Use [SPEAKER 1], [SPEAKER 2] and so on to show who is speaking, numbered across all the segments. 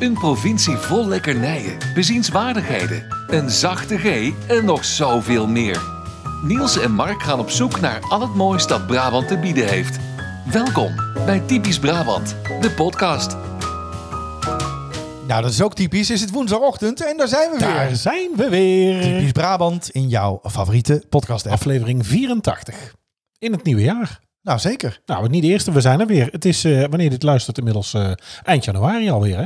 [SPEAKER 1] Een provincie vol lekkernijen, bezienswaardigheden, een zachte G en nog zoveel meer. Niels en Mark gaan op zoek naar al het moois dat Brabant te bieden heeft. Welkom bij Typisch Brabant, de podcast.
[SPEAKER 2] Nou, dat is ook typisch. Is het woensdagochtend en daar zijn we
[SPEAKER 3] Daar
[SPEAKER 2] weer.
[SPEAKER 3] zijn we weer.
[SPEAKER 2] Typisch Brabant in jouw favoriete podcast app.
[SPEAKER 3] Aflevering 84. In het nieuwe jaar.
[SPEAKER 2] Nou, zeker.
[SPEAKER 3] Nou, niet de eerste, we zijn er weer. Het is, eh, wanneer je dit luistert, inmiddels eh, eind januari alweer. Hè?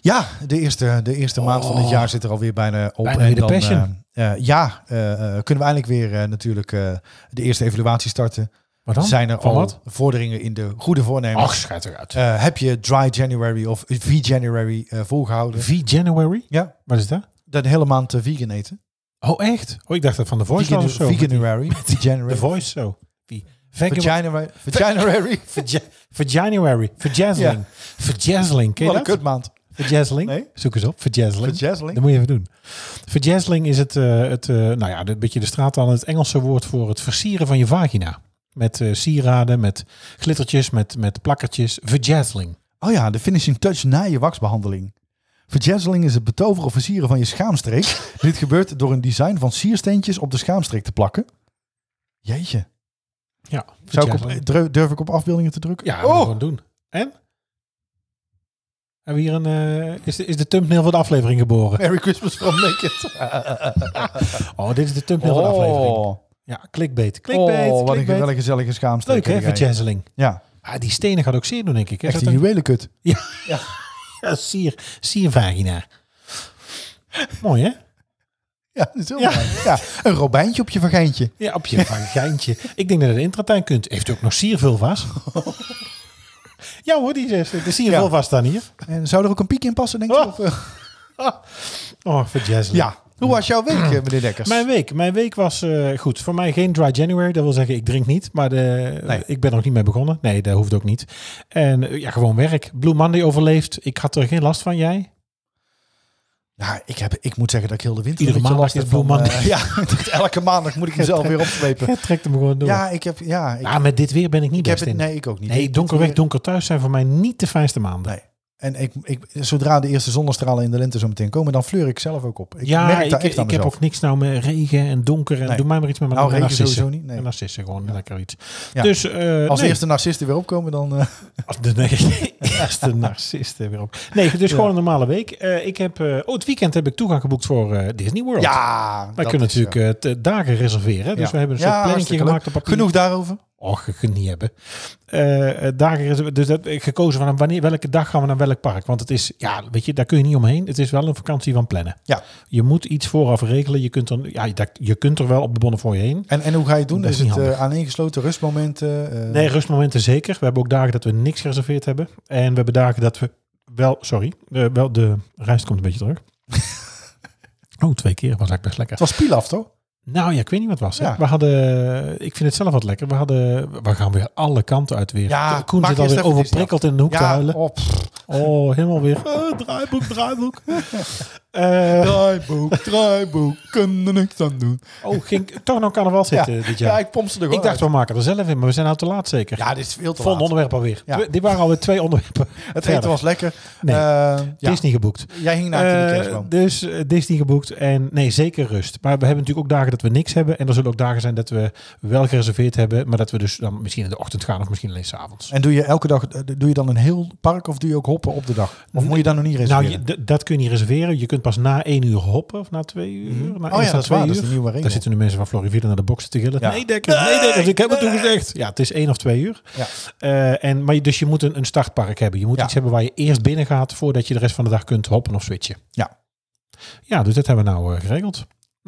[SPEAKER 2] Ja, de eerste, de eerste maand van het jaar zit er alweer Oh. bijna op.
[SPEAKER 3] Bijna weer de passion.
[SPEAKER 2] eh, eh, ja, eh, eh, kunnen we eindelijk weer eh, natuurlijk eh, de eerste evaluatie starten.
[SPEAKER 3] Maar dan?
[SPEAKER 2] Zijn er
[SPEAKER 3] Van
[SPEAKER 2] al
[SPEAKER 3] wat?
[SPEAKER 2] vorderingen in de goede voornemens?
[SPEAKER 3] Ach, schijt eruit.
[SPEAKER 2] Eh, heb je Dry January of V-January eh, volgehouden?
[SPEAKER 3] V-January?
[SPEAKER 2] Ja,
[SPEAKER 3] Wat is dat?
[SPEAKER 2] dan de hele maand eh, vegan eten.
[SPEAKER 3] Oh, echt? Oh, ik dacht dat van de Voice was of zo.
[SPEAKER 2] Veganuary.
[SPEAKER 3] De
[SPEAKER 2] January.
[SPEAKER 3] Voice zo. V-
[SPEAKER 2] Vaginuary. Vaginuary.
[SPEAKER 3] For January. For Jazzling. For Jazzling. Ken
[SPEAKER 2] Wat
[SPEAKER 3] je
[SPEAKER 2] een
[SPEAKER 3] dat?
[SPEAKER 2] kutmaand.
[SPEAKER 3] For Jazzling.
[SPEAKER 2] Nee.
[SPEAKER 3] Zoek eens op. For Jazzling.
[SPEAKER 2] Vaginuary.
[SPEAKER 3] Dat moet je even doen. Verjazzling is het, eh, het eh, nou ja, een beetje de straat aan het Engelse woord voor het versieren van je vagina. Met eh, sieraden, met glittertjes, met, met plakkertjes. Verjazzling.
[SPEAKER 2] Oh ja, de finishing touch na je waxbehandeling. Verjazzeling is het betoveren of versieren van je schaamstreek. Dit gebeurt door een design van siersteentjes op de schaamstreek te plakken. Jeetje.
[SPEAKER 3] Ja,
[SPEAKER 2] Zou ik op,
[SPEAKER 3] verjazzling.
[SPEAKER 2] dru- durf ik op afbeeldingen te drukken?
[SPEAKER 3] ja
[SPEAKER 2] oh,
[SPEAKER 3] gewoon doen. En? Hebben we hier een, eh, is, de, is de thumbnail van de aflevering geboren?
[SPEAKER 2] Merry Christmas from Naked.
[SPEAKER 3] Oh, dit is de thumbnail van de aflevering. Ja, clickbait. Clickbait,
[SPEAKER 2] oh, wat een
[SPEAKER 3] clickbait.
[SPEAKER 2] wel een gezellige schaamstreek.
[SPEAKER 3] Leuk hè,
[SPEAKER 2] heb jij.
[SPEAKER 3] verjazzling.
[SPEAKER 2] Ja,
[SPEAKER 3] Ah, die stenen gaat ook zeer doen, denk ik. Hè?
[SPEAKER 2] echt
[SPEAKER 3] Is
[SPEAKER 2] een
[SPEAKER 3] dat
[SPEAKER 2] juwelenkut.
[SPEAKER 3] een- ja, sier, siervagina. Mooi hè?
[SPEAKER 2] Ja, dat is heel
[SPEAKER 3] Ja.
[SPEAKER 2] mooi. ja, een robijntje op je vagijntje.
[SPEAKER 3] Ja, op je vagijntje. Ik denk dat het intratuin kunt. Heeft u ook nog siervulva's? ja hoor, die zegt, de siervulva's staan hier.
[SPEAKER 2] En Eh, zou er ook een piek in passen, denk je?
[SPEAKER 3] Oh.
[SPEAKER 2] Of, eh,
[SPEAKER 3] Oh, voor Jazz.
[SPEAKER 2] ja. Hoe was jouw week, eh, meneer Dekkers?
[SPEAKER 3] Mijn week, mijn week was eh, goed. Voor mij geen dry January. Dat wil zeggen, ik drink niet. Maar de,
[SPEAKER 2] Nee.
[SPEAKER 3] ik ben er nog niet mee begonnen. Nee, dat hoeft ook niet. En eh, ja, gewoon werk. Blue Monday overleefd. Ik had er geen last van, jij?
[SPEAKER 2] Nou, ik, heb, ik moet zeggen dat ik heel de winter
[SPEAKER 3] Iedere
[SPEAKER 2] een beetje
[SPEAKER 3] maandag
[SPEAKER 2] last
[SPEAKER 3] is
[SPEAKER 2] heb
[SPEAKER 3] Blue
[SPEAKER 2] van,
[SPEAKER 3] Monday.
[SPEAKER 2] eh, ja, elke maandag moet ik mezelf weer opslepen.
[SPEAKER 3] Jij trekt hem gewoon door. Ja, Ah,
[SPEAKER 2] Ja, ik heb... Ja, ik,
[SPEAKER 3] met dit weer ben ik niet
[SPEAKER 2] ik heb
[SPEAKER 3] best
[SPEAKER 2] het,
[SPEAKER 3] in. Nee,
[SPEAKER 2] nee, ik ook niet. Ik-
[SPEAKER 3] donker weg,
[SPEAKER 2] ik-
[SPEAKER 3] donker thuis zijn voor mij niet de fijnste maanden.
[SPEAKER 2] Nee. En ik, ik, zodra de eerste zonnestralen in de lente zo meteen komen, dan fleur ik zelf ook op. Ik
[SPEAKER 3] ja,
[SPEAKER 2] merk
[SPEAKER 3] ik,
[SPEAKER 2] daar echt aan
[SPEAKER 3] ik heb
[SPEAKER 2] mezelf.
[SPEAKER 3] ook niks nou met regen en donker. En
[SPEAKER 2] Nee.
[SPEAKER 3] Doe mij maar iets met mijn
[SPEAKER 2] nou, regen
[SPEAKER 3] narcissen.
[SPEAKER 2] sowieso niet. Nee.
[SPEAKER 3] En narcissen gewoon lekker iets.
[SPEAKER 2] Ja.
[SPEAKER 3] Dus eh,
[SPEAKER 2] Als de
[SPEAKER 3] nee.
[SPEAKER 2] eerste narcisten weer opkomen, dan... eh,
[SPEAKER 3] Als de nee, eerste narcist er weer op. Nee, dus gewoon een normale week. Eh, ik heb, eh, oh, het weekend heb ik toegang geboekt voor eh, Disney World.
[SPEAKER 2] ja,
[SPEAKER 3] Wij
[SPEAKER 2] dat
[SPEAKER 3] kunnen
[SPEAKER 2] is, eh,
[SPEAKER 3] natuurlijk eh, te- dagen reserveren. Dus
[SPEAKER 2] ja.
[SPEAKER 3] we hebben
[SPEAKER 2] Ja,
[SPEAKER 3] een soort planningje
[SPEAKER 2] hartstikke
[SPEAKER 3] gemaakt
[SPEAKER 2] leuk.
[SPEAKER 3] op papier.
[SPEAKER 2] Genoeg daarover.
[SPEAKER 3] Och, je kunt niet hebben. Eh, eh, dagen reserveren. Dus dat heb ik gekozen van wanneer, welke dag gaan we naar welk park. Want het is, ja, weet je, daar kun je niet omheen. Het is wel een vakantie van plannen.
[SPEAKER 2] Ja.
[SPEAKER 3] Je moet iets vooraf regelen. Je kunt er, ja, je- dat- je kunt er wel op de bonnen voor je heen.
[SPEAKER 2] En, en hoe ga je het doen?
[SPEAKER 3] Dat
[SPEAKER 2] Is
[SPEAKER 3] is
[SPEAKER 2] het
[SPEAKER 3] niet
[SPEAKER 2] eh aaneengesloten rustmomenten? eh,
[SPEAKER 3] Nee, rustmomenten zeker. We hebben ook dagen dat we niks gereserveerd hebben. En we hebben dagen dat we wel, sorry, eh, wel de rijst komt een beetje terug. oh, twee keer was eigenlijk best lekker.
[SPEAKER 2] Het was Pilaf, toch?
[SPEAKER 3] Nou ja, ik weet niet wat het was. hè.
[SPEAKER 2] Ja.
[SPEAKER 3] We hadden, ik vind het zelf wat lekker. We hadden, we gaan weer alle kanten uit weer.
[SPEAKER 2] Ja,
[SPEAKER 3] Koen
[SPEAKER 2] maak
[SPEAKER 3] zit
[SPEAKER 2] eerst
[SPEAKER 3] alweer
[SPEAKER 2] even die
[SPEAKER 3] overprikkeld in de hoek te huilen.
[SPEAKER 2] op.
[SPEAKER 3] Oh, helemaal weer. Eh, draaiboek, draaiboek. Eh,
[SPEAKER 2] Draaiboek, draaiboek, kunnen niks aan doen.
[SPEAKER 3] oh, ging toch nog carnaval zitten eh, dit jaar.
[SPEAKER 2] Ja,
[SPEAKER 3] ik,
[SPEAKER 2] ik pomp ze er gewoon
[SPEAKER 3] dacht,
[SPEAKER 2] uit.
[SPEAKER 3] we maken er zelf in, maar we zijn nou te laat zeker.
[SPEAKER 2] Ja, dit is veel te
[SPEAKER 3] Vol
[SPEAKER 2] laat.
[SPEAKER 3] onderwerp alweer.
[SPEAKER 2] Ja.
[SPEAKER 3] Twee- Dit waren alweer twee onderwerpen.
[SPEAKER 2] Het
[SPEAKER 3] verder.
[SPEAKER 2] eten was lekker.
[SPEAKER 3] Nee.
[SPEAKER 2] Eh, ja.
[SPEAKER 3] Disney geboekt.
[SPEAKER 2] Jij ging naar de
[SPEAKER 3] Eh,
[SPEAKER 2] kerstboom.
[SPEAKER 3] dus eh, Disney geboekt en nee, zeker rust. Maar we hebben natuurlijk ook dagen dat we niks hebben. En er zullen ook dagen zijn dat we wel gereserveerd hebben. Maar dat we dus dan misschien in de ochtend gaan of misschien alleen s'avonds.
[SPEAKER 2] En doe je elke dag, eh, doe je dan een heel park of doe je ook hoppen op de dag? Of moet je dan nog niet
[SPEAKER 3] Nou,
[SPEAKER 2] reserveren? Oh
[SPEAKER 3] je- d- dat kun je niet reserveren. Je kunt pas na één uur hoppen of na twee uur. Na
[SPEAKER 2] oh
[SPEAKER 3] eerst
[SPEAKER 2] ja,
[SPEAKER 3] na
[SPEAKER 2] dat is waar, dat is de nieuwe
[SPEAKER 3] Daar
[SPEAKER 2] regel.
[SPEAKER 3] zitten nu mensen van Floriville naar de boxen te gillen.
[SPEAKER 2] Ja.
[SPEAKER 3] Nee, Dekkers, nee, Dekkers, ik heb het toen gezegd. Ja, het is één of twee uur.
[SPEAKER 2] Ja.
[SPEAKER 3] Eh, en, maar je, dus je moet een, een startpark hebben. Je moet
[SPEAKER 2] Ja.
[SPEAKER 3] iets hebben waar je eerst binnen gaat voordat je de rest van de dag kunt hoppen of switchen.
[SPEAKER 2] Ja.
[SPEAKER 3] Ja, dus dat hebben we nou eh, geregeld. Nou,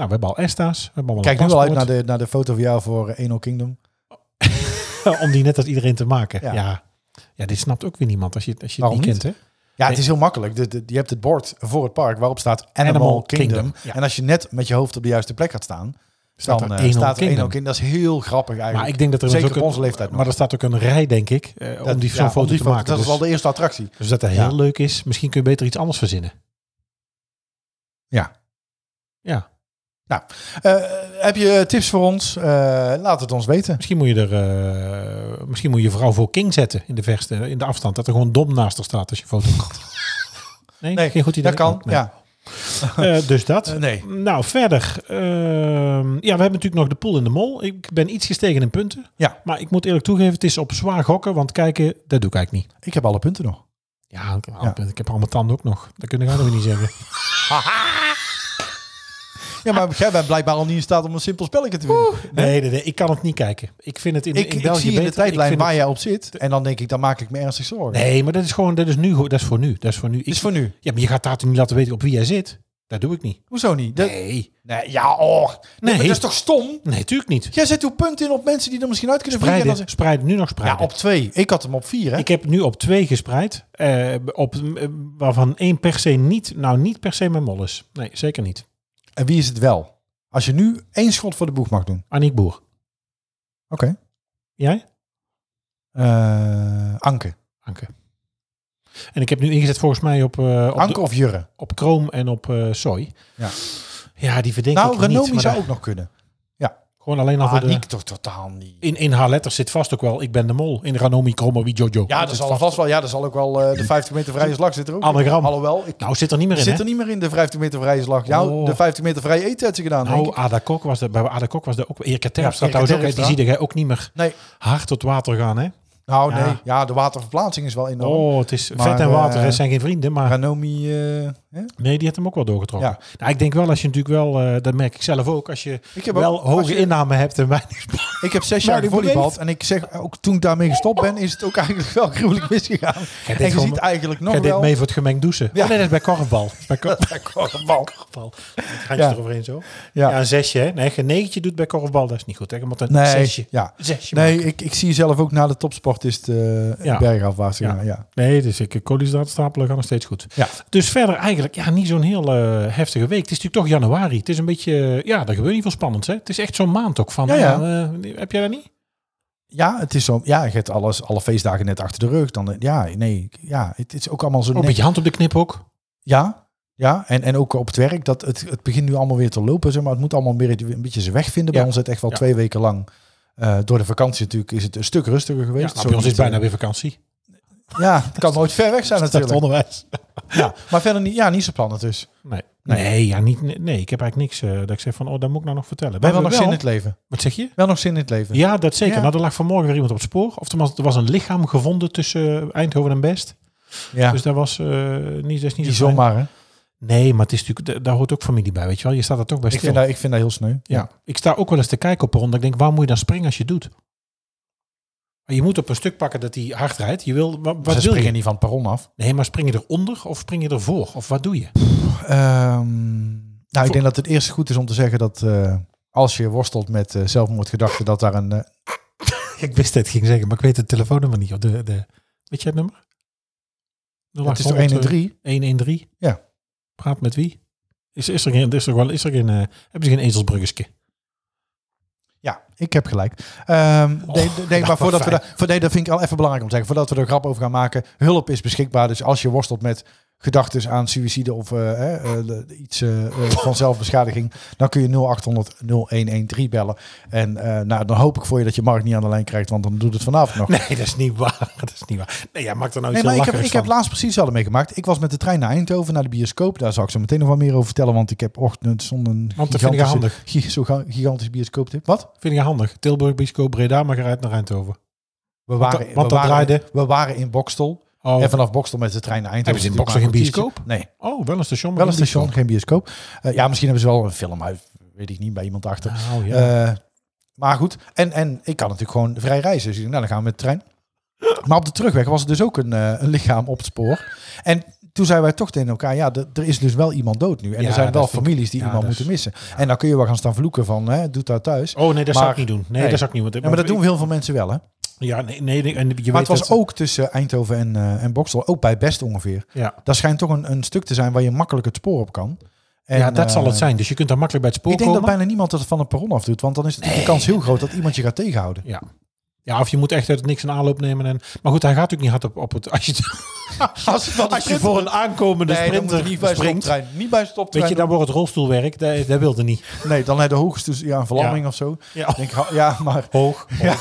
[SPEAKER 3] we hebben al Esta's. We hebben al
[SPEAKER 2] Kijk nu wel uit naar de, naar de foto van jou voor eh, Eno Kingdom.
[SPEAKER 3] Om die net als iedereen te maken.
[SPEAKER 2] Ja.
[SPEAKER 3] Ja. ja. dit snapt ook weer niemand als je, als je het
[SPEAKER 2] Waarom
[SPEAKER 3] niet kent,
[SPEAKER 2] niet?
[SPEAKER 3] hè?
[SPEAKER 2] Ja, het
[SPEAKER 3] Nee.
[SPEAKER 2] is heel makkelijk. De- de- je hebt het bord voor het park waarop staat Animal,
[SPEAKER 3] Animal
[SPEAKER 2] Kingdom.
[SPEAKER 3] Kingdom, ja.
[SPEAKER 2] En als je net met je hoofd op de juiste plek gaat staan,
[SPEAKER 3] Staat
[SPEAKER 2] dan
[SPEAKER 3] er
[SPEAKER 2] eh,
[SPEAKER 3] Eno
[SPEAKER 2] staat er Eno
[SPEAKER 3] Kingdom.
[SPEAKER 2] Kingdom. Dat is heel grappig eigenlijk.
[SPEAKER 3] Maar ik denk dat er
[SPEAKER 2] Zeker
[SPEAKER 3] dus ook
[SPEAKER 2] op
[SPEAKER 3] een-
[SPEAKER 2] onze leeftijd nog.
[SPEAKER 3] Maar er staat ook een rij, denk ik, eh, om die zo'n
[SPEAKER 2] ja,
[SPEAKER 3] foto
[SPEAKER 2] om die
[SPEAKER 3] te
[SPEAKER 2] foto-
[SPEAKER 3] maken.
[SPEAKER 2] Dat
[SPEAKER 3] dus,
[SPEAKER 2] is wel de eerste attractie.
[SPEAKER 3] dus dat dat heel
[SPEAKER 2] Ja.
[SPEAKER 3] leuk is. Misschien kun je beter iets anders verzinnen.
[SPEAKER 2] Ja.
[SPEAKER 3] Ja.
[SPEAKER 2] Eh, heb je tips voor ons? Eh, laat het ons weten.
[SPEAKER 3] Misschien moet je er, eh, misschien moet je vrouw voor King zetten in de verste, in de afstand. Dat er gewoon dom naast haar staat als je foto maakt. Nee,
[SPEAKER 2] Nee,
[SPEAKER 3] geen goed idee.
[SPEAKER 2] Dat kan,
[SPEAKER 3] Oh, nee.
[SPEAKER 2] ja.
[SPEAKER 3] Eh, dus dat.
[SPEAKER 2] Eh, nee.
[SPEAKER 3] Nou, verder. ehm, ja, we hebben natuurlijk nog de pool in de mol. Ik ben iets gestegen in punten.
[SPEAKER 2] Ja.
[SPEAKER 3] Maar ik moet eerlijk toegeven, het is op zwaar gokken. Want kijken, dat doe ik eigenlijk niet.
[SPEAKER 2] Ik heb alle punten nog.
[SPEAKER 3] Ja, ik heb al- ik heb al mijn tanden ook nog. Dat kunnen we nog niet zeggen.
[SPEAKER 2] Ja, maar jij bent blijkbaar al niet in staat om een simpel spelletje te winnen.
[SPEAKER 3] Nee, nee, nee, ik kan het niet kijken. Ik vind het in,
[SPEAKER 2] ik,
[SPEAKER 3] in
[SPEAKER 2] ik
[SPEAKER 3] België
[SPEAKER 2] zie in de
[SPEAKER 3] beter. Ik
[SPEAKER 2] tijdlijn
[SPEAKER 3] vind
[SPEAKER 2] waar
[SPEAKER 3] het-
[SPEAKER 2] jij op zit. En dan denk ik, dan maak ik me ernstig zorgen.
[SPEAKER 3] Nee, maar dat is gewoon, dat is nu, goed. dat is voor nu. Dat is voor nu. Ik,
[SPEAKER 2] Is voor nu.
[SPEAKER 3] Ja, maar je gaat daar toch niet laten weten op wie jij zit. Dat doe ik niet.
[SPEAKER 2] Hoezo niet? Dat-
[SPEAKER 3] Nee.
[SPEAKER 2] nee, ja, oh. Nee,
[SPEAKER 3] Nee.
[SPEAKER 2] maar dat is toch stom?
[SPEAKER 3] Nee, tuurlijk niet.
[SPEAKER 2] Jij zet uw punt in op mensen die er misschien uit kunnen vliegen. en
[SPEAKER 3] Spreiden.
[SPEAKER 2] dan zeg-
[SPEAKER 3] Spreiden. Nu nog
[SPEAKER 2] Ja,
[SPEAKER 3] spreiden.
[SPEAKER 2] op twee. Ik had hem op vier, hè?
[SPEAKER 3] Ik heb nu op twee gespreid. eh, op, eh, waarvan één per se niet, nou niet per se mijn mol is. Nee, zeker niet.
[SPEAKER 2] En wie is het wel? Als je nu één schot voor de boeg mag doen.
[SPEAKER 3] Aniek Boer.
[SPEAKER 2] Oké.
[SPEAKER 3] Jij?
[SPEAKER 2] Eh, Anke.
[SPEAKER 3] Anke. En ik heb nu ingezet volgens mij op, eh, op,
[SPEAKER 2] Anke of Jurre?
[SPEAKER 3] de- op Kroom en op eh Soy.
[SPEAKER 2] Ja.
[SPEAKER 3] Ja, die verdenk
[SPEAKER 2] Nou,
[SPEAKER 3] ik niet.
[SPEAKER 2] Renomi
[SPEAKER 3] maar
[SPEAKER 2] zou
[SPEAKER 3] daar-
[SPEAKER 2] ook nog kunnen.
[SPEAKER 3] Gewoon alleen al voor
[SPEAKER 2] Ah,
[SPEAKER 3] de...
[SPEAKER 2] Niek toch totaal niet.
[SPEAKER 3] In, in haar letters zit vast ook wel, ik ben de mol. In Ranomi, Kromo, wie Jojo.
[SPEAKER 2] Ja, dat
[SPEAKER 3] Zit
[SPEAKER 2] zal
[SPEAKER 3] vast.
[SPEAKER 2] vast wel. Ja, dat zal ook wel. eh, de 50 meter vrije slag zit er ook. in.
[SPEAKER 3] Anagram.
[SPEAKER 2] Alhoewel, ik
[SPEAKER 3] Nou, zit er niet meer in,
[SPEAKER 2] zit
[SPEAKER 3] hè?
[SPEAKER 2] er niet meer in de 50 meter vrije slag. Ja,
[SPEAKER 3] Oh.
[SPEAKER 2] de 50 meter vrije eten had ze gedaan. denk
[SPEAKER 3] Nou,
[SPEAKER 2] ik.
[SPEAKER 3] Ada Kok was dat, bij Ada Kok was dat ook. Erika
[SPEAKER 2] Erika
[SPEAKER 3] Terpstra trouwens ook, hè, die
[SPEAKER 2] Terpstra.
[SPEAKER 3] zie jij ook niet meer
[SPEAKER 2] Nee,
[SPEAKER 3] hard tot water gaan, hè?
[SPEAKER 2] nou
[SPEAKER 3] Ja.
[SPEAKER 2] nee. Ja, de waterverplaatsing is wel enorm.
[SPEAKER 3] Oh, het is
[SPEAKER 2] Maar,
[SPEAKER 3] vet en water,
[SPEAKER 2] eh,
[SPEAKER 3] hè, zijn geen vrienden, maar
[SPEAKER 2] Ranomi, eh, hè?
[SPEAKER 3] nee, die heeft hem ook wel doorgetrokken.
[SPEAKER 2] Ja.
[SPEAKER 3] Nou, ik denk wel als je natuurlijk wel, eh, dat merk ik zelf ook, als je
[SPEAKER 2] Ik heb
[SPEAKER 3] wel
[SPEAKER 2] ook- als
[SPEAKER 3] hoge
[SPEAKER 2] je-
[SPEAKER 3] inname hebt en weinig sport.
[SPEAKER 2] ik heb zes
[SPEAKER 3] Maar
[SPEAKER 2] jaar
[SPEAKER 3] die
[SPEAKER 2] gevolleybald.
[SPEAKER 3] beweegt.
[SPEAKER 2] En ik zeg, ook toen ik daarmee gestopt ben, is het ook eigenlijk wel gruwelijk misgegaan.
[SPEAKER 3] dit
[SPEAKER 2] En je
[SPEAKER 3] gewoon-
[SPEAKER 2] ziet eigenlijk nog
[SPEAKER 3] Ga dit
[SPEAKER 2] wel...
[SPEAKER 3] mee voor het gemengd douchen?
[SPEAKER 2] Ja.
[SPEAKER 3] Oh, nee, dat is bij korfbal. Dat is bij kor-
[SPEAKER 2] Bij korfbal.
[SPEAKER 3] korfbal. Het handje
[SPEAKER 2] Ja.
[SPEAKER 3] eroverheen zo.
[SPEAKER 2] Ja.
[SPEAKER 3] Ja. een zesje, hè? Nee, geen negentje doet bij korfbal, dat is niet goed, hè? Je moet een
[SPEAKER 2] Nee,
[SPEAKER 3] zesje.
[SPEAKER 2] ja.
[SPEAKER 3] Zesje
[SPEAKER 2] Nee, ik, ik zie zelf ook na de topsportist eh
[SPEAKER 3] Ja.
[SPEAKER 2] bergafwaarts
[SPEAKER 3] Ja.
[SPEAKER 2] gaan. Ja.
[SPEAKER 3] Nee, dus ik koolhydraten stapelen gaat nog steeds goed.
[SPEAKER 2] Ja.
[SPEAKER 3] Dus verder eigenlijk ja, niet zo'n heel eh, heftige week. Het is natuurlijk toch januari. Het is een beetje, eh, ja, daar gebeurt niet veel spannends. Hè? Het is echt zo'n maand ook van.
[SPEAKER 2] Ja, ja.
[SPEAKER 3] eh, heb jij dat niet?
[SPEAKER 2] Ja, het is zo. Ja, je hebt alles, alle feestdagen net achter de rug. Dan, eh, ja, nee, ik- ja, het is ook allemaal zo.
[SPEAKER 3] Oh, een
[SPEAKER 2] net-
[SPEAKER 3] beetje hand op de knip ook.
[SPEAKER 2] ja, ja, en, en ook op het werk. Dat het, het begint nu allemaal weer te lopen, zeg maar. Het moet allemaal weer een beetje zijn weg vinden. Bij
[SPEAKER 3] Ja.
[SPEAKER 2] ons het echt wel
[SPEAKER 3] Ja.
[SPEAKER 2] twee weken lang. eh, door de vakantie natuurlijk is het een stuk rustiger
[SPEAKER 3] Ja,
[SPEAKER 2] geweest.
[SPEAKER 3] nou,
[SPEAKER 2] Zo
[SPEAKER 3] bij ons is
[SPEAKER 2] niet,
[SPEAKER 3] bijna
[SPEAKER 2] eh,
[SPEAKER 3] weer vakantie.
[SPEAKER 2] Ja, het kan nooit ver weg zijn
[SPEAKER 3] het
[SPEAKER 2] natuurlijk.
[SPEAKER 3] onderwijs.
[SPEAKER 2] Ja, maar verder niet, ja, niet zo plannen dus.
[SPEAKER 3] Nee.
[SPEAKER 2] Nee.
[SPEAKER 3] Nee. ja, niet, nee, nee, ik heb eigenlijk niks eh, dat ik zeg van, oh, dat moet ik nou nog vertellen.
[SPEAKER 2] We hebben nog
[SPEAKER 3] hebben
[SPEAKER 2] zin in het leven.
[SPEAKER 3] Wat zeg je?
[SPEAKER 2] Wel nog zin in het leven.
[SPEAKER 3] Ja, dat zeker.
[SPEAKER 2] Ja.
[SPEAKER 3] Nou, er lag vanmorgen weer iemand op het spoor. Of er was, er was een lichaam gevonden tussen eh, Eindhoven en Best.
[SPEAKER 2] Ja,
[SPEAKER 3] Dus dat was eh, niet, dat is niet
[SPEAKER 2] niet
[SPEAKER 3] zo fijn.
[SPEAKER 2] zomaar hè.
[SPEAKER 3] Nee, maar het is natuurlijk, da- daar hoort ook familie bij, weet je wel. Je staat er toch bij
[SPEAKER 2] Ik
[SPEAKER 3] stil.
[SPEAKER 2] vind, dat, ik vind dat heel sneu.
[SPEAKER 3] ja. Ik sta ook wel eens te kijken op een ronde. Ik denk, waar moet je dan springen als je het doet? Maar je moet op een stuk pakken dat hij hard rijdt. Je wil, wa- wat
[SPEAKER 2] Dus Ze
[SPEAKER 3] wil
[SPEAKER 2] springen
[SPEAKER 3] je?
[SPEAKER 2] niet van het perron af.
[SPEAKER 3] Nee, maar spring je eronder of spring je ervoor? Of wat doe je?
[SPEAKER 2] Ehm, nou, ik denk dat het eerst goed is om te zeggen dat eh, als je worstelt met eh, zelfmoordgedachten, dat daar een... eh,
[SPEAKER 3] Ik wist dat ik ging zeggen, maar ik weet het telefoonnummer niet. Of de, de, weet jij het nummer?
[SPEAKER 2] het is toch 1
[SPEAKER 3] eh,
[SPEAKER 2] en 3?
[SPEAKER 3] 113?
[SPEAKER 2] Ja.
[SPEAKER 3] Praat met wie? Is, is er geen, is er wel, is er geen, eh, hebben ze geen ezelsbruggetje?
[SPEAKER 2] Ja, ik heb gelijk. Ehm, nee, nee, nee, maar
[SPEAKER 3] Oh, nou, wat
[SPEAKER 2] voordat we
[SPEAKER 3] fijn.
[SPEAKER 2] daar, voor, nee, dat vind ik al even belangrijk om te zeggen. Voordat we er grap over gaan maken, hulp is beschikbaar. Dus als je worstelt met gedachten aan suïcide of eh, eh, eh, de- iets eh, eh, van zelfbeschadiging, dan kun je 0800 0113 bellen. En eh, nou, dan hoop ik voor je dat je Mark niet aan de lijn krijgt, want dan doet het vanavond nog.
[SPEAKER 3] Nee, dat is niet waar. Dat is niet waar. Nee, jij maakt er nou
[SPEAKER 2] Nee,
[SPEAKER 3] iets
[SPEAKER 2] maar
[SPEAKER 3] heel
[SPEAKER 2] ik heb, ik
[SPEAKER 3] lacherigs
[SPEAKER 2] heb
[SPEAKER 3] van.
[SPEAKER 2] laatst precies hetzelfde meegemaakt. Ik was met de trein naar Eindhoven, naar de bioscoop. Daar zal ik zo meteen nog wat meer over vertellen, want ik heb ochtend zonder een
[SPEAKER 3] Want dat vind ik handig.
[SPEAKER 2] gi- Zo'n ga- gigantische bioscooptip. Wat?
[SPEAKER 3] Vind ik handig. Tilburg, Biscoop, Breda, maar eruit naar Eindhoven.
[SPEAKER 2] We
[SPEAKER 3] Want
[SPEAKER 2] waren,
[SPEAKER 3] dat- want
[SPEAKER 2] we,
[SPEAKER 3] dat
[SPEAKER 2] waren,
[SPEAKER 3] draaide-
[SPEAKER 2] we waren in Bokstel.
[SPEAKER 3] Oh,
[SPEAKER 2] En vanaf Bokstel met de trein naar Eindhoven.
[SPEAKER 3] Hebben ze in
[SPEAKER 2] is natuurlijk
[SPEAKER 3] Bokstel geen
[SPEAKER 2] maar een kwartiertje. Nee,
[SPEAKER 3] oh wel een station. maar
[SPEAKER 2] wel een
[SPEAKER 3] geen
[SPEAKER 2] station, geen bioscoop. Eh, ja, misschien hebben ze wel een film uit, weet ik niet, bij iemand achter.
[SPEAKER 3] bioscoop. Nou, ja.
[SPEAKER 2] Eh, maar goed, en, en ik kan natuurlijk gewoon vrij reizen. Dus ik denk, nou, dan gaan we met de trein. Maar op de terugweg was er dus ook een, eh, een lichaam op het spoor. En toen zeiden wij toch tegen elkaar, ja, d- er is dus wel iemand dood nu. En
[SPEAKER 3] Ja,
[SPEAKER 2] er zijn wel
[SPEAKER 3] dat vind ik-
[SPEAKER 2] families die
[SPEAKER 3] ja,
[SPEAKER 2] iemand
[SPEAKER 3] dat is-
[SPEAKER 2] moeten missen. En dan kun je wel gaan staan vloeken van, hè, doet dat thuis.
[SPEAKER 3] oh nee, dat zou
[SPEAKER 2] maar-
[SPEAKER 3] ik niet doen. Nee,
[SPEAKER 2] nee.
[SPEAKER 3] dat zou ik niet want-
[SPEAKER 2] Ja, maar dat doen
[SPEAKER 3] ik-
[SPEAKER 2] heel veel mensen wel, hè.
[SPEAKER 3] Ja, nee, nee. nee, En je weet
[SPEAKER 2] Maar het was
[SPEAKER 3] dat-
[SPEAKER 2] ook tussen Eindhoven en, eh, en Boksel, ook bij Best ongeveer.
[SPEAKER 3] Ja,
[SPEAKER 2] Dat schijnt toch een, een stuk te zijn waar je makkelijk het spoor op kan. En,
[SPEAKER 3] ja dat zal
[SPEAKER 2] eh,
[SPEAKER 3] het zijn. Dus je kunt daar makkelijk bij het spoor
[SPEAKER 2] Ik denk dat
[SPEAKER 3] komen.
[SPEAKER 2] bijna niemand het van het perron af doet. Want dan is het de kans heel groot dat iemand je gaat tegenhouden.
[SPEAKER 3] Ja. Ja, of je moet echt uit het niks een aanloop nemen. En, maar goed, hij gaat natuurlijk niet hard op, op het... Als je,
[SPEAKER 2] Als je,
[SPEAKER 3] als je voor een aankomende
[SPEAKER 2] Nee, dan moet
[SPEAKER 3] sprinter
[SPEAKER 2] je niet bij
[SPEAKER 3] springt...
[SPEAKER 2] stoptrein. Niet bij
[SPEAKER 3] Weet je,
[SPEAKER 2] stoptrein.
[SPEAKER 3] dan wordt het rolstoelwerk. Dat, dat wilde niet.
[SPEAKER 2] dus, Nee, dan heb je de hoogste ja, een verlamming of zo.
[SPEAKER 3] Ja.
[SPEAKER 2] Denk, ha- ja, maar
[SPEAKER 3] Hoog. hoog. Ja.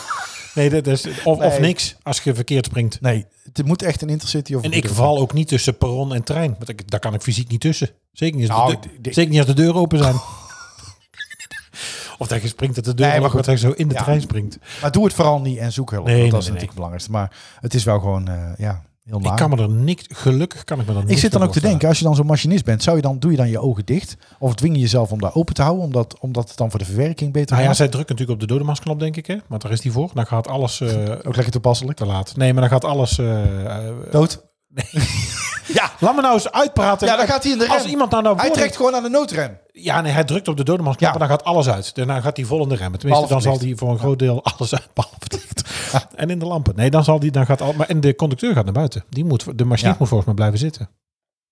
[SPEAKER 3] Nee, dat is, of, of
[SPEAKER 2] Nee.
[SPEAKER 3] niks als je verkeerd springt.
[SPEAKER 2] Nee, het moet echt een intercity of...
[SPEAKER 3] En ik val ook niet tussen perron en trein. Want ik, daar kan ik fysiek niet tussen. Zeker niet als,
[SPEAKER 2] Nou,
[SPEAKER 3] de, deur-
[SPEAKER 2] ik denk-
[SPEAKER 3] zeker niet als de deuren open zijn. of dat je springt dat de deur
[SPEAKER 2] Nee, maar
[SPEAKER 3] open,
[SPEAKER 2] goed.
[SPEAKER 3] dat je zo in de
[SPEAKER 2] Ja.
[SPEAKER 3] trein springt.
[SPEAKER 2] Maar doe het vooral niet en zoek hulp.
[SPEAKER 3] Nee,
[SPEAKER 2] want
[SPEAKER 3] nee,
[SPEAKER 2] dat
[SPEAKER 3] nee,
[SPEAKER 2] is
[SPEAKER 3] nee.
[SPEAKER 2] natuurlijk het belangrijkste. Maar het is wel gewoon, eh, ja, heel naar.
[SPEAKER 3] Ik kan me er niks... Gelukkig kan ik me er niks
[SPEAKER 2] Ik zit dan
[SPEAKER 3] aan
[SPEAKER 2] ook te denken, als je dan zo'n machinist bent, zou je dan, doe je dan je ogen dicht? Of dwing je jezelf om daar open te houden, omdat, omdat het dan voor de verwerking beter
[SPEAKER 3] Nou ja,
[SPEAKER 2] gaat?
[SPEAKER 3] zij drukken natuurlijk op de dodenmasknop, denk ik. Hè? Want daar is die voor. Dan gaat alles eh,
[SPEAKER 2] Ook lekker toepasselijk.
[SPEAKER 3] te laat. Nee, maar dan gaat alles... eh, eh,
[SPEAKER 2] Dood.
[SPEAKER 3] ja, laat me nou eens uitpraten.
[SPEAKER 2] Ja, dan gaat hij in de rem.
[SPEAKER 3] Als iemand nou nou
[SPEAKER 2] Hij
[SPEAKER 3] woorden-
[SPEAKER 2] trekt gewoon aan de noodrem.
[SPEAKER 3] Ja, nee, hij drukt op de dodenmasknop
[SPEAKER 2] Ja.
[SPEAKER 3] en dan gaat alles uit. Daarna gaat hij vol in de remmen. Tenminste,
[SPEAKER 2] Behalve
[SPEAKER 3] dan zal
[SPEAKER 2] het
[SPEAKER 3] hij voor een groot deel alles uit, behalve het licht. En in de lampen. Nee, dan zal die, dan gaat al, maar en de conducteur gaat naar buiten. Die moet, de machine
[SPEAKER 2] Ja.
[SPEAKER 3] moet volgens mij blijven zitten.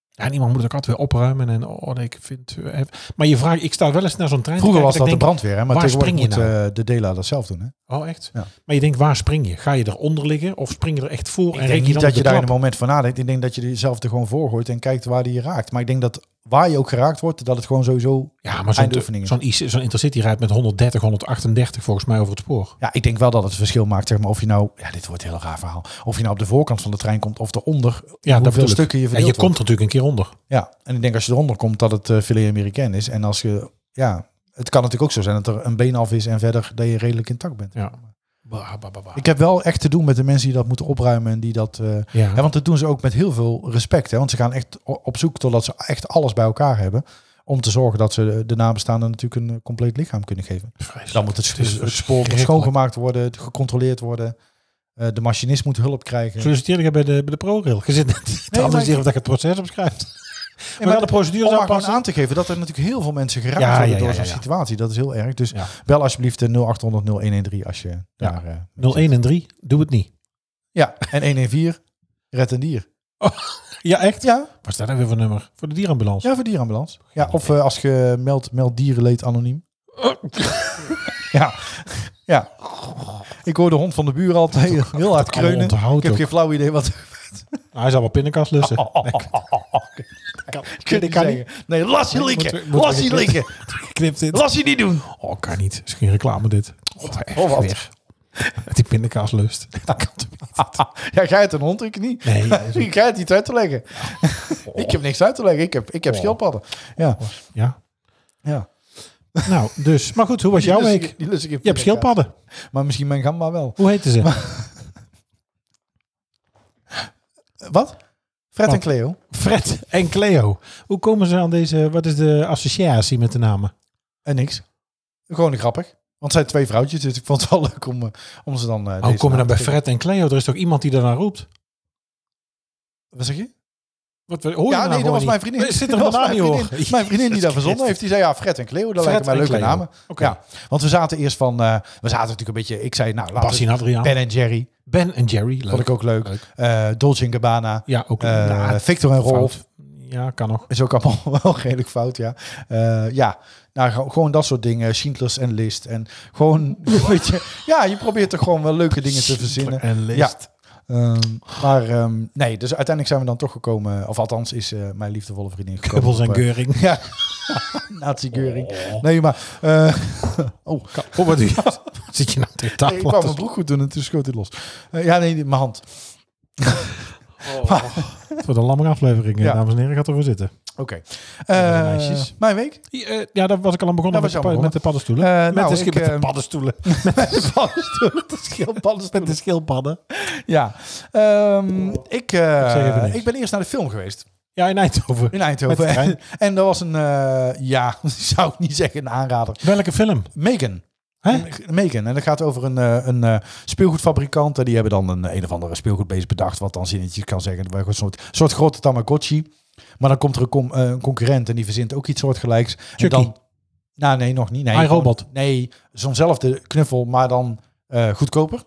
[SPEAKER 3] Ja, en iemand moet het ook altijd weer opruimen. En oh, nee, ik vind, eh, maar je vraagt, ik sta wel eens naar zo'n trein. te
[SPEAKER 2] Vroeger was
[SPEAKER 3] kijken
[SPEAKER 2] dat de
[SPEAKER 3] en ik denk,
[SPEAKER 2] brandweer, hè? maar
[SPEAKER 3] waar
[SPEAKER 2] tegenwoordig
[SPEAKER 3] spring
[SPEAKER 2] moet
[SPEAKER 3] je nou?
[SPEAKER 2] eh, de dela dat zelf doen. Hè?
[SPEAKER 3] Oh, echt?
[SPEAKER 2] Ja.
[SPEAKER 3] Maar je denkt, waar spring je? Ga je eronder liggen of spring je er echt voor?
[SPEAKER 2] Ik
[SPEAKER 3] rek
[SPEAKER 2] denk niet
[SPEAKER 3] dan
[SPEAKER 2] dat
[SPEAKER 3] de
[SPEAKER 2] je daar in een
[SPEAKER 3] trap?
[SPEAKER 2] moment van nadenkt. Ik denk dat je jezelf er gewoon voor gooit en kijkt waar die je raakt. Maar ik denk dat waar je ook geraakt wordt, dat het gewoon sowieso...
[SPEAKER 3] Ja, maar zo'n
[SPEAKER 2] eindoefeningen.
[SPEAKER 3] zo'n IC zo'n intercity rijdt met 130, 138 volgens mij over het spoor.
[SPEAKER 2] Ja, ik denk wel dat het verschil maakt, zeg maar, of je nou... Ja, dit wordt een heel raar verhaal. Of je nou op de voorkant van de trein komt of eronder.
[SPEAKER 3] Ja, dat
[SPEAKER 2] hoeveel
[SPEAKER 3] bedoel ik.
[SPEAKER 2] stukken je
[SPEAKER 3] En je
[SPEAKER 2] verdeeld
[SPEAKER 3] komt er natuurlijk een keer onder.
[SPEAKER 2] Ja, en ik denk als je eronder komt dat het eh filet Amerikaan is. En als je, ja, het kan natuurlijk ook zo zijn dat er een been af is en verder dat je redelijk intact bent.
[SPEAKER 3] Ja. Bah, bah, bah, bah.
[SPEAKER 2] Ik heb wel echt te doen met de mensen die dat moeten opruimen en die dat. eh,
[SPEAKER 3] ja.
[SPEAKER 2] hè, want dat doen ze ook met heel veel respect. Hè, want ze gaan echt o- op zoek totdat ze echt alles bij elkaar hebben. Om te zorgen dat ze de- de nabestaanden natuurlijk een eh, compleet lichaam kunnen geven. Dan moet het,
[SPEAKER 3] Dus Het is
[SPEAKER 2] sp- het spoor
[SPEAKER 3] verschrikkelijk.
[SPEAKER 2] schoongemaakt worden, gecontroleerd worden. Eh, de machinist moet hulp krijgen.
[SPEAKER 3] solliciteren ik bij de, bij de ProRail. Je zit net te
[SPEAKER 2] maar
[SPEAKER 3] analyseren
[SPEAKER 2] ik-
[SPEAKER 3] of dat je het proces opschrijft.
[SPEAKER 2] Nee,
[SPEAKER 3] maar wel de procedure
[SPEAKER 2] Om
[SPEAKER 3] zou
[SPEAKER 2] maar gewoon
[SPEAKER 3] passen.
[SPEAKER 2] aan te geven dat er natuurlijk heel veel mensen geraakt
[SPEAKER 3] Ja,
[SPEAKER 2] worden
[SPEAKER 3] ja, ja,
[SPEAKER 2] door
[SPEAKER 3] ja,
[SPEAKER 2] zo'n
[SPEAKER 3] ja.
[SPEAKER 2] situatie. Dat is heel erg. Dus
[SPEAKER 3] Ja.
[SPEAKER 2] bel alsjeblieft de 0800 0113 als je daar... eh,
[SPEAKER 3] 01 en 3, doe het niet.
[SPEAKER 2] Ja, en 114, red een dier.
[SPEAKER 3] Ja, echt?
[SPEAKER 2] Ja,
[SPEAKER 3] Wat is dat dan weer voor nummer? Voor de dierenambulance.
[SPEAKER 2] ja voor dierenambulance. Ja, of eh, als je meldt meld dierenleed anoniem. ja, ja. Ik hoor de hond van de buur altijd heel, heel hard
[SPEAKER 3] Allemaal
[SPEAKER 2] kreunen.
[SPEAKER 3] onthoud
[SPEAKER 2] Ik heb Oh,
[SPEAKER 3] ook. Oh,
[SPEAKER 2] geen flauw idee wat...
[SPEAKER 3] Hij zal wel pindakaas lussen. Kan-
[SPEAKER 2] ik kan niet. Nee, las je
[SPEAKER 3] Moet-
[SPEAKER 2] likken.
[SPEAKER 3] moet-
[SPEAKER 2] Las je likken.
[SPEAKER 3] Knipt dit.
[SPEAKER 2] Las je niet doen.
[SPEAKER 3] Oh, kan niet. Is geen reclame dit. Oh, echt
[SPEAKER 2] Oh, wat?
[SPEAKER 3] weer. Die pindakaas lust. Dat kan toch niet?
[SPEAKER 2] Ja, jij hebt een hond, ik niet.
[SPEAKER 3] Nee, dat is
[SPEAKER 2] Ik ga het niet uit te leggen. ik heb niks uit te leggen. Ik heb, ik heb
[SPEAKER 3] Oh.
[SPEAKER 2] schildpadden. Ja.
[SPEAKER 3] Ja.
[SPEAKER 2] ja.
[SPEAKER 3] Nou, dus. Maar goed, hoe was jouw week?
[SPEAKER 2] Die lus ik in
[SPEAKER 3] Je
[SPEAKER 2] pindakaas.
[SPEAKER 3] hebt schildpadden.
[SPEAKER 2] Maar misschien mijn gamba wel.
[SPEAKER 3] Hoe heten ze?
[SPEAKER 2] Eh, Wat? Fred
[SPEAKER 3] Wat?
[SPEAKER 2] en Cleo.
[SPEAKER 3] Fred en Cleo. Hoe komen ze aan deze... Wat is de associatie met de namen?
[SPEAKER 2] En Eh, niks. Gewoon grappig. Want het zijn twee vrouwtjes, dus ik vond het wel leuk om, eh, om ze dan... eh,
[SPEAKER 3] Hoe
[SPEAKER 2] deze
[SPEAKER 3] Oh, kom je
[SPEAKER 2] naam
[SPEAKER 3] dan bij
[SPEAKER 2] te geven.
[SPEAKER 3] Fred en Cleo? Er is toch iemand die daarna roept?
[SPEAKER 2] Wat zeg je?
[SPEAKER 3] Wat, hoor je
[SPEAKER 2] ja,
[SPEAKER 3] nou
[SPEAKER 2] nee, dat
[SPEAKER 3] gewoon
[SPEAKER 2] was
[SPEAKER 3] niet?
[SPEAKER 2] mijn vriendin.
[SPEAKER 3] Er Zit
[SPEAKER 2] Dat
[SPEAKER 3] er een
[SPEAKER 2] was
[SPEAKER 3] banaan
[SPEAKER 2] mijn
[SPEAKER 3] niet hoor?
[SPEAKER 2] vriendin, mijn vriendin die dat verzonnen heeft, die zei ja, Fred en Cleo, dat lijken mij leuke namen.
[SPEAKER 3] Oké.
[SPEAKER 2] Ja, want we zaten eerst van, eh, we zaten natuurlijk een beetje, ik zei nou, laten
[SPEAKER 3] Bas
[SPEAKER 2] we
[SPEAKER 3] en Adriaan. Ben,
[SPEAKER 2] Ben en Jerry,
[SPEAKER 3] en Jerry. Leuk.
[SPEAKER 2] vond ik ook leuk.
[SPEAKER 3] Leuk.
[SPEAKER 2] Eh, Dolce en Gabbana,
[SPEAKER 3] Ja, ook
[SPEAKER 2] eh,
[SPEAKER 3] ja,
[SPEAKER 2] Victor en Rolf.
[SPEAKER 3] fout. Ja, kan nog.
[SPEAKER 2] Is ook allemaal wel redelijk fout, ja. Eh, ja, nou, ge- gewoon dat soort dingen. Schindlers en List. En gewoon, weet je... Ja, je probeert er gewoon wel leuke dingen te verzinnen.
[SPEAKER 3] En List.
[SPEAKER 2] Ja. Ehm, maar ehm, nee, dus uiteindelijk zijn we dan toch gekomen... Of althans is eh, mijn liefdevolle vriendin gekomen.
[SPEAKER 3] Kubbels en
[SPEAKER 2] op, eh,
[SPEAKER 3] Geuring.
[SPEAKER 2] Ja, nazi-geuring. Nee, maar... eh, oh,
[SPEAKER 3] Oh, wat doe je? Zit je nou tegen tafel?
[SPEAKER 2] ik kwam mijn broek goed doen en toen schoot hij los. Eh, ja, nee, mijn hand.
[SPEAKER 3] Voor de lamme aflevering, eh,
[SPEAKER 2] Ja.
[SPEAKER 3] dames en heren, gaat ervoor zitten.
[SPEAKER 2] Oké.
[SPEAKER 3] de
[SPEAKER 2] Eh,
[SPEAKER 3] meisjes.
[SPEAKER 2] mijn week?
[SPEAKER 3] Die, eh, Ja, daar was ik al aan begonnen,
[SPEAKER 2] Daar
[SPEAKER 3] met,
[SPEAKER 2] was
[SPEAKER 3] de,
[SPEAKER 2] je al
[SPEAKER 3] pa- met de paddenstoelen.
[SPEAKER 2] Eh,
[SPEAKER 3] met,
[SPEAKER 2] nou,
[SPEAKER 3] de, schil-
[SPEAKER 2] ik,
[SPEAKER 3] met de
[SPEAKER 2] eh,
[SPEAKER 3] paddenstoelen.
[SPEAKER 2] De paddenstoelen. De schildpaddenstoelen.
[SPEAKER 3] Met de schildpadden.
[SPEAKER 2] Ja, Ehm, ik, eh,
[SPEAKER 3] Ik zeg even niks.
[SPEAKER 2] ik ben eerst naar de film geweest
[SPEAKER 3] Ja, in Eindhoven.
[SPEAKER 2] in Eindhoven.
[SPEAKER 3] Met de trein.
[SPEAKER 2] en, en dat was een, eh, ja, zou ik niet zeggen, een aanrader.
[SPEAKER 3] Welke film?
[SPEAKER 2] Megan.
[SPEAKER 3] Hè?
[SPEAKER 2] Megan. En dat gaat over een, eh, een eh, speelgoedfabrikant. En die hebben dan een, een of andere speelgoedbeest bedacht. Wat dan zinnetjes kan zeggen. Een soort, soort grote Tamagotchi. Maar dan komt er een, com- eh, een concurrent en die verzint ook iets soortgelijks.
[SPEAKER 3] Chucky.
[SPEAKER 2] En dan, nou nee, nog niet. Nee,
[SPEAKER 3] I,
[SPEAKER 2] gewoon-
[SPEAKER 3] Robot.
[SPEAKER 2] Nee, zo'nzelfde knuffel, maar dan eh, goedkoper.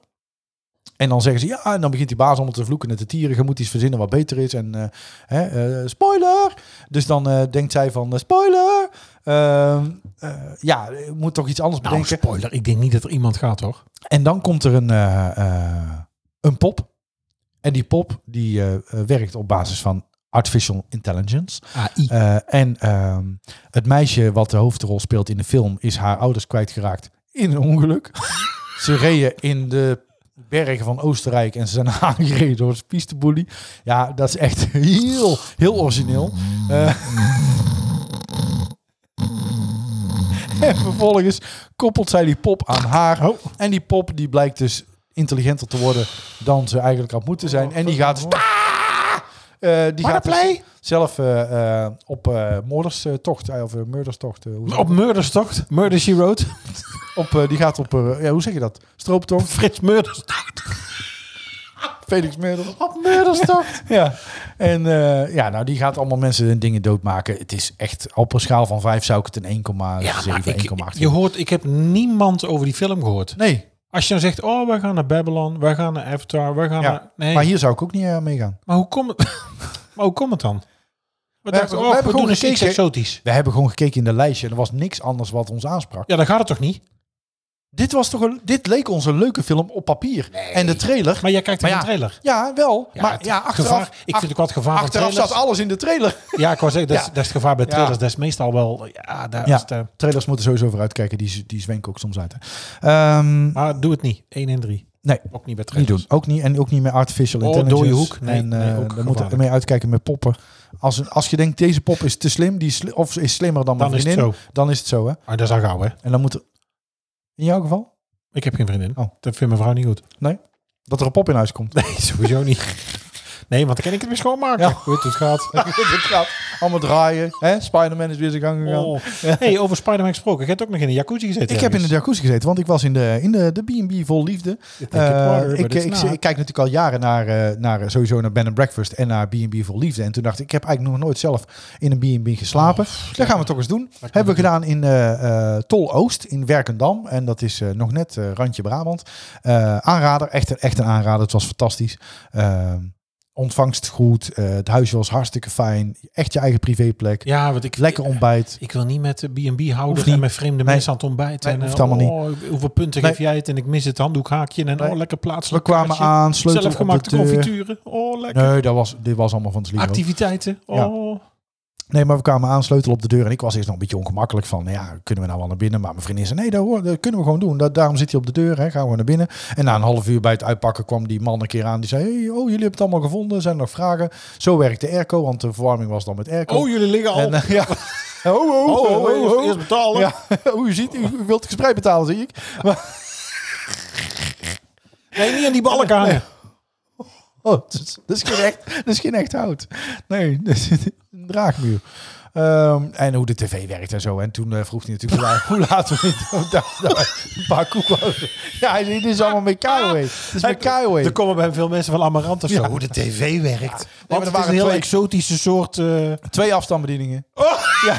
[SPEAKER 2] En dan zeggen ze, ja, en dan begint die baas allemaal te vloeken en te tieren. Je moet iets verzinnen wat beter is. En eh, hè, eh, spoiler! Dus dan eh, denkt zij van, eh, spoiler! Ehm, eh, ja, ik moet toch iets anders
[SPEAKER 3] Nou,
[SPEAKER 2] bedenken.
[SPEAKER 3] spoiler. Ik denk niet dat er iemand gaat, hoor.
[SPEAKER 2] En dan komt er een, eh, eh, een pop. En die pop die eh, eh, werkt op basis van artificial intelligence.
[SPEAKER 3] AI.
[SPEAKER 2] Eh, en ehm, het meisje wat de hoofdrol speelt in de film is haar ouders kwijtgeraakt in een ongeluk. Ze reden in de bergen van Oostenrijk en ze zijn aangereden door de pisteboelie. Ja, dat is echt heel, heel origineel. Eh, en vervolgens koppelt zij die pop aan haar.
[SPEAKER 3] Oh.
[SPEAKER 2] En die pop die blijkt dus intelligenter te worden dan ze eigenlijk had moeten zijn. En die gaat dus... Eh, die gaat dus
[SPEAKER 3] Marplay?
[SPEAKER 2] zelf eh, eh, op eh moorderstocht, eh, of eh, murderstocht, eh, hoe zeg je
[SPEAKER 3] Op Murderstocht. Murder She Wrote.
[SPEAKER 2] dat? op, eh, die gaat op, eh, ja, hoe zeg je dat? Strooptocht,
[SPEAKER 3] Frits Murderstocht.
[SPEAKER 2] Felix Murder.
[SPEAKER 3] Op Murderstocht.
[SPEAKER 2] Ja, en eh, ja, nou die gaat allemaal mensen hun dingen doodmaken. Het is echt, op een schaal van 5 zou ik het een 1,7,
[SPEAKER 3] ja, maar ik,
[SPEAKER 2] 1,8.
[SPEAKER 3] je hoort, ik heb niemand over die film gehoord.
[SPEAKER 2] Nee,
[SPEAKER 3] Als je dan zegt, oh, wij gaan naar Babylon, wij gaan naar Avatar, wij gaan
[SPEAKER 2] Ja,
[SPEAKER 3] naar... Nee,
[SPEAKER 2] maar
[SPEAKER 3] maar,
[SPEAKER 2] hier zou ik ook niet eh, mee gaan.
[SPEAKER 3] hoe komt het, maar hoe komt het dan? We,
[SPEAKER 2] hebben-
[SPEAKER 3] dachten,
[SPEAKER 2] we
[SPEAKER 3] oh, we,
[SPEAKER 2] hebben gewoon
[SPEAKER 3] doen eens iets
[SPEAKER 2] gekeken.
[SPEAKER 3] exotisch.
[SPEAKER 2] We hebben gewoon gekeken in de lijstje en er was niks anders wat ons aansprak.
[SPEAKER 3] Ja, dan gaat het toch niet?
[SPEAKER 2] Dit, was toch een, dit leek ons een leuke film op papier. En de trailer...
[SPEAKER 3] Maar jij kijkt
[SPEAKER 2] Maar
[SPEAKER 3] naar
[SPEAKER 2] ja,
[SPEAKER 3] de trailer.
[SPEAKER 2] ja, wel. maar
[SPEAKER 3] het
[SPEAKER 2] ja, achteraf,
[SPEAKER 3] gevaar- ik vind ook wat gevaar van
[SPEAKER 2] achteraf
[SPEAKER 3] trailers.
[SPEAKER 2] zat alles in de trailer.
[SPEAKER 3] Ja, ik was zeggen, dat, is-
[SPEAKER 2] Ja.
[SPEAKER 3] dat is het gevaar bij
[SPEAKER 2] Ja.
[SPEAKER 3] trailers. Dat is meestal wel... Ja, daar
[SPEAKER 2] Ja.
[SPEAKER 3] Is het, eh,
[SPEAKER 2] Trailers moeten sowieso vooruit kijken. Die, die zwenken ook soms uit. hè. Ehm,
[SPEAKER 3] maar doe het niet. 1 en 3.
[SPEAKER 2] nee,
[SPEAKER 3] Ook niet bij
[SPEAKER 2] niet
[SPEAKER 3] trailers.
[SPEAKER 2] doen. Ook niet, en ook niet met artificial
[SPEAKER 3] Oh,
[SPEAKER 2] intelligence.
[SPEAKER 3] dode hoek. Nee,
[SPEAKER 2] en,
[SPEAKER 3] nee,
[SPEAKER 2] eh,
[SPEAKER 3] ook
[SPEAKER 2] we
[SPEAKER 3] gevaarlijk.
[SPEAKER 2] moeten ermee uitkijken met poppen. Als, een- als je denkt, deze pop is te slim, die is sli- of is slimmer dan mijn
[SPEAKER 3] Dan is het
[SPEAKER 2] vriendin,
[SPEAKER 3] zo.
[SPEAKER 2] dan is het zo. Hè?
[SPEAKER 3] Maar dat is al gauw, hè?
[SPEAKER 2] En dan moet er, in jouw geval,
[SPEAKER 3] Ik heb geen vriendin.
[SPEAKER 2] Oh.
[SPEAKER 3] Dat vindt mijn vrouw niet goed.
[SPEAKER 2] dat er een pop in huis komt.
[SPEAKER 3] Nee, sowieso niet. Nee, want dan kan ik het weer schoonmaken.
[SPEAKER 2] Ja.
[SPEAKER 3] Hoe het het gaat.
[SPEAKER 2] Dit gaat allemaal draaien. Hè? Spider-Man is weer zijn gang gegaan.
[SPEAKER 3] Oh. Hey, over Spider-Man gesproken. Je hebt ook nog in een jacuzzi gezeten.
[SPEAKER 2] Ik heb in de jacuzzi gezeten, want ik was in de, in de, de B&B vol liefde.
[SPEAKER 3] dus Ik
[SPEAKER 2] Eh, ik, ik, ik kijk natuurlijk al jaren naar, eh, naar sowieso naar Ben Breakfast en naar B&B voor Liefde. En toen dacht ik, ik heb eigenlijk nog nooit zelf in een B&B geslapen.
[SPEAKER 3] Oh,
[SPEAKER 2] dat gaan we toch eens doen. Hebben we gedaan in eh, eh, Tol Oost in Werkendam. En dat is eh, nog net eh, randje Brabant. Eh, aanrader, echt, een- echt een aanrader. Het was fantastisch. Eh, ontvangst goed. Eh, het huisje was hartstikke fijn. Echt je eigen privéplek.
[SPEAKER 3] Ja, want ik...
[SPEAKER 2] Lekker ontbijt.
[SPEAKER 3] Ik wil niet met de B&B
[SPEAKER 2] Hoeft
[SPEAKER 3] houden
[SPEAKER 2] niet.
[SPEAKER 3] en met vreemde
[SPEAKER 2] Nee.
[SPEAKER 3] mensen aan het ontbijten.
[SPEAKER 2] Nee,
[SPEAKER 3] en, eh,
[SPEAKER 2] hoeft allemaal
[SPEAKER 3] oh, hoeveel punten
[SPEAKER 2] Nee.
[SPEAKER 3] geef jij het? En ik mis het handdoekhaakje. En
[SPEAKER 2] Nee.
[SPEAKER 3] oh, lekker plaatselijk
[SPEAKER 2] We kwamen
[SPEAKER 3] kaartje.
[SPEAKER 2] aan, sleutel op eh, de
[SPEAKER 3] Zelfgemaakte
[SPEAKER 2] deur.
[SPEAKER 3] confituren. Oh, lekker.
[SPEAKER 2] Nee, dat was, dit was allemaal van het lieve.
[SPEAKER 3] Activiteiten.
[SPEAKER 2] Ja.
[SPEAKER 3] Oh.
[SPEAKER 2] Nee, maar we kwamen aan, sleutel op de deur. En ik was eerst nog een beetje ongemakkelijk van, nou ja, kunnen we nou wel naar binnen? Maar mijn vriendin zei, nee, dat, hoor, dat kunnen we gewoon doen. Dat, daarom zit hij op de deur, hè, gaan we naar binnen. En na een half uur bij het uitpakken kwam die man een keer aan. Die zei, hey, oh, jullie hebben het allemaal gevonden. Zijn er nog vragen? Zo werkt de airco, want de verwarming was dan met airco.
[SPEAKER 3] Oh, jullie liggen al.
[SPEAKER 2] en, eh, ja. Oh, oh, oh,
[SPEAKER 3] oh, oh,
[SPEAKER 2] oh,
[SPEAKER 3] eerst- eerst betalen.
[SPEAKER 2] Ja, oh, u ziet, u u wilt het gesprek betalen, zie ik. Maar,
[SPEAKER 3] Nee, niet aan die balken hangen.
[SPEAKER 2] oh, dat is- dat is geen echt, dat is geen echt hout. Nee, dat is een draagmuur. Ehm, en hoe de tv werkt en zo. En toen eh, vroeg hij natuurlijk, hoe laat- hoe laten we dit? daar- daar- Een paar koekozen. Ja, hij zei, dit is allemaal met Kaiway. Dit is met E. Kaiway.
[SPEAKER 3] Er komen bij hem veel mensen van Amarant of zo.
[SPEAKER 2] Ja.
[SPEAKER 3] Hoe de tv werkt. Want
[SPEAKER 2] er
[SPEAKER 3] het is
[SPEAKER 2] waren
[SPEAKER 3] een heel
[SPEAKER 2] twee-
[SPEAKER 3] exotische soort... eh,
[SPEAKER 2] Twee afstandsbedieningen. Ja,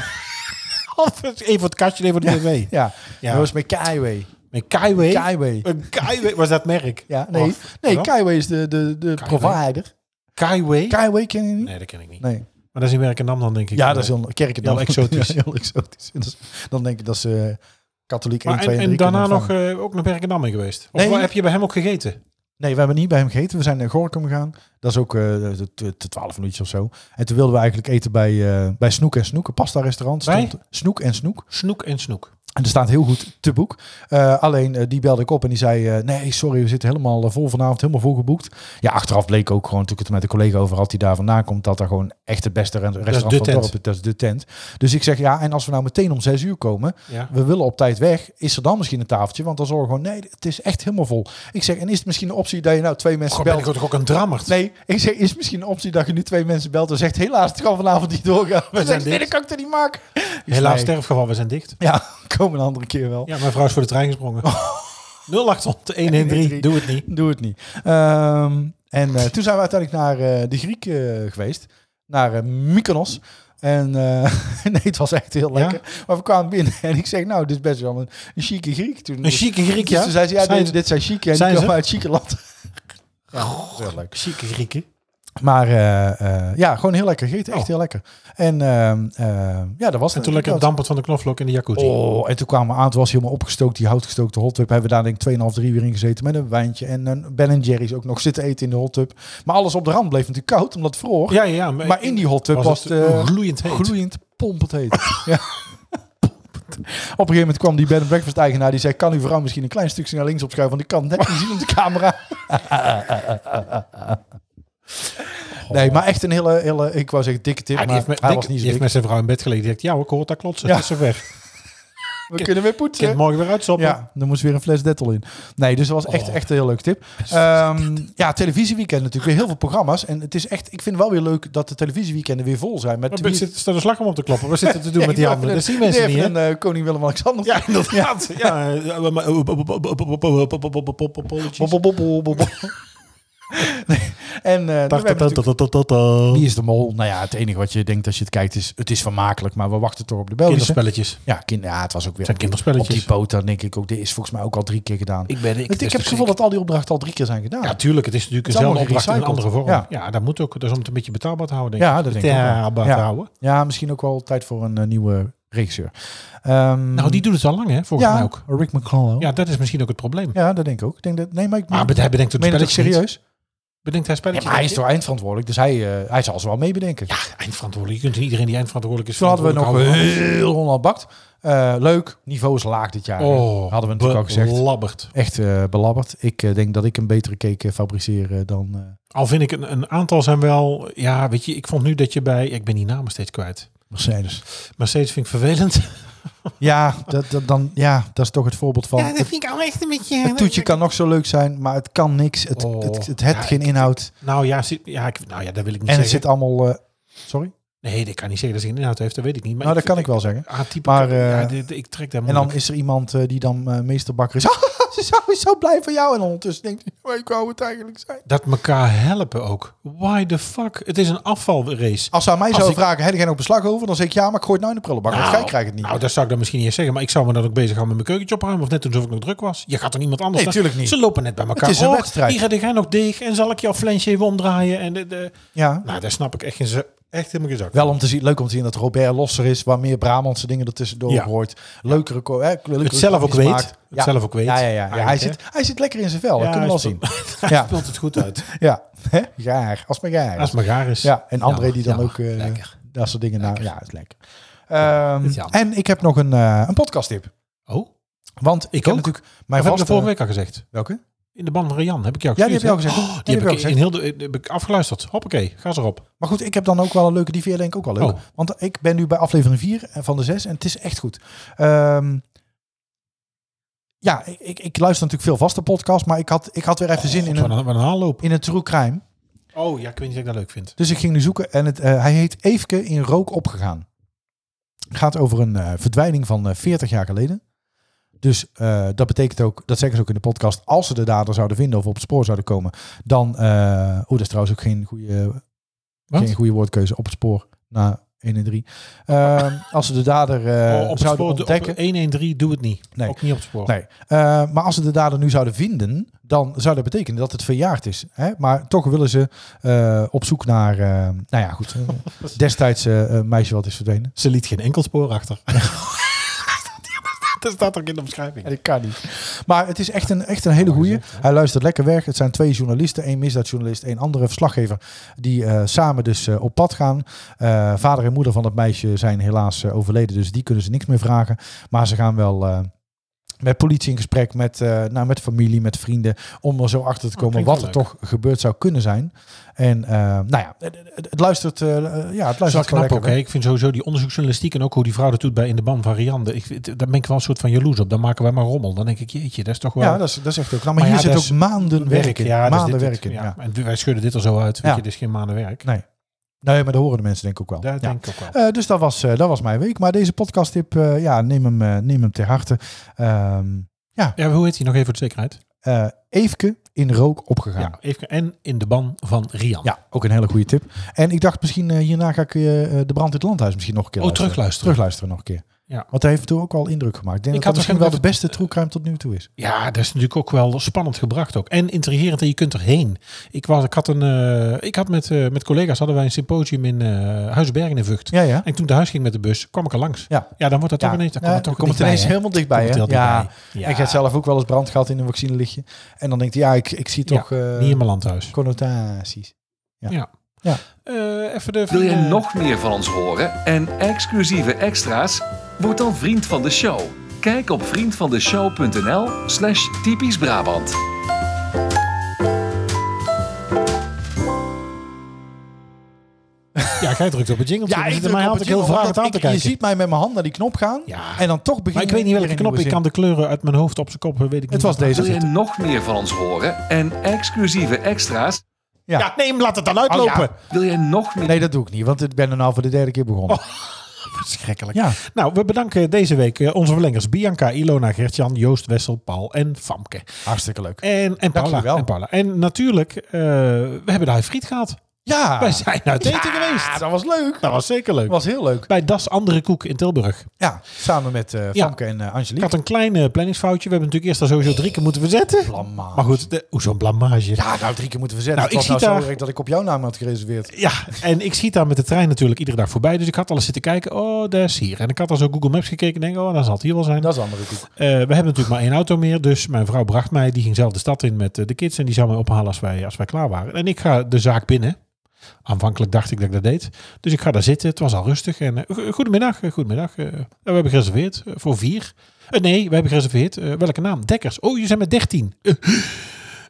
[SPEAKER 3] Even voor het kastje, even voor de tv.
[SPEAKER 2] ja.
[SPEAKER 3] Ja.
[SPEAKER 2] dat was met E. Kaiway.
[SPEAKER 3] Een Kaiwei.
[SPEAKER 2] Kaiway.
[SPEAKER 3] Een Kaiwei. Was dat merk?
[SPEAKER 2] Ja, nee,
[SPEAKER 3] Of-
[SPEAKER 2] nee
[SPEAKER 3] Wat?
[SPEAKER 2] Kaiway is de, de, de provider.
[SPEAKER 3] Kaiwei?
[SPEAKER 2] Kaiway E ken je niet?
[SPEAKER 3] Nee, dat ken ik niet.
[SPEAKER 2] Nee.
[SPEAKER 3] Maar dat is in Werkendam dan, denk ik.
[SPEAKER 2] Ja, dat is heel kerken dan.
[SPEAKER 3] Heel exotisch.
[SPEAKER 2] Ja, heel exotisch. En dat is- Dan denk ik dat ze eh, katholiek 1,
[SPEAKER 3] Maar
[SPEAKER 2] 2
[SPEAKER 3] en,
[SPEAKER 2] en
[SPEAKER 3] en
[SPEAKER 2] 3 kunnen
[SPEAKER 3] daarna nog
[SPEAKER 2] ontvangen.
[SPEAKER 3] eh, ook naar Werkendam mee geweest? Of
[SPEAKER 2] Nee.
[SPEAKER 3] waar heb je bij hem ook gegeten?
[SPEAKER 2] Nee, we hebben niet bij hem gegeten. We zijn naar Gorkum gegaan. Dat is ook eh, de de- de 12 minuutjes of zo. En toen wilden we eigenlijk eten bij, eh, bij Snoek en Snoek. Een pasta restaurant.
[SPEAKER 3] Bij?
[SPEAKER 2] Stond Snoek en Snoek.
[SPEAKER 3] Snoek en snoek.
[SPEAKER 2] En er staat heel goed te boek. Eh, alleen eh, die belde ik op en die zei: eh, Nee, sorry, we zitten helemaal eh, vol vanavond, helemaal vol geboekt. Ja, achteraf bleek ook gewoon, toen ik het met een collega over had die daar vandaan komt, dat daar gewoon echt het beste re- restaurant
[SPEAKER 3] de
[SPEAKER 2] van het
[SPEAKER 3] tent.
[SPEAKER 2] dorp is. Dat is de tent. Dus ik zeg: Ja, en als we nou meteen om zes uur komen,
[SPEAKER 3] Ja.
[SPEAKER 2] we willen op tijd weg, is er dan misschien een tafeltje? Want dan zorgen we gewoon: Nee, het is echt helemaal vol. Ik zeg: En is het misschien een optie dat je nou twee mensen
[SPEAKER 3] God, ben
[SPEAKER 2] belt?
[SPEAKER 3] ik toch ook een drammerd?
[SPEAKER 2] Nee, ik zeg, is misschien een optie dat je nu twee mensen belt en zegt, helaas, het kan vanavond niet doorgaan. We
[SPEAKER 3] zijn
[SPEAKER 2] zeggen, nee, dat
[SPEAKER 3] dicht.
[SPEAKER 2] kan ik er niet maken.
[SPEAKER 3] Helaas
[SPEAKER 2] Nee. Oh.
[SPEAKER 3] sterfgeval, we zijn dicht.
[SPEAKER 2] Ja, komen een andere keer wel.
[SPEAKER 3] Ja, mijn vrouw is voor de trein gesprongen. 0800 113, doe het niet.
[SPEAKER 2] Doe het niet. Ehm, en eh, toen zijn we uiteindelijk naar eh, de Griek eh, geweest. Naar eh, Mykonos. En eh, nee, het was echt heel
[SPEAKER 3] Ja?
[SPEAKER 2] lekker. Maar we kwamen binnen en ik zeg, nou, dit is best wel een, een chique Griek. Toen,
[SPEAKER 3] Een chique Griek, ja?
[SPEAKER 2] Dus Toen zei ze, ja,
[SPEAKER 3] Zijn
[SPEAKER 2] dit,
[SPEAKER 3] ze-
[SPEAKER 2] dit zijn chique en
[SPEAKER 3] zijn
[SPEAKER 2] die
[SPEAKER 3] ze?
[SPEAKER 2] komen uit chique land. Ja, heel leuk.
[SPEAKER 3] Chique Grieken.
[SPEAKER 2] Maar eh, eh, ja, gewoon heel lekker gegeten. Echt
[SPEAKER 3] Oh.
[SPEAKER 2] heel lekker. En ehm, ehm, ja, dat was
[SPEAKER 3] En
[SPEAKER 2] het
[SPEAKER 3] toen lekker
[SPEAKER 2] inderdaad.
[SPEAKER 3] het dampert van de knoflook in de jacuzzi.
[SPEAKER 2] Oh, en toen kwamen we aan, toen was hij helemaal opgestookt, die houtgestookte hot tub. Hebben we daar denk ik 2,5, 3 uur in gezeten met een wijntje. En een Ben Jerry's ook nog zitten eten in de hot tub. Maar alles op de rand bleef natuurlijk koud, omdat het vroor.
[SPEAKER 3] Ja, ja, ja.
[SPEAKER 2] maar in die hot tub was, het eh,
[SPEAKER 3] gloeiend heet.
[SPEAKER 2] gloeiend pompend heet. ja. Op een gegeven moment kwam die bed and breakfast eigenaar die zei: Kan uw vrouw misschien een klein stukje naar links opschuiven? Want ik kan het net niet zien op de camera. Nee, maar echt een hele, hele ik wou zeggen dikke tip,
[SPEAKER 3] Hij,
[SPEAKER 2] maar
[SPEAKER 3] heeft met,
[SPEAKER 2] hij
[SPEAKER 3] dik-
[SPEAKER 2] was niet
[SPEAKER 3] die
[SPEAKER 2] zo dik.
[SPEAKER 3] heeft met zijn vrouw in bed gelegen. Die zegt, ja, ik hoor het, dat klotsen.
[SPEAKER 2] Ja.
[SPEAKER 3] Het is zo weg.
[SPEAKER 2] We kunnen weer
[SPEAKER 3] Ik kan
[SPEAKER 2] poetsen.
[SPEAKER 3] morgen weer uitzoppen.
[SPEAKER 2] Ja, dan moest weer een fles Dettol in. Nee, dus dat was echt,
[SPEAKER 3] Oh.
[SPEAKER 2] echt een heel leuke tip. Ehm, ja, televisieweekend natuurlijk. Weer heel veel programma's. En het is echt, ik vind wel weer leuk dat de televisieweekenden weer vol zijn. Met
[SPEAKER 3] Maar
[SPEAKER 2] tenminste-
[SPEAKER 3] zit, staat een slag om op te kloppen. Wat zit het te doen
[SPEAKER 2] Ja,
[SPEAKER 3] met
[SPEAKER 2] ik
[SPEAKER 3] die
[SPEAKER 2] wil
[SPEAKER 3] handen?
[SPEAKER 2] even
[SPEAKER 3] Dat zien
[SPEAKER 2] een-
[SPEAKER 3] mensen
[SPEAKER 2] even
[SPEAKER 3] niet, hè?
[SPEAKER 2] een eh, koning Willem-Alexander.
[SPEAKER 3] Ja, inderdaad. Ja, eh, maar-
[SPEAKER 2] Bo- bo- bo- bo- bo- bo. Nee, En eh, we hebben natuurlijk- wie is de mol? Nou ja, het enige wat je denkt als je het kijkt is, het is vermakelijk, maar we wachten toch op de Belgische.
[SPEAKER 3] Kinderspelletjes.
[SPEAKER 2] Ja, kind, ja, het was ook weer
[SPEAKER 3] zijn
[SPEAKER 2] op
[SPEAKER 3] kinderspelletjes.
[SPEAKER 2] die poot. Dan denk ik ook, dit is volgens mij ook al drie keer gedaan.
[SPEAKER 4] Ik ben ik.
[SPEAKER 2] Want ik heb het gevoel dat al die opdrachten al drie keer zijn gedaan.
[SPEAKER 3] Ja, tuurlijk. Het is natuurlijk
[SPEAKER 2] Het is
[SPEAKER 3] eenzelfde
[SPEAKER 2] allemaal
[SPEAKER 3] opdracht in een andere vorm.
[SPEAKER 2] gerecycled.
[SPEAKER 3] Ja. dat moet ook. Dat is om het een beetje betaalbaar te houden, denk ik.
[SPEAKER 2] Ja, dat denk ik ook wel.
[SPEAKER 3] Betaalbaar te
[SPEAKER 2] Ja.
[SPEAKER 3] houden.
[SPEAKER 2] Ja, misschien ook wel tijd voor een eh, nieuwe regisseur. Ehm,
[SPEAKER 3] Nou, die doet het al lang, hè? Volgens
[SPEAKER 2] ja,
[SPEAKER 3] mij ook.
[SPEAKER 2] Rick McClellan. Ja.
[SPEAKER 3] Ja, dat is misschien ook het probleem.
[SPEAKER 2] dat denk ik ook. Ik denk dat, nee, maar ik
[SPEAKER 3] Ah, Maar hij bedenkt het
[SPEAKER 2] meen het ook
[SPEAKER 3] spelletje serieus.
[SPEAKER 2] serieus.
[SPEAKER 3] Bedenkt hij
[SPEAKER 2] Ja,
[SPEAKER 3] spelletjes?
[SPEAKER 2] maar hij is toch eindverantwoordelijk, dus hij, eh, hij zal ze wel meebedenken. Dus
[SPEAKER 3] Ja, eindverantwoordelijk. Je kunt niet iedereen die eindverantwoordelijk is.
[SPEAKER 2] Toen hadden we nog
[SPEAKER 3] verantwoordelijk
[SPEAKER 2] heel Holland bakt. Eh, leuk, niveau is laag dit jaar.
[SPEAKER 3] houden. Oh,
[SPEAKER 2] hadden we natuurlijk al gezegd.
[SPEAKER 3] belabberd.
[SPEAKER 2] Echt eh, belabberd. Ik eh, denk dat ik een betere cake eh, fabriceer eh, dan... eh,
[SPEAKER 3] Al vind ik een, een aantal zijn wel... Ja, weet je, ik vond nu dat je bij... Ik ben die namen steeds kwijt.
[SPEAKER 2] Mercedes.
[SPEAKER 3] Maar steeds vind ik vervelend.
[SPEAKER 2] Ja dat, dat, dan, ja, dat is toch het voorbeeld van... het,
[SPEAKER 3] vind ik al echt een beetje...
[SPEAKER 2] het toetje kan nog zo leuk zijn, maar het kan niks. Het,
[SPEAKER 3] Oh.
[SPEAKER 2] het, het, heeft
[SPEAKER 3] Ja,
[SPEAKER 2] geen
[SPEAKER 3] ik-
[SPEAKER 2] inhoud.
[SPEAKER 3] Nou ja, zit- ja, ik, nou ja, dat wil ik niet
[SPEAKER 2] En het
[SPEAKER 3] zeggen.
[SPEAKER 2] zit allemaal... eh, sorry?
[SPEAKER 3] Nee, dat kan niet zeggen dat ze geen inhoud heeft. Dat weet ik niet. Maar
[SPEAKER 2] nou, dat kan ik
[SPEAKER 3] vind-
[SPEAKER 2] wel zeggen.
[SPEAKER 3] Ah, type,
[SPEAKER 2] Maar,
[SPEAKER 3] maar,
[SPEAKER 2] eh,
[SPEAKER 3] ja, dit- ik trek daar
[SPEAKER 2] En dan
[SPEAKER 3] moeilijk.
[SPEAKER 2] is er iemand eh, die dan eh, meester Bakker is. ze zou zo blij van jou. En ondertussen denkt hij, "Maar ik wou het eigenlijk zijn.
[SPEAKER 3] Dat elkaar helpen ook. Why the fuck? Het is een afvalrace.
[SPEAKER 2] Als ze aan mij
[SPEAKER 3] Als
[SPEAKER 2] zouden
[SPEAKER 3] ik-
[SPEAKER 2] vragen, heb je er nog beslag over? Dan zeg ik, ja, maar ik gooi het nou in de prullenbak. want jij krijgt het niet.
[SPEAKER 3] Nou, dat zou ik dan misschien niet eens zeggen. Maar ik zou me dan ook bezig houden met mijn keukentje opruimen. Of net toen of ik nog druk was. Je gaat er niemand anders...
[SPEAKER 2] Nee,
[SPEAKER 3] dan-
[SPEAKER 2] tuurlijk niet.
[SPEAKER 3] Ze lopen net bij elkaar.
[SPEAKER 2] is een
[SPEAKER 3] Oh,
[SPEAKER 2] wedstrijd.
[SPEAKER 3] Hier heb jij nog deeg. En zal ik jouw flensje even omdraaien. En de, de...
[SPEAKER 2] ja.
[SPEAKER 3] Nou, daar snap ik echt, geen ze- echt helemaal geen zak van.
[SPEAKER 2] Wel om te zien, leuk om te zien dat Robert losser is, waar meer Brabantse dingen ertussendoor
[SPEAKER 3] Ja.
[SPEAKER 2] hoort. Leukere, ko- hè, leukere
[SPEAKER 3] Het zelf ook
[SPEAKER 2] kopjes
[SPEAKER 3] weet.
[SPEAKER 2] maakt.
[SPEAKER 3] Het
[SPEAKER 2] Ja.
[SPEAKER 3] zelf ook weet.
[SPEAKER 2] Ja, ja, ja. ja
[SPEAKER 3] Eigenlijk,
[SPEAKER 2] hij,
[SPEAKER 3] hè?
[SPEAKER 2] zit, hij zit lekker in zijn vel,
[SPEAKER 3] Ja,
[SPEAKER 2] dat kunnen we
[SPEAKER 3] hij
[SPEAKER 2] wel zien. Ja,
[SPEAKER 3] speelt het goed uit.
[SPEAKER 2] ja. Hè? Gaar, als maar gaar.
[SPEAKER 3] Als het maar gaar is.
[SPEAKER 2] Ja, en André
[SPEAKER 4] Jammer,
[SPEAKER 2] die dan
[SPEAKER 4] jammer.
[SPEAKER 2] ook eh,
[SPEAKER 4] Lekker.
[SPEAKER 2] dat soort dingen... Nou, ja, is lekker. Ehm,
[SPEAKER 4] is jammer.
[SPEAKER 2] en ik heb nog een, eh een podcast tip.
[SPEAKER 3] Oh,
[SPEAKER 2] Want ik heb
[SPEAKER 3] ook.
[SPEAKER 2] natuurlijk
[SPEAKER 3] maar
[SPEAKER 2] mijn
[SPEAKER 3] heb ik dat
[SPEAKER 2] vaste...
[SPEAKER 3] vorige week al gezegd?
[SPEAKER 2] Welke?
[SPEAKER 3] In de band van Rian heb ik jou
[SPEAKER 2] Ja, die heb je al
[SPEAKER 3] gestuurd, hè?
[SPEAKER 2] gezegd.
[SPEAKER 3] Oh,
[SPEAKER 2] Die
[SPEAKER 3] die
[SPEAKER 2] heb
[SPEAKER 3] heb
[SPEAKER 2] ik
[SPEAKER 3] ik in heel de, heb ik afgeluisterd. Hoppakee, ga ze erop.
[SPEAKER 2] Maar goed, ik heb dan ook wel een leuke, die vind jij denk ik ook wel leuk.
[SPEAKER 3] Oh.
[SPEAKER 2] Want ik ben nu bij aflevering 4 van de 6 en het is echt goed. Ehm, ja, ik, ik, ik luister natuurlijk veel vaste podcasts, maar ik had, ik had weer even zin in
[SPEAKER 3] Wat
[SPEAKER 2] een,
[SPEAKER 3] een, wat een haalloop.
[SPEAKER 2] in een true crime.
[SPEAKER 3] Oh ja, ik weet niet of ik dat leuk vind.
[SPEAKER 2] Dus ik ging nu zoeken en het, eh, hij heet Eefke in rook opgegaan. Gaat over een eh, verdwijning van eh, 40 jaar geleden. Dus eh, dat betekent ook, dat zeggen ze ook in de podcast, als ze de dader zouden vinden of op het spoor zouden komen, dan, eh oh, dat is trouwens ook geen goede
[SPEAKER 3] Wat?
[SPEAKER 2] Geen goede woordkeuze. Op het spoor na 1 en 3. Ehm, als ze de dader eh,
[SPEAKER 3] Oh, op het
[SPEAKER 2] zouden
[SPEAKER 3] spoor,
[SPEAKER 2] ontdekken.
[SPEAKER 3] op 113 doe het niet.
[SPEAKER 2] Nee.
[SPEAKER 3] Ook niet op het spoor.
[SPEAKER 2] Nee. Eh, maar als ze de dader nu zouden vinden, dan zou dat betekenen dat het verjaard is. Hè? Maar toch willen ze eh, op zoek naar, eh, nou ja, goed. eh, destijds eh, een meisje wat is verdwenen.
[SPEAKER 3] Ze liet geen enkel spoor achter. dat staat ook in de omschrijving.
[SPEAKER 2] Dat kan niet. Maar het is echt een, echt een
[SPEAKER 3] Oh,
[SPEAKER 2] hele goeie. Hij luistert lekker weg. Het zijn twee journalisten. één misdaadjournalist, één andere verslaggever. Die eh, samen dus eh, op pad gaan. Eh, vader en moeder van het meisje zijn helaas eh, overleden. Dus die kunnen ze niks meer vragen. Maar ze gaan wel... eh, met politie in gesprek, met, eh, nou, met familie, met vrienden. Om er zo achter te komen
[SPEAKER 3] Oh, klinkt
[SPEAKER 2] wat er
[SPEAKER 3] wel
[SPEAKER 2] toch gebeurd zou kunnen zijn. En eh, nou ja, het, het- het luistert, eh, eh, ja, het
[SPEAKER 3] Dat is wel
[SPEAKER 2] luistert wel
[SPEAKER 3] knap
[SPEAKER 2] lekker.
[SPEAKER 3] ook. hè. Ik vind sowieso die onderzoeksjournalistiek en ook hoe die vrouw dat doet bij In de Ban van Riande. Ik, vind- daar ben ik wel een soort van jaloers op. Dan maken wij maar rommel. Dan denk ik, jeetje, dat is toch wel...
[SPEAKER 2] Ja, dat is, dat is echt ook. knap. maar, hier
[SPEAKER 3] Maar ja,
[SPEAKER 2] zit
[SPEAKER 3] dat
[SPEAKER 2] ook
[SPEAKER 3] is
[SPEAKER 2] maanden werk in.
[SPEAKER 3] Ja, dus
[SPEAKER 2] maanden
[SPEAKER 3] dit- dit-
[SPEAKER 2] werk in. Ja.
[SPEAKER 3] ja. En wij schudden dit er zo uit. Weet
[SPEAKER 2] Ja.
[SPEAKER 3] je, dit is geen maanden werk.
[SPEAKER 2] Nee. Nee, Nou maar dat horen de mensen denk ik ook wel.
[SPEAKER 3] Dat
[SPEAKER 2] Ja.
[SPEAKER 3] denk ik ook wel.
[SPEAKER 2] Eh, dus dat was, eh, dat was mijn week. Maar deze podcast tip, ja, neem hem, eh, neem hem ter harte. Ehm
[SPEAKER 3] Ja, hoe heet hij nog even voor de zekerheid?
[SPEAKER 2] eh, Eefke in rook opgegaan. Ja.
[SPEAKER 3] Ja, even, en in de ban van Rian. Oh,
[SPEAKER 2] ook een hele goede tip. En ik dacht misschien eh, hierna ga ik eh, eh, de brand in het landhuis misschien nog een keer
[SPEAKER 3] Oh, terugluisteren.
[SPEAKER 2] terugluisteren nog een keer.
[SPEAKER 3] Ja.
[SPEAKER 2] Want hij heeft toen ook wel indruk gemaakt. Ik denk
[SPEAKER 3] Ik
[SPEAKER 2] dat dat
[SPEAKER 3] had
[SPEAKER 2] misschien wel
[SPEAKER 3] toch
[SPEAKER 2] de
[SPEAKER 3] even- eh,
[SPEAKER 2] beste true crime tot nu toe is.
[SPEAKER 3] Ja, dat is natuurlijk ook wel spannend gebracht ook. En intrigerend en je kunt erheen. Ik, was, ik had, een, eh, ik had met, eh, met collega's hadden wij een symposium in eh Huizenbergen in Vught.
[SPEAKER 2] Ja, ja.
[SPEAKER 3] En toen ik naar huis ging met de bus, kwam ik er langs.
[SPEAKER 2] Ja.
[SPEAKER 3] ja dan wordt dat
[SPEAKER 2] Ja.
[SPEAKER 3] toch ineens... Dan
[SPEAKER 2] Ja,
[SPEAKER 3] komt het
[SPEAKER 2] dan
[SPEAKER 3] toch
[SPEAKER 2] komt het ineens helemaal dichtbij.
[SPEAKER 3] Komt
[SPEAKER 2] Hè?
[SPEAKER 3] het heel
[SPEAKER 2] Ja.
[SPEAKER 3] dichtbij. Ja.
[SPEAKER 2] Ik heb zelf ook wel eens brand gehad in een vaccinelichtje. En dan denkt hij, ja, ik, ik zie
[SPEAKER 3] Ja,
[SPEAKER 2] toch eh,
[SPEAKER 3] Niet in mijn landhuis.
[SPEAKER 2] connotaties.
[SPEAKER 3] Eh, even de...
[SPEAKER 1] Wil jij
[SPEAKER 3] eh,
[SPEAKER 1] nog meer van ons horen en exclusieve extra's? Word dan vriend van de show. Kijk op vriendvandeshow.nl slash typisch Brabant.
[SPEAKER 3] Jij drukt op het jingeltje.
[SPEAKER 2] Ja,
[SPEAKER 3] Ja,
[SPEAKER 2] ik
[SPEAKER 3] ik
[SPEAKER 2] druk
[SPEAKER 3] mij
[SPEAKER 2] op
[SPEAKER 3] had
[SPEAKER 2] het
[SPEAKER 3] ik heel
[SPEAKER 2] jingle, omdat
[SPEAKER 3] vragend aan te
[SPEAKER 2] ik-
[SPEAKER 3] kijken.
[SPEAKER 2] Je ziet mij met mijn hand naar die knop gaan.
[SPEAKER 3] Ja.
[SPEAKER 2] En dan toch begin
[SPEAKER 3] maar ik weet niet
[SPEAKER 2] weer
[SPEAKER 3] welke
[SPEAKER 2] een
[SPEAKER 3] knop.
[SPEAKER 2] nieuwe
[SPEAKER 3] Ik kan
[SPEAKER 2] zin.
[SPEAKER 3] de kleuren uit mijn hoofd op zijn kop. Weet ik niet.
[SPEAKER 2] Het was deze.
[SPEAKER 1] Wil je nog meer van ons horen en exclusieve extra's?
[SPEAKER 2] Ja.
[SPEAKER 3] Ja, neem, laat het dan uitlopen.
[SPEAKER 2] Oh,
[SPEAKER 1] Wil je nog meer?
[SPEAKER 2] Nee, dat doe ik niet, want ik ben er nou voor de derde keer begonnen.
[SPEAKER 3] Oh. Verschrikkelijk.
[SPEAKER 2] Ja.
[SPEAKER 3] Nou, we bedanken deze week eh, onze verlengers Bianca, Ilona, Gertjan, Joost, Wessel, Paul en Famke.
[SPEAKER 2] Hartstikke leuk.
[SPEAKER 3] En, en,
[SPEAKER 2] Dankjewel.
[SPEAKER 3] Paula, en Paula. En natuurlijk, eh, we hebben daar friet gehad.
[SPEAKER 2] Ja,
[SPEAKER 3] Wij zijn uit eten
[SPEAKER 2] Ah. Ja,
[SPEAKER 3] geweest.
[SPEAKER 2] dat was leuk.
[SPEAKER 3] Dat was zeker leuk.
[SPEAKER 2] Dat was heel leuk.
[SPEAKER 3] Bij Das Andere Koek in Tilburg.
[SPEAKER 2] Ja, samen met eh
[SPEAKER 3] Ja.
[SPEAKER 2] Famke en eh,
[SPEAKER 3] Ik
[SPEAKER 2] Angelique.
[SPEAKER 3] had een klein eh, planningsfoutje. We hebben natuurlijk eerst daar sowieso drie keer moeten verzetten.
[SPEAKER 2] Blamage.
[SPEAKER 3] Maar goed, de, oezo, een blamage.
[SPEAKER 2] Ja, nou drie keer moeten we zetten.
[SPEAKER 3] Nou,
[SPEAKER 2] het
[SPEAKER 3] ik
[SPEAKER 2] was
[SPEAKER 3] zie
[SPEAKER 2] nou zo
[SPEAKER 3] daar-
[SPEAKER 2] erg dat ik op jouw naam had gereserveerd.
[SPEAKER 3] Ja, en ik schiet daar met de trein natuurlijk iedere dag voorbij. Dus ik had alles zitten kijken. Oh, daar is hier. En ik had dan zo Google Maps gekeken. En denk, oh, daar zal het hier wel zijn.
[SPEAKER 2] Dat is een andere koek.
[SPEAKER 3] Eh, we hebben natuurlijk maar één auto meer. Dus mijn vrouw bracht mij. Die ging zelf de stad in met eh, de kids. En die zou mij ophalen als wij, als wij klaar waren. En ik ga de zaak binnen. Aanvankelijk dacht ik dat ik dat deed. Dus ik ga daar zitten. Het was al rustig. En eh, go- goedemiddag, eh, goedemiddag. eh, we hebben gereserveerd eh, voor vier. Eh, nee, we hebben gereserveerd. eh, welke naam? Dekkers. Oh, je zijn met dertien.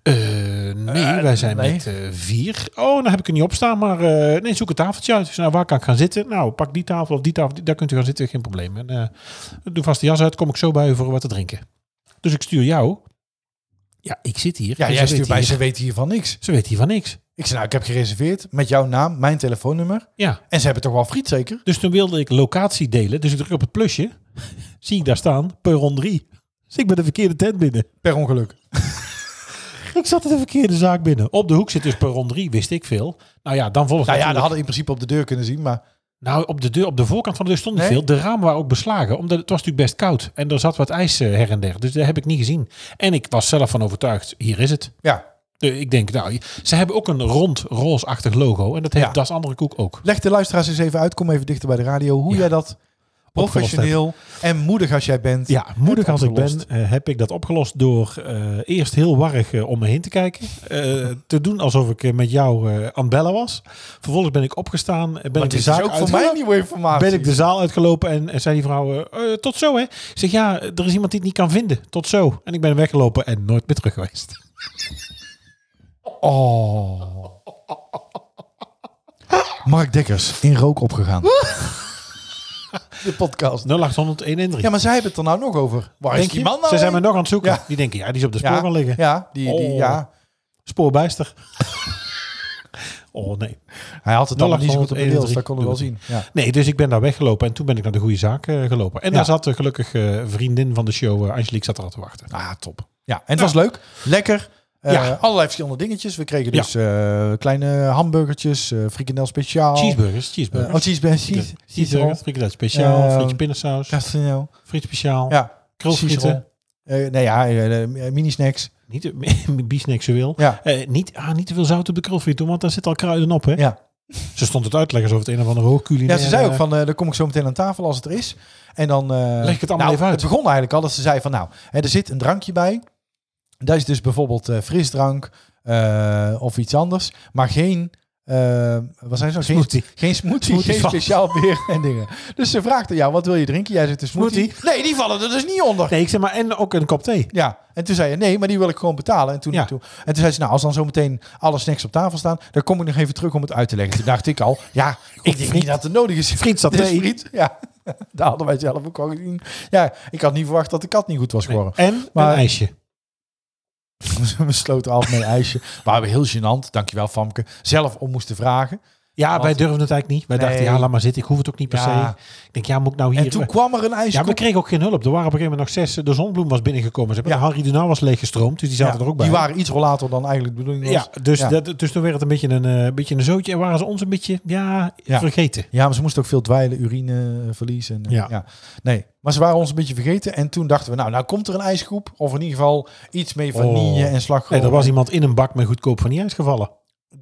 [SPEAKER 3] nee,
[SPEAKER 2] Eh,
[SPEAKER 3] wij zijn
[SPEAKER 2] nee.
[SPEAKER 3] met eh, vier. Oh, dan heb ik er niet op staan. Maar eh, nee, zoek een tafeltje uit. Dus, nou, waar kan ik gaan zitten? Nou, pak die tafel of die tafel. die- Daar kunt u gaan zitten, geen probleem. En, eh, doe vast de jas uit, kom ik zo bij u voor wat te drinken. Dus ik stuur jou. Ja, ik zit hier.
[SPEAKER 2] Ja,
[SPEAKER 3] en
[SPEAKER 2] jij
[SPEAKER 3] ze
[SPEAKER 2] stuurt
[SPEAKER 3] weet
[SPEAKER 2] bij,
[SPEAKER 3] hier,
[SPEAKER 2] ze weten hiervan niks.
[SPEAKER 3] ze weet hier van niks.
[SPEAKER 2] Ik zei, nou, ik heb gereserveerd met jouw naam, mijn telefoonnummer.
[SPEAKER 3] Ja,
[SPEAKER 2] En ze hebben toch wel friet, zeker?
[SPEAKER 3] dus toen wilde ik locatie delen. Dus ik druk op het plusje. Zie ik daar staan, perron 3. Dus ik ben de verkeerde tent binnen.
[SPEAKER 2] Per ongeluk. Nou
[SPEAKER 3] Ik zat in de verkeerde zaak binnen. Op de hoek zit dus perron 3, wist ik veel. Nou ja, dan volgens
[SPEAKER 2] Nou ja, dat
[SPEAKER 3] natuurlijk-
[SPEAKER 2] hadden we in principe op de deur kunnen zien, maar...
[SPEAKER 3] Nou, op de, deur, op de voorkant van de deur stond niet
[SPEAKER 2] Nee?
[SPEAKER 3] veel. De ramen waren ook beslagen, omdat het was natuurlijk best koud. En er zat wat ijs eh, her en der. Dus dat heb ik niet gezien. En ik was zelf van overtuigd, hier is het.
[SPEAKER 2] Ja,
[SPEAKER 3] Eh, Ik denk, nou, ze hebben ook een rond roosachtig logo. En dat heeft
[SPEAKER 2] Ja.
[SPEAKER 3] Das Andere Koek ook.
[SPEAKER 2] leg de luisteraars eens even uit. Kom even dichter bij de radio. Hoe
[SPEAKER 3] Ja.
[SPEAKER 2] jij dat professioneel en moedig als jij bent...
[SPEAKER 3] Ja, moedig
[SPEAKER 2] hebt
[SPEAKER 3] als ik ben,
[SPEAKER 2] opgelost.
[SPEAKER 3] eh, heb ik dat opgelost door eh, eerst heel warrig eh, om me heen te kijken. eh, te doen alsof ik eh, met jou eh, aan het bellen was. Vervolgens ben ik opgestaan. eh, Ben
[SPEAKER 2] Maar
[SPEAKER 3] ik de
[SPEAKER 2] dit is dus
[SPEAKER 3] zaak
[SPEAKER 2] ook voor
[SPEAKER 3] uitge-
[SPEAKER 2] mij nieuwe informatie.
[SPEAKER 3] Ben ik de zaal uitgelopen en eh, zei die vrouw, eh, eh, tot zo hè. Ik zeg, ja, er is iemand die het niet kan vinden. Tot zo. En ik ben weggelopen en nooit meer terug geweest.
[SPEAKER 2] Oh. Mark Dekkers, in rook opgegaan. de podcast.
[SPEAKER 3] 0800 113.
[SPEAKER 2] Ja, maar zij hebben het er nou nog over. Waar is
[SPEAKER 3] Denk
[SPEAKER 2] die
[SPEAKER 3] je?
[SPEAKER 2] man nou
[SPEAKER 3] Ze zijn me
[SPEAKER 2] heen?
[SPEAKER 3] nog aan het zoeken.
[SPEAKER 2] Ja.
[SPEAKER 3] Die denken, ja, die is op de spoor
[SPEAKER 2] ja,
[SPEAKER 3] gaan liggen.
[SPEAKER 2] Ja, die, die,
[SPEAKER 3] Oh.
[SPEAKER 2] ja,
[SPEAKER 3] Spoorbijster. oh nee.
[SPEAKER 2] hij had het allemaal niet zo goed op de
[SPEAKER 3] 0800
[SPEAKER 2] rails, dat konden we wel zien. Ja.
[SPEAKER 3] Nee, dus ik ben daar weggelopen en toen ben ik naar de goede zaak eh, gelopen. En
[SPEAKER 2] Ja.
[SPEAKER 3] daar zat eh, gelukkig eh, een vriendin van de show, eh, Angelique, zat er al te wachten.
[SPEAKER 2] Ah, top. Ja, en het was leuk. Lekker. Eh,
[SPEAKER 3] Ja.
[SPEAKER 2] Allerlei verschillende dingetjes. We kregen
[SPEAKER 3] Ja.
[SPEAKER 2] dus eh, kleine hamburgertjes, eh frikandel speciaal.
[SPEAKER 3] Oh. Cheeseburgers,
[SPEAKER 2] Eh,
[SPEAKER 3] cheeseburgers.
[SPEAKER 2] oh, cheeseburgers. Cheese,
[SPEAKER 3] Cheese-
[SPEAKER 2] cheese roll.
[SPEAKER 3] cheeseburgers, frikandel speciaal,
[SPEAKER 2] Eh,
[SPEAKER 3] frietje pindasaus,
[SPEAKER 2] Castagnol.
[SPEAKER 3] friet speciaal,
[SPEAKER 2] Ja,
[SPEAKER 3] krulfrieten.
[SPEAKER 2] Eh nee, ja, eh, eh, mini-snacks.
[SPEAKER 3] Niet eh, biesnexueel.
[SPEAKER 2] Ja.
[SPEAKER 3] Eh, niet, ah, niet te veel zout op de krulfriet doen, want daar zit al kruiden op. Hè?
[SPEAKER 2] Ja.
[SPEAKER 3] Ze stond het uit te leggen alsof het een of andere hoogculinaire...
[SPEAKER 2] Ja, ze zei ook van, eh dan kom ik zo meteen aan tafel als het er is. En dan... eh,
[SPEAKER 3] Leg ik het allemaal
[SPEAKER 2] nou,
[SPEAKER 3] even uit.
[SPEAKER 2] Het begon eigenlijk al dat ze zei van, nou, hè, er zit een drankje bij. Dat is dus bijvoorbeeld eh, frisdrank eh, of iets anders. Maar geen... eh, wat zijn ze? Geen,
[SPEAKER 3] Smoothie.
[SPEAKER 2] geen smoothie,
[SPEAKER 3] Smoothie
[SPEAKER 2] geen
[SPEAKER 3] van-
[SPEAKER 2] speciaal bier en dingen. Dus ze vraagt aan jou, wat wil je drinken? Jij zegt een smoothie. Nee, die vallen er dus niet onder.
[SPEAKER 3] Nee, ik zeg maar, en ook een kop thee.
[SPEAKER 2] Ja, en toen zei je, nee, maar die wil ik gewoon betalen. En toen,
[SPEAKER 3] Ja.
[SPEAKER 2] toen, en toen zei ze, nou, als dan zometeen alle snacks op tafel staan, dan kom ik nog even terug om het uit te leggen. Toen dacht ik al, ja, ik denk niet
[SPEAKER 3] friet.
[SPEAKER 2] dat het nodig is.
[SPEAKER 3] Friet zat
[SPEAKER 2] Dit is
[SPEAKER 3] thee.
[SPEAKER 2] friet, ja. Daar hadden wij zelf ook al gezien. Ja, ik had niet verwacht dat de kat niet goed was geworden.
[SPEAKER 3] En
[SPEAKER 2] Maar-
[SPEAKER 3] een ijsje.
[SPEAKER 2] We sloten af met een ijsje. Waar we heel gênant, dankjewel Famke, zelf om moesten vragen.
[SPEAKER 3] Ja,
[SPEAKER 2] Want-
[SPEAKER 3] wij durfden het eigenlijk niet. Wij dachten,
[SPEAKER 2] Nee.
[SPEAKER 3] ja, laat maar zitten. Ik hoef het ook niet per
[SPEAKER 2] Ja.
[SPEAKER 3] se. Ik denk, ja, moet ik nou hier...
[SPEAKER 2] en toen kwam er een ijsje.
[SPEAKER 3] ja, we kregen ook geen hulp. Er waren op een gegeven moment nog zes. De zonbloem was binnengekomen. Ze hebben
[SPEAKER 2] Ja.
[SPEAKER 3] Harry de Nauw was leeggestroomd, dus die zaten er ook bij.
[SPEAKER 2] Die waren iets later dan eigenlijk de bedoeling was.
[SPEAKER 3] ja, dus,
[SPEAKER 2] Ja.
[SPEAKER 3] Dat, dus toen werd het een beetje een, eh, beetje een zootje. En waren ze ons een beetje, ja,
[SPEAKER 2] Ja.
[SPEAKER 3] vergeten.
[SPEAKER 2] Ja, maar ze moesten ook veel dweilen, urineverlies. En, eh, ja.
[SPEAKER 3] Ja.
[SPEAKER 2] Nee, maar ze waren ons een beetje vergeten. En toen dachten we, nou, nou komt er een ijsgroep. Of in ieder geval iets mee vanille
[SPEAKER 3] Oh.
[SPEAKER 2] en slagroom.
[SPEAKER 3] Nee, er was iemand in een bak met goedkoop van die ijs gevallen.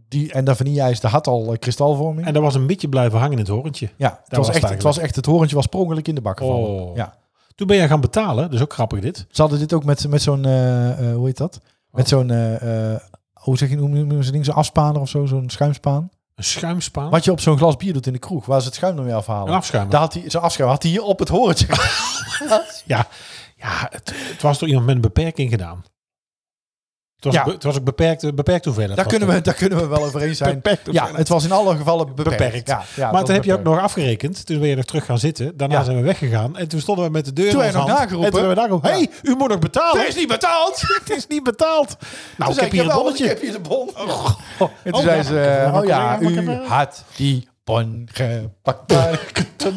[SPEAKER 2] die, en dat vanille-ijs, dat had al eh, kristalvorming.
[SPEAKER 3] En daar was een beetje blijven hangen in het horentje.
[SPEAKER 2] ja, het was,
[SPEAKER 3] was het
[SPEAKER 2] echt, het
[SPEAKER 3] eigenlijk.
[SPEAKER 2] was echt, het horentje was sprongelijk in de bak gevallen.
[SPEAKER 3] Oh.
[SPEAKER 2] Ja.
[SPEAKER 3] Toen ben jij gaan betalen. Dus ook grappig dit.
[SPEAKER 2] Ze hadden dit ook met, met zo'n, eh, eh, hoe heet dat? Met
[SPEAKER 3] Wat?
[SPEAKER 2] zo'n, eh, eh, hoe zeg je, hoe noemen ze ding, zo'n afspaner of zo, zo'n schuimspaan.
[SPEAKER 3] Een schuimspaan.
[SPEAKER 2] Wat je op zo'n glas bier doet in de kroeg, waar ze het schuim dan weer afhalen.
[SPEAKER 3] Een afschuimer.
[SPEAKER 2] Daar had hij, zo'n afschuim had hij hier op het horentje.
[SPEAKER 3] Ja, ja het, het was door iemand met een beperking gedaan. Het was,
[SPEAKER 2] Ja.
[SPEAKER 3] be- het was ook beperkt, beperkt hoeveelheid.
[SPEAKER 2] Daar
[SPEAKER 3] was
[SPEAKER 2] kunnen,
[SPEAKER 3] het.
[SPEAKER 2] we, daar kunnen we wel over eens zijn.
[SPEAKER 3] Beperkt op
[SPEAKER 2] Ja,
[SPEAKER 3] zijn-
[SPEAKER 2] het was in alle gevallen beperkt.
[SPEAKER 3] Beperkt.
[SPEAKER 2] Ja, ja,
[SPEAKER 3] maar
[SPEAKER 2] het
[SPEAKER 3] toen
[SPEAKER 2] was
[SPEAKER 3] heb je ook
[SPEAKER 2] beperkt.
[SPEAKER 3] nog afgerekend. Toen ben je nog terug gaan zitten. Daarna
[SPEAKER 2] Ja.
[SPEAKER 3] zijn we weggegaan. En toen stonden we met de deur
[SPEAKER 2] Toen
[SPEAKER 3] in
[SPEAKER 2] heb je
[SPEAKER 3] onze
[SPEAKER 2] nog
[SPEAKER 3] hand.
[SPEAKER 2] nageroepen.
[SPEAKER 3] En toen hebben we nageroepen.
[SPEAKER 2] Ja.
[SPEAKER 3] Hé, u moet nog betalen.
[SPEAKER 2] Het is niet betaald!
[SPEAKER 3] Het is niet betaald. Nou,
[SPEAKER 2] Toen
[SPEAKER 3] ik
[SPEAKER 2] zei
[SPEAKER 3] heb
[SPEAKER 2] ik,
[SPEAKER 3] hier een
[SPEAKER 2] "Jawel,
[SPEAKER 3] bonnetje.
[SPEAKER 2] Ik heb hier de bon. En toen
[SPEAKER 3] Oh,
[SPEAKER 2] zei
[SPEAKER 3] ja,
[SPEAKER 2] ze,
[SPEAKER 3] ik heb
[SPEAKER 2] eh,
[SPEAKER 3] nog een
[SPEAKER 2] oh ja,
[SPEAKER 3] collega,
[SPEAKER 2] u
[SPEAKER 3] mag ik even-
[SPEAKER 2] had die bon gepakt.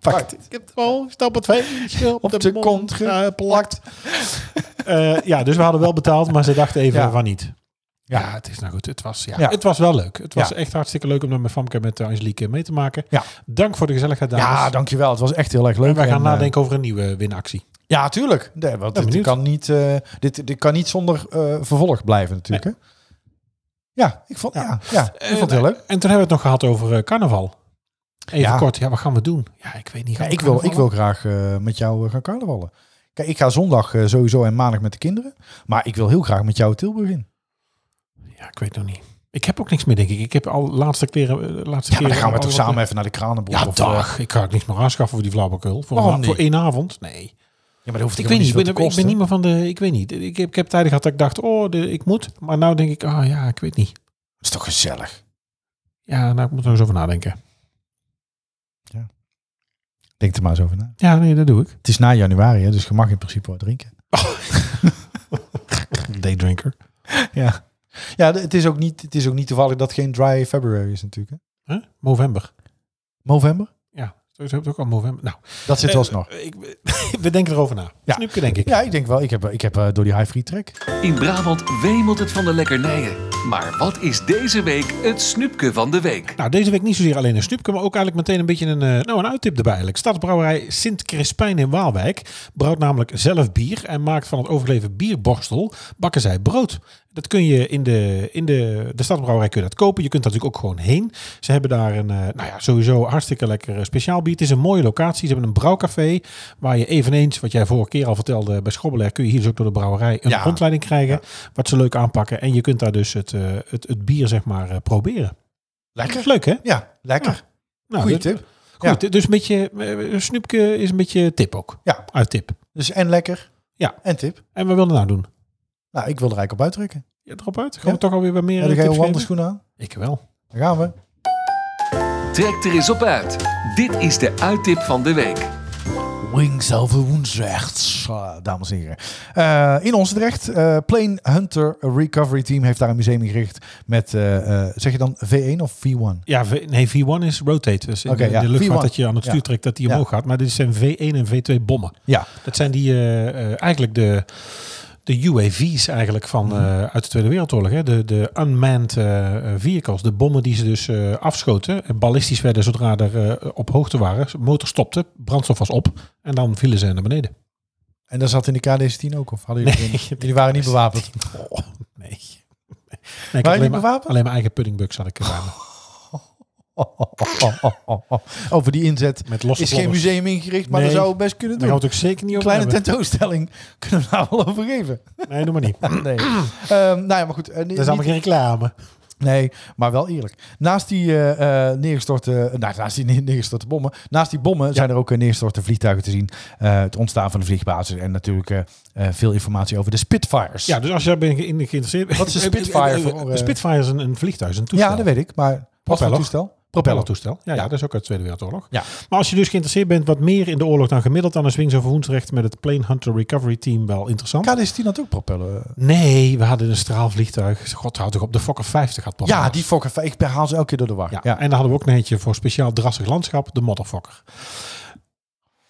[SPEAKER 3] Pakt. Ik heb al stap het feestje op
[SPEAKER 2] Op
[SPEAKER 3] de,
[SPEAKER 2] de
[SPEAKER 3] mond
[SPEAKER 2] kont
[SPEAKER 3] geplakt. Eh, ja, dus we hadden wel betaald, maar ze dachten even
[SPEAKER 2] Ja.
[SPEAKER 3] van niet.
[SPEAKER 2] Ja.
[SPEAKER 3] Ja. het is nou goed. Het was, ja,
[SPEAKER 2] Ja.
[SPEAKER 3] het was wel leuk. Het was
[SPEAKER 2] Ja.
[SPEAKER 3] echt hartstikke leuk om daar met Famke en met eh, Angelique mee te maken.
[SPEAKER 2] Ja.
[SPEAKER 3] Dank voor de gezelligheid, dames.
[SPEAKER 2] Ja, dankjewel. Het was echt heel erg leuk.
[SPEAKER 3] En wij gaan
[SPEAKER 2] En, eh,
[SPEAKER 3] nadenken over een nieuwe winactie.
[SPEAKER 2] Ja, tuurlijk. Nee, want dit,
[SPEAKER 3] benieuwd.
[SPEAKER 2] kan niet, eh, dit, dit kan niet zonder eh, vervolg blijven natuurlijk. Hè? Ja, ik vond, ja. Ja, ik vond het heel leuk.
[SPEAKER 3] Eh, En toen hebben we het nog gehad over eh, carnaval. Even
[SPEAKER 2] Ja.
[SPEAKER 3] kort. Ja, wat gaan we doen? Ja, ik weet niet.
[SPEAKER 2] Ja,
[SPEAKER 3] Gaan we
[SPEAKER 2] ik, wil, ik
[SPEAKER 3] carnavallen?
[SPEAKER 2] wil graag eh, met jou eh, gaan carnavallen. Kijk, ik ga zondag eh, sowieso en maandag met de kinderen. Maar ik wil heel graag met jou Tilburg in.
[SPEAKER 3] Ja, ik weet nog niet. Ik heb ook niks meer, denk ik. Ik heb al laatste kleren. eh, Laatste
[SPEAKER 2] Ja, maar dan
[SPEAKER 3] keren
[SPEAKER 2] gaan we
[SPEAKER 3] al-
[SPEAKER 2] toch
[SPEAKER 3] al-
[SPEAKER 2] samen even naar de kranenboer.
[SPEAKER 3] Ja,
[SPEAKER 2] of, eh,
[SPEAKER 3] dag. Ik ga ook niks meer aanschaffen voor die flauwekul. Voor,
[SPEAKER 2] Waarom
[SPEAKER 3] een- voor
[SPEAKER 2] niet?
[SPEAKER 3] één avond? Nee.
[SPEAKER 2] ja, maar dat hoeft
[SPEAKER 3] Ik weet niet. Ik
[SPEAKER 2] veel
[SPEAKER 3] ben,
[SPEAKER 2] te
[SPEAKER 3] ik ben
[SPEAKER 2] kosten.
[SPEAKER 3] niet meer van de... Ik weet niet. Ik heb, ik heb tijden gehad dat ik dacht, oh, de, ik moet. Maar nou denk ik, ah ja, ik weet niet.
[SPEAKER 2] Dat is toch gezellig?
[SPEAKER 3] Ja, nou, ik moet er eens over nadenken.
[SPEAKER 2] Denk er maar eens over na.
[SPEAKER 3] Ja, nee, dat doe ik.
[SPEAKER 2] Het is na januari, hè, dus je mag in principe wat drinken.
[SPEAKER 3] Daydrinker.
[SPEAKER 2] Ja, ja d- het, is ook niet, het is ook niet toevallig dat geen dry February is natuurlijk. Hè?
[SPEAKER 3] Huh? Movember.
[SPEAKER 2] November?
[SPEAKER 3] Ja, zo heb je ook al Movember. Nou,
[SPEAKER 2] Dat zit wel eens
[SPEAKER 3] eh,
[SPEAKER 2] nog.
[SPEAKER 3] Ik, we denken erover na.
[SPEAKER 2] Ja.
[SPEAKER 3] Snoepje, denk ik.
[SPEAKER 2] Ja, ik denk wel. Ik heb, ik heb eh, door die high free track.
[SPEAKER 1] In Brabant wemelt het van de lekkernijen. Maar wat is deze week het snoepje van de week?
[SPEAKER 3] Nou, deze week niet zozeer alleen een snoepje, maar ook eigenlijk meteen een beetje een, eh, nou, een uittip erbij eigenlijk. Stadsbrouwerij Sint Crispijn in Waalwijk brouwt namelijk zelf bier en maakt van het overleven bierborstel bakken zij brood. Dat kun je in de, in de, de stadsbrouwerij kun je dat kopen. Je kunt daar natuurlijk ook gewoon heen. Ze hebben daar een, eh, nou ja, sowieso hartstikke lekker eh, speciaal bier. Het is een mooie locatie. Ze hebben een brouwcafé waar je eveneens, wat jij vorige keer al vertelde bij Schobbeler, kun je hier dus ook door de brouwerij een
[SPEAKER 2] Ja.
[SPEAKER 3] rondleiding krijgen. Wat ze leuk aanpakken. En je kunt daar dus het, eh, het, het bier zeg maar eh, proberen.
[SPEAKER 2] Lekker.
[SPEAKER 3] Leuk hè?
[SPEAKER 2] Ja, lekker.
[SPEAKER 3] Nou,
[SPEAKER 2] Goeie
[SPEAKER 3] dus-
[SPEAKER 2] tip.
[SPEAKER 3] Goed, dus een beetje eh, snoepje is een beetje tip ook.
[SPEAKER 2] Ja.
[SPEAKER 3] Uit tip.
[SPEAKER 2] Dus en lekker.
[SPEAKER 3] Ja.
[SPEAKER 2] En tip.
[SPEAKER 3] En wat willen we nou doen?
[SPEAKER 2] Nou, ik wil er eigenlijk op uitdrukken.
[SPEAKER 3] Ja, erop uit. Gaan
[SPEAKER 2] Ja.
[SPEAKER 3] we toch alweer wat meer
[SPEAKER 2] Heb
[SPEAKER 3] eh,
[SPEAKER 2] ik
[SPEAKER 3] tips
[SPEAKER 2] heel
[SPEAKER 3] geven?
[SPEAKER 2] wandelschoenen aan?
[SPEAKER 3] Ik wel.
[SPEAKER 2] Daar gaan we.
[SPEAKER 1] Trek er eens op uit. Dit is de uittip van de week.
[SPEAKER 2] Wings over Woensrechts, dames en heren. Eh, in ons terecht, eh Plane Hunter Recovery Team heeft daar een museum ingericht met, eh, eh, zeg je dan V1 of V1?
[SPEAKER 3] Ja, V- nee, V1 is rotate. Dus in
[SPEAKER 2] Oké,
[SPEAKER 3] de,
[SPEAKER 2] ja,
[SPEAKER 3] de luchtvaart
[SPEAKER 2] V1.
[SPEAKER 3] dat je aan het
[SPEAKER 2] Ja.
[SPEAKER 3] stuur trekt dat die
[SPEAKER 2] Ja.
[SPEAKER 3] omhoog gaat. Maar dit zijn V1 en V2 bommen.
[SPEAKER 2] Ja,
[SPEAKER 3] Dat zijn die eh, eh, eigenlijk de, de UAV's eigenlijk van,
[SPEAKER 2] Mhm.
[SPEAKER 3] eh, uit de Tweede Wereldoorlog. Hè? De, de unmanned eh, eh, vehicles. De bommen die ze dus eh, afschoten. En ballistisch werden zodra er eh, op hoogte waren. Motor stopte, brandstof was op. En dan vielen ze naar beneden.
[SPEAKER 2] en daar zat in de KDC-10 ook, of hadden jullie
[SPEAKER 3] Nee,
[SPEAKER 2] geen- Jullie waren niet bewapend.
[SPEAKER 3] Oh, nee. Nee, ik had
[SPEAKER 2] Waren
[SPEAKER 3] alleen,
[SPEAKER 2] jullie
[SPEAKER 3] maar,
[SPEAKER 2] bewapend?
[SPEAKER 3] alleen mijn eigen puddingbug zat ik ruimen.
[SPEAKER 2] Oh, oh, oh, oh, oh, oh. Over die inzet
[SPEAKER 3] Met losse
[SPEAKER 2] is geen
[SPEAKER 3] plodders.
[SPEAKER 2] museum ingericht, maar
[SPEAKER 3] Nee.
[SPEAKER 2] dat zou het best kunnen
[SPEAKER 3] Daar gaan
[SPEAKER 2] doen.
[SPEAKER 3] we het ook zeker niet
[SPEAKER 2] Een
[SPEAKER 3] over
[SPEAKER 2] kleine
[SPEAKER 3] hebben.
[SPEAKER 2] tentoonstelling kunnen we daar wel over geven.
[SPEAKER 3] Nee, doe maar niet. Dat
[SPEAKER 2] Nee. Ehm, nou ja, maar goed. eh, ni-
[SPEAKER 3] is
[SPEAKER 2] niet-
[SPEAKER 3] allemaal geen reclame.
[SPEAKER 2] Nee, maar wel eerlijk. Naast die eh, eh, neergestorte, nou, naast die ne- neergestorte bommen, naast die bommen zijn er ook eh, neergestorte vliegtuigen te zien. Eh, het ontstaan van de vliegbasis en natuurlijk eh, eh, veel informatie over de Spitfires.
[SPEAKER 3] Ja, dus als je daar bent ge- in geïnteresseerd...
[SPEAKER 2] Wat is een Spitfire voor, eh?
[SPEAKER 3] Een Spitfire is een, een vliegtuig, is een toestel.
[SPEAKER 2] ja dat weet ik. Maar wat voor
[SPEAKER 3] Propeller.
[SPEAKER 2] toestel? Oh.
[SPEAKER 3] Propeller
[SPEAKER 2] Propeller.
[SPEAKER 3] toestel. Ja, ja.
[SPEAKER 2] Ja.
[SPEAKER 3] dat is ook uit de Tweede Wereldoorlog.
[SPEAKER 2] Ja.
[SPEAKER 3] Maar als je dus geïnteresseerd bent wat meer in de oorlog dan gemiddeld... dan is Wings over Woensrecht met het Plane Hunter Recovery Team wel interessant.
[SPEAKER 2] KD-10 had ook propeller. eh,
[SPEAKER 3] nee, we hadden een straalvliegtuig. God, houd toch op. De Fokker 50 had pas.
[SPEAKER 2] Ja, die Fokker. Ik haal ze elke keer door de war.
[SPEAKER 3] Ja,
[SPEAKER 2] Ja,
[SPEAKER 3] En dan hadden we ook een eentje voor speciaal drassig landschap, de modderfokker.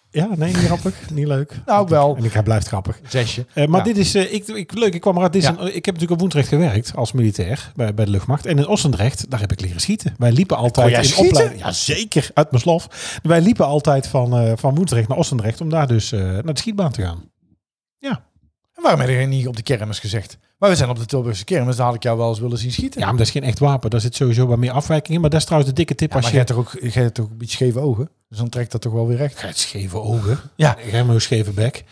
[SPEAKER 3] Ja, nee, niet grappig, niet leuk.
[SPEAKER 2] Nou, wel.
[SPEAKER 3] En ik, hij blijft grappig.
[SPEAKER 2] Zesje.
[SPEAKER 3] Eh, maar
[SPEAKER 2] Ja.
[SPEAKER 3] dit is, eh, ik, ik, leuk, ik kwam eruit. Dit is
[SPEAKER 2] Ja.
[SPEAKER 3] een- ik heb natuurlijk op Woendrecht gewerkt als militair bij, bij de luchtmacht. En in Ossendrecht, daar heb ik leren schieten. Wij liepen altijd
[SPEAKER 2] jij
[SPEAKER 3] in
[SPEAKER 2] schieten?
[SPEAKER 3] opleiding. Ja, zeker, uit mijn slof. Wij liepen altijd van, eh van Woendrecht naar Ossendrecht om daar dus eh, naar de schietbaan te gaan.
[SPEAKER 2] En waarom heb je dat niet op de kermis gezegd? Maar we zijn op de Tilburgse kermis, daar had ik jou wel eens willen zien schieten.
[SPEAKER 3] Ja, maar dat is geen echt wapen. Daar zit sowieso wat meer afwijking in. Maar dat is trouwens de dikke tip
[SPEAKER 2] Ja,
[SPEAKER 3] als
[SPEAKER 2] maar
[SPEAKER 3] je...
[SPEAKER 2] jij hebt toch ook, jij hebt toch ook iets scheve ogen? Dus dan trekt dat toch wel weer recht.
[SPEAKER 3] Gij hebt scheve ogen.
[SPEAKER 2] Ja.
[SPEAKER 3] Jij hebt een scheve bek.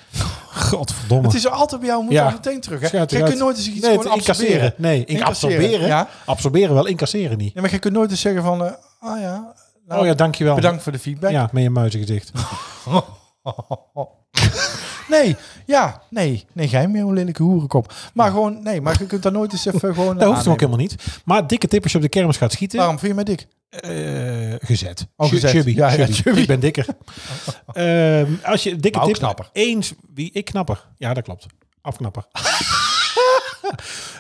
[SPEAKER 3] Godverdomme.
[SPEAKER 2] Het is er altijd bij jou, moet
[SPEAKER 3] Ja.
[SPEAKER 2] je meteen terug. Hè?
[SPEAKER 3] Schuit
[SPEAKER 2] Jij
[SPEAKER 3] eruit.
[SPEAKER 2] kunt nooit eens iets
[SPEAKER 3] Nee, het
[SPEAKER 2] gewoon
[SPEAKER 3] incasseren.
[SPEAKER 2] absorberen.
[SPEAKER 3] Nee, in
[SPEAKER 2] Incasseren,
[SPEAKER 3] absorberen.
[SPEAKER 2] ja.
[SPEAKER 3] Absorberen wel, incasseren niet.
[SPEAKER 2] Ja, maar je kunt nooit eens zeggen van, eh, ah ja, nou,
[SPEAKER 3] oh ja, dankjewel.
[SPEAKER 2] bedankt voor de feedback.
[SPEAKER 3] Ja, met je muizengezicht.
[SPEAKER 2] nee, Ja, nee, nee, geheim meer, een lelijke hoerenkop. Maar gewoon, nee, maar je kunt daar nooit eens even gewoon... eh, Ah,
[SPEAKER 3] Dat hoeft hem ook helemaal niet. Maar dikke tip als je op de kermis gaat schieten.
[SPEAKER 2] Waarom vind je mij dik?
[SPEAKER 3] Eh, gezet.
[SPEAKER 2] Oh,
[SPEAKER 3] Chu-
[SPEAKER 2] gezet.
[SPEAKER 3] Chubby.
[SPEAKER 2] Ja, ja,
[SPEAKER 3] chubby.
[SPEAKER 2] chubby.
[SPEAKER 3] Ik ben dikker. Ehm, als je dikke
[SPEAKER 2] Maar ook
[SPEAKER 3] tip...
[SPEAKER 2] knapper.
[SPEAKER 3] Eens, wie, ik knapper. Ja, dat klopt. Afknapper.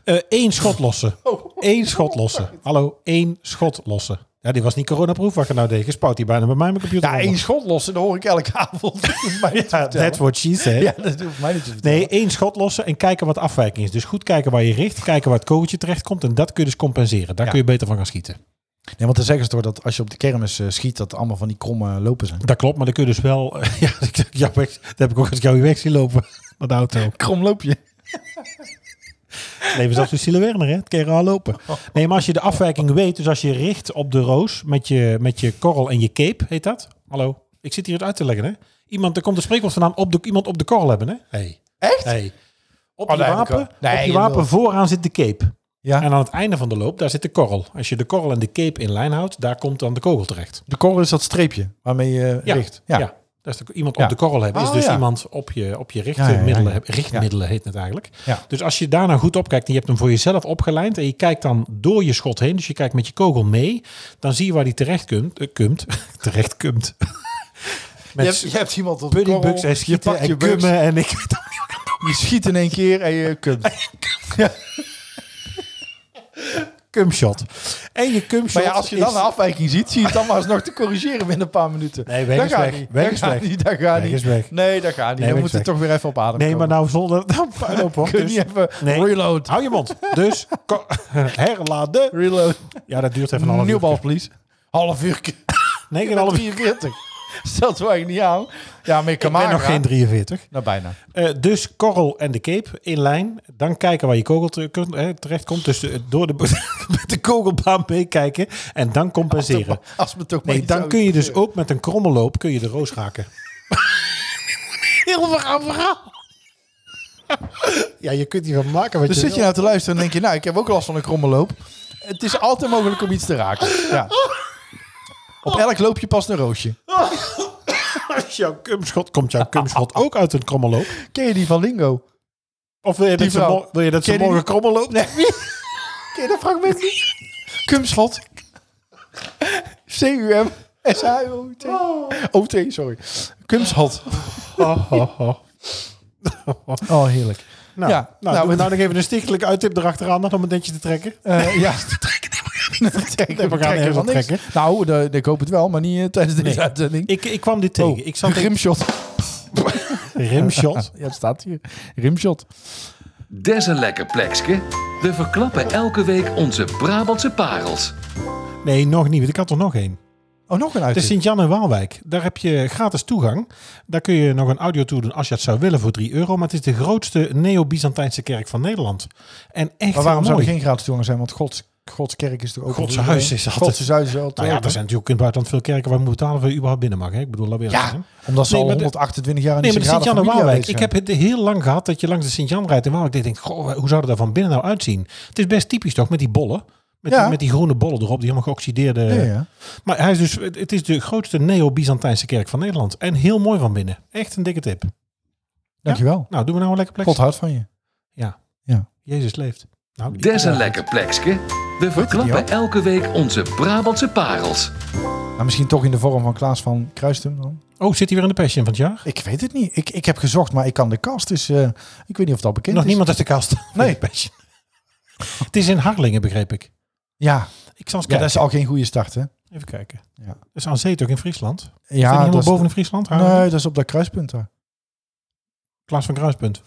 [SPEAKER 3] Eh Eén schot lossen.
[SPEAKER 2] Oh.
[SPEAKER 3] Eén schot lossen. Hallo, één schot lossen. Ja, die was niet coronaproof wat ik er nou deed. Gespout die bijna bij mij mijn computer.
[SPEAKER 2] Ja,
[SPEAKER 3] onder.
[SPEAKER 2] één schot lossen, dat hoor ik elke avond. Dat hoeft mij niet te vertellen.
[SPEAKER 3] That's what she said.
[SPEAKER 2] Ja, dat hoeft mij niet te vertellen.
[SPEAKER 3] Nee, één schot lossen en kijken wat de afwijking is. Dus goed kijken waar je richt, kijken waar het kogeltje terecht komt. En dat kun je dus compenseren. Daar kun je beter van gaan schieten.
[SPEAKER 2] Nee, want dan zeggen ze toch dat als je op de kermis eh, schiet, dat allemaal van die kromme lopen zijn.
[SPEAKER 3] Dat klopt, maar dan kun je dus wel... Ja, ik dacht, jou weg, dat heb ik ook als ik jou hier weg zien lopen met de auto.
[SPEAKER 2] Krom loopje.
[SPEAKER 3] Leven zelfs Lucille dus Werner, hè? Het kan je raar lopen. Nee, maar als je de afwijking weet, dus als je richt op de roos met je, met je korrel en je cape, heet dat? Hallo, ik zit hier het uit te leggen, hè? Iemand, er komt een spreekwoord vandaan, op de, iemand op de korrel hebben, hè? Hey.
[SPEAKER 2] Echt?
[SPEAKER 3] Hey. Op
[SPEAKER 2] Oh,
[SPEAKER 3] die
[SPEAKER 2] nee,
[SPEAKER 3] wapen,
[SPEAKER 2] dat kan. Nee,
[SPEAKER 3] op die
[SPEAKER 2] je
[SPEAKER 3] wapen
[SPEAKER 2] lult.
[SPEAKER 3] vooraan zit de cape.
[SPEAKER 2] Ja.
[SPEAKER 3] En aan het einde van de loop, daar zit de korrel. Als je de korrel en de cape in lijn houdt, daar komt dan de kogel terecht.
[SPEAKER 2] De korrel is dat streepje waarmee je eh,
[SPEAKER 3] Ja,
[SPEAKER 2] richt.
[SPEAKER 3] Ja. Dat is de- iemand op
[SPEAKER 2] Ja.
[SPEAKER 3] de korrel hebben. Is
[SPEAKER 2] Oh,
[SPEAKER 3] dus
[SPEAKER 2] ja.
[SPEAKER 3] iemand op je, op je
[SPEAKER 2] Ja, ja, ja,
[SPEAKER 3] richtmiddelen,
[SPEAKER 2] ja.
[SPEAKER 3] heb- richtmiddelen heet het eigenlijk.
[SPEAKER 2] Ja.
[SPEAKER 3] Dus als je daarna goed opkijkt en je hebt hem voor jezelf opgeleind en je kijkt dan door je schot heen, dus je kijkt met je kogel mee, dan zie je waar die terecht kumt. eh, kumt terecht kumt.
[SPEAKER 2] Je,
[SPEAKER 3] met
[SPEAKER 2] hebt, je hebt iemand op de
[SPEAKER 3] puddingbugs
[SPEAKER 2] korrel,
[SPEAKER 3] en schieten
[SPEAKER 2] je pakt je
[SPEAKER 3] en
[SPEAKER 2] bugs,
[SPEAKER 3] kummen en ik
[SPEAKER 2] je schiet in één keer en je kunt.
[SPEAKER 3] kumshot. En je kumshot
[SPEAKER 2] Maar ja, als je dan
[SPEAKER 3] is-
[SPEAKER 2] een afwijking ziet, zie je het dan maar alsnog te corrigeren binnen een paar minuten.
[SPEAKER 3] Nee, weg
[SPEAKER 2] dat
[SPEAKER 3] is
[SPEAKER 2] gaat
[SPEAKER 3] weg.
[SPEAKER 2] niet.
[SPEAKER 3] Weg
[SPEAKER 2] dat
[SPEAKER 3] is
[SPEAKER 2] gaat
[SPEAKER 3] weg.
[SPEAKER 2] niet, dat gaat
[SPEAKER 3] Weg
[SPEAKER 2] niet.
[SPEAKER 3] is weg.
[SPEAKER 2] Nee, dat gaat niet.
[SPEAKER 3] Nee,
[SPEAKER 2] dan
[SPEAKER 3] weg is
[SPEAKER 2] moet je
[SPEAKER 3] weg.
[SPEAKER 2] toch weer even op adem
[SPEAKER 3] Nee, maar
[SPEAKER 2] komen.
[SPEAKER 3] nou zonder dan Dus- puinhoop hoor.
[SPEAKER 2] Kun je niet even reload.
[SPEAKER 3] Hou je mond. Dus ko- herladen.
[SPEAKER 2] Reload.
[SPEAKER 3] Ja, dat duurt even een half
[SPEAKER 2] Nieuw bal,
[SPEAKER 3] uur.
[SPEAKER 2] please. Half uur.
[SPEAKER 3] Nee,
[SPEAKER 2] Ik
[SPEAKER 3] een half uur.
[SPEAKER 2] 43. Stelt zo eigenlijk niet aan. Ja, maar ik kan
[SPEAKER 3] Ik ben nog geen 43.
[SPEAKER 2] Nou, bijna.
[SPEAKER 3] Eh, dus korrel en de cape in lijn. Dan kijken waar je kogel te- kun- eh, terecht komt. Dus eh, door de, met de kogelbaan meekijken. En dan compenseren.
[SPEAKER 2] Als me toch maar
[SPEAKER 3] Nee,
[SPEAKER 2] iets
[SPEAKER 3] dan
[SPEAKER 2] zou
[SPEAKER 3] kun je dus
[SPEAKER 2] gebeuren.
[SPEAKER 3] ook met een krommeloop kun je de roos raken. Heel verhaal, verhaal. Ja, je kunt hiervan maken wat
[SPEAKER 2] Dus
[SPEAKER 3] je
[SPEAKER 2] zit je nou te luisteren en denk je, nou, ik heb ook last van een kromme loop. Het is altijd mogelijk om iets te raken. Ja. Op elk loopje past een roosje.
[SPEAKER 3] Als jouw kumschot komt jouw kumschot ook uit een krommeloop.
[SPEAKER 2] Ken je die van Lingo?
[SPEAKER 3] Of wil je dat, ze,
[SPEAKER 2] vrouw.
[SPEAKER 3] mo- wil je dat ze
[SPEAKER 2] Ken je
[SPEAKER 3] morgen
[SPEAKER 2] die?
[SPEAKER 3] krommel loopt?
[SPEAKER 2] Nee. Ken je dat fragment niet? Kumschot. C-U-M. S-H-O-T. O-T, sorry. Kumschot. Oh, heerlijk.
[SPEAKER 3] Nou,
[SPEAKER 2] Ja,
[SPEAKER 3] nou,
[SPEAKER 2] nou,
[SPEAKER 3] doen we
[SPEAKER 2] we-
[SPEAKER 3] nou nog even een stichtelijke uittip erachteraan nog om een dentje te trekken.
[SPEAKER 2] Eh, ja.
[SPEAKER 3] gaan
[SPEAKER 2] We gaan
[SPEAKER 3] ergens
[SPEAKER 2] helemaal
[SPEAKER 3] op
[SPEAKER 2] niks.
[SPEAKER 3] trekken.
[SPEAKER 2] Nou, de, de- ik hoop het wel, maar niet eh, tijdens deze
[SPEAKER 3] Nee.
[SPEAKER 2] uitzending.
[SPEAKER 3] Ik, ik kwam dit tegen.
[SPEAKER 2] Oh,
[SPEAKER 3] ik zat in
[SPEAKER 2] Rimshot.
[SPEAKER 3] rimshot.
[SPEAKER 2] Ja, het staat hier. Rimshot.
[SPEAKER 1] Des een lekker plekske. We verklappen elke week onze Brabantse parels.
[SPEAKER 3] Nee, nog niet. want Ik had er nog één.
[SPEAKER 2] Oh, nog een
[SPEAKER 3] De
[SPEAKER 2] uitzending.
[SPEAKER 3] Sint-Jan en Waalwijk. Daar heb je gratis toegang. Daar kun je nog een audiotour doen als je het zou willen voor 3 euro. Maar het is de grootste neo-Byzantijnse kerk van Nederland. En echt
[SPEAKER 2] Maar waarom
[SPEAKER 3] heel
[SPEAKER 2] zou er
[SPEAKER 3] mooi.
[SPEAKER 2] geen gratis toegang zijn? Want Gods, Gods kerk is toch ook... eh,
[SPEAKER 3] Gods huis is altijd-
[SPEAKER 2] Gods huis is altijd...
[SPEAKER 3] Nou ja,
[SPEAKER 2] open.
[SPEAKER 3] er zijn natuurlijk in het buitenland veel kerken waar je moet betalen voor je überhaupt binnen mag. Hè? Ik bedoel, laat weer
[SPEAKER 2] Ja, omdat ze
[SPEAKER 3] Nee,
[SPEAKER 2] al
[SPEAKER 3] maar de-
[SPEAKER 2] 128 jaar in
[SPEAKER 3] Nee,
[SPEAKER 2] de
[SPEAKER 3] maar
[SPEAKER 2] Sagrada
[SPEAKER 3] de Sint-Jan en
[SPEAKER 2] Familia
[SPEAKER 3] Waalwijk.
[SPEAKER 2] bezig
[SPEAKER 3] Ik
[SPEAKER 2] zijn.
[SPEAKER 3] heb het heel lang gehad dat je langs de Sint-Jan rijdt en Waalwijk. Ik denk, goh, hoe zou dat er van binnen nou uitzien? Het is best typisch toch, met die bollen. Met,
[SPEAKER 2] Ja.
[SPEAKER 3] die, met die groene bollen erop, die helemaal geoxideerde...
[SPEAKER 2] Ja, ja.
[SPEAKER 3] Maar hij is dus, het het is de grootste neo-Byzantijnse kerk van Nederland. En heel mooi van binnen. Echt een dikke tip.
[SPEAKER 2] Dankjewel.
[SPEAKER 3] Nou, doen we nou een lekker plekje.
[SPEAKER 2] God houdt van je.
[SPEAKER 3] Jezus leeft. Nou, ik-
[SPEAKER 1] Des een
[SPEAKER 3] ja.
[SPEAKER 1] lekker plekske. We verklappen elke week onze Brabantse parels.
[SPEAKER 2] Maar Nou, misschien toch in de vorm van Klaas van Kruistum dan?
[SPEAKER 3] Oh, zit hij weer in de Passion van het jaar?
[SPEAKER 2] Ik weet het niet. Ik, ik heb gezocht, maar ik kan de kast. Dus eh, ik weet niet of dat bekend
[SPEAKER 3] Nog
[SPEAKER 2] is.
[SPEAKER 3] niemand uit de kast.
[SPEAKER 2] Nee.
[SPEAKER 3] De Passion. het is in Harlingen, begreep ik.
[SPEAKER 2] Ja,
[SPEAKER 3] Ik zal eens
[SPEAKER 2] ja,
[SPEAKER 3] kijken.
[SPEAKER 2] dat is al geen goede start, hè?
[SPEAKER 3] Even kijken.
[SPEAKER 2] Ja.
[SPEAKER 3] Dat is aan zee toch in Friesland? Ja,
[SPEAKER 2] Ja,
[SPEAKER 3] helemaal
[SPEAKER 2] dat is-
[SPEAKER 3] boven in Friesland? Harlingen?
[SPEAKER 2] Nee, dat is op dat kruispunt daar.
[SPEAKER 3] Klaas van Kruispunt.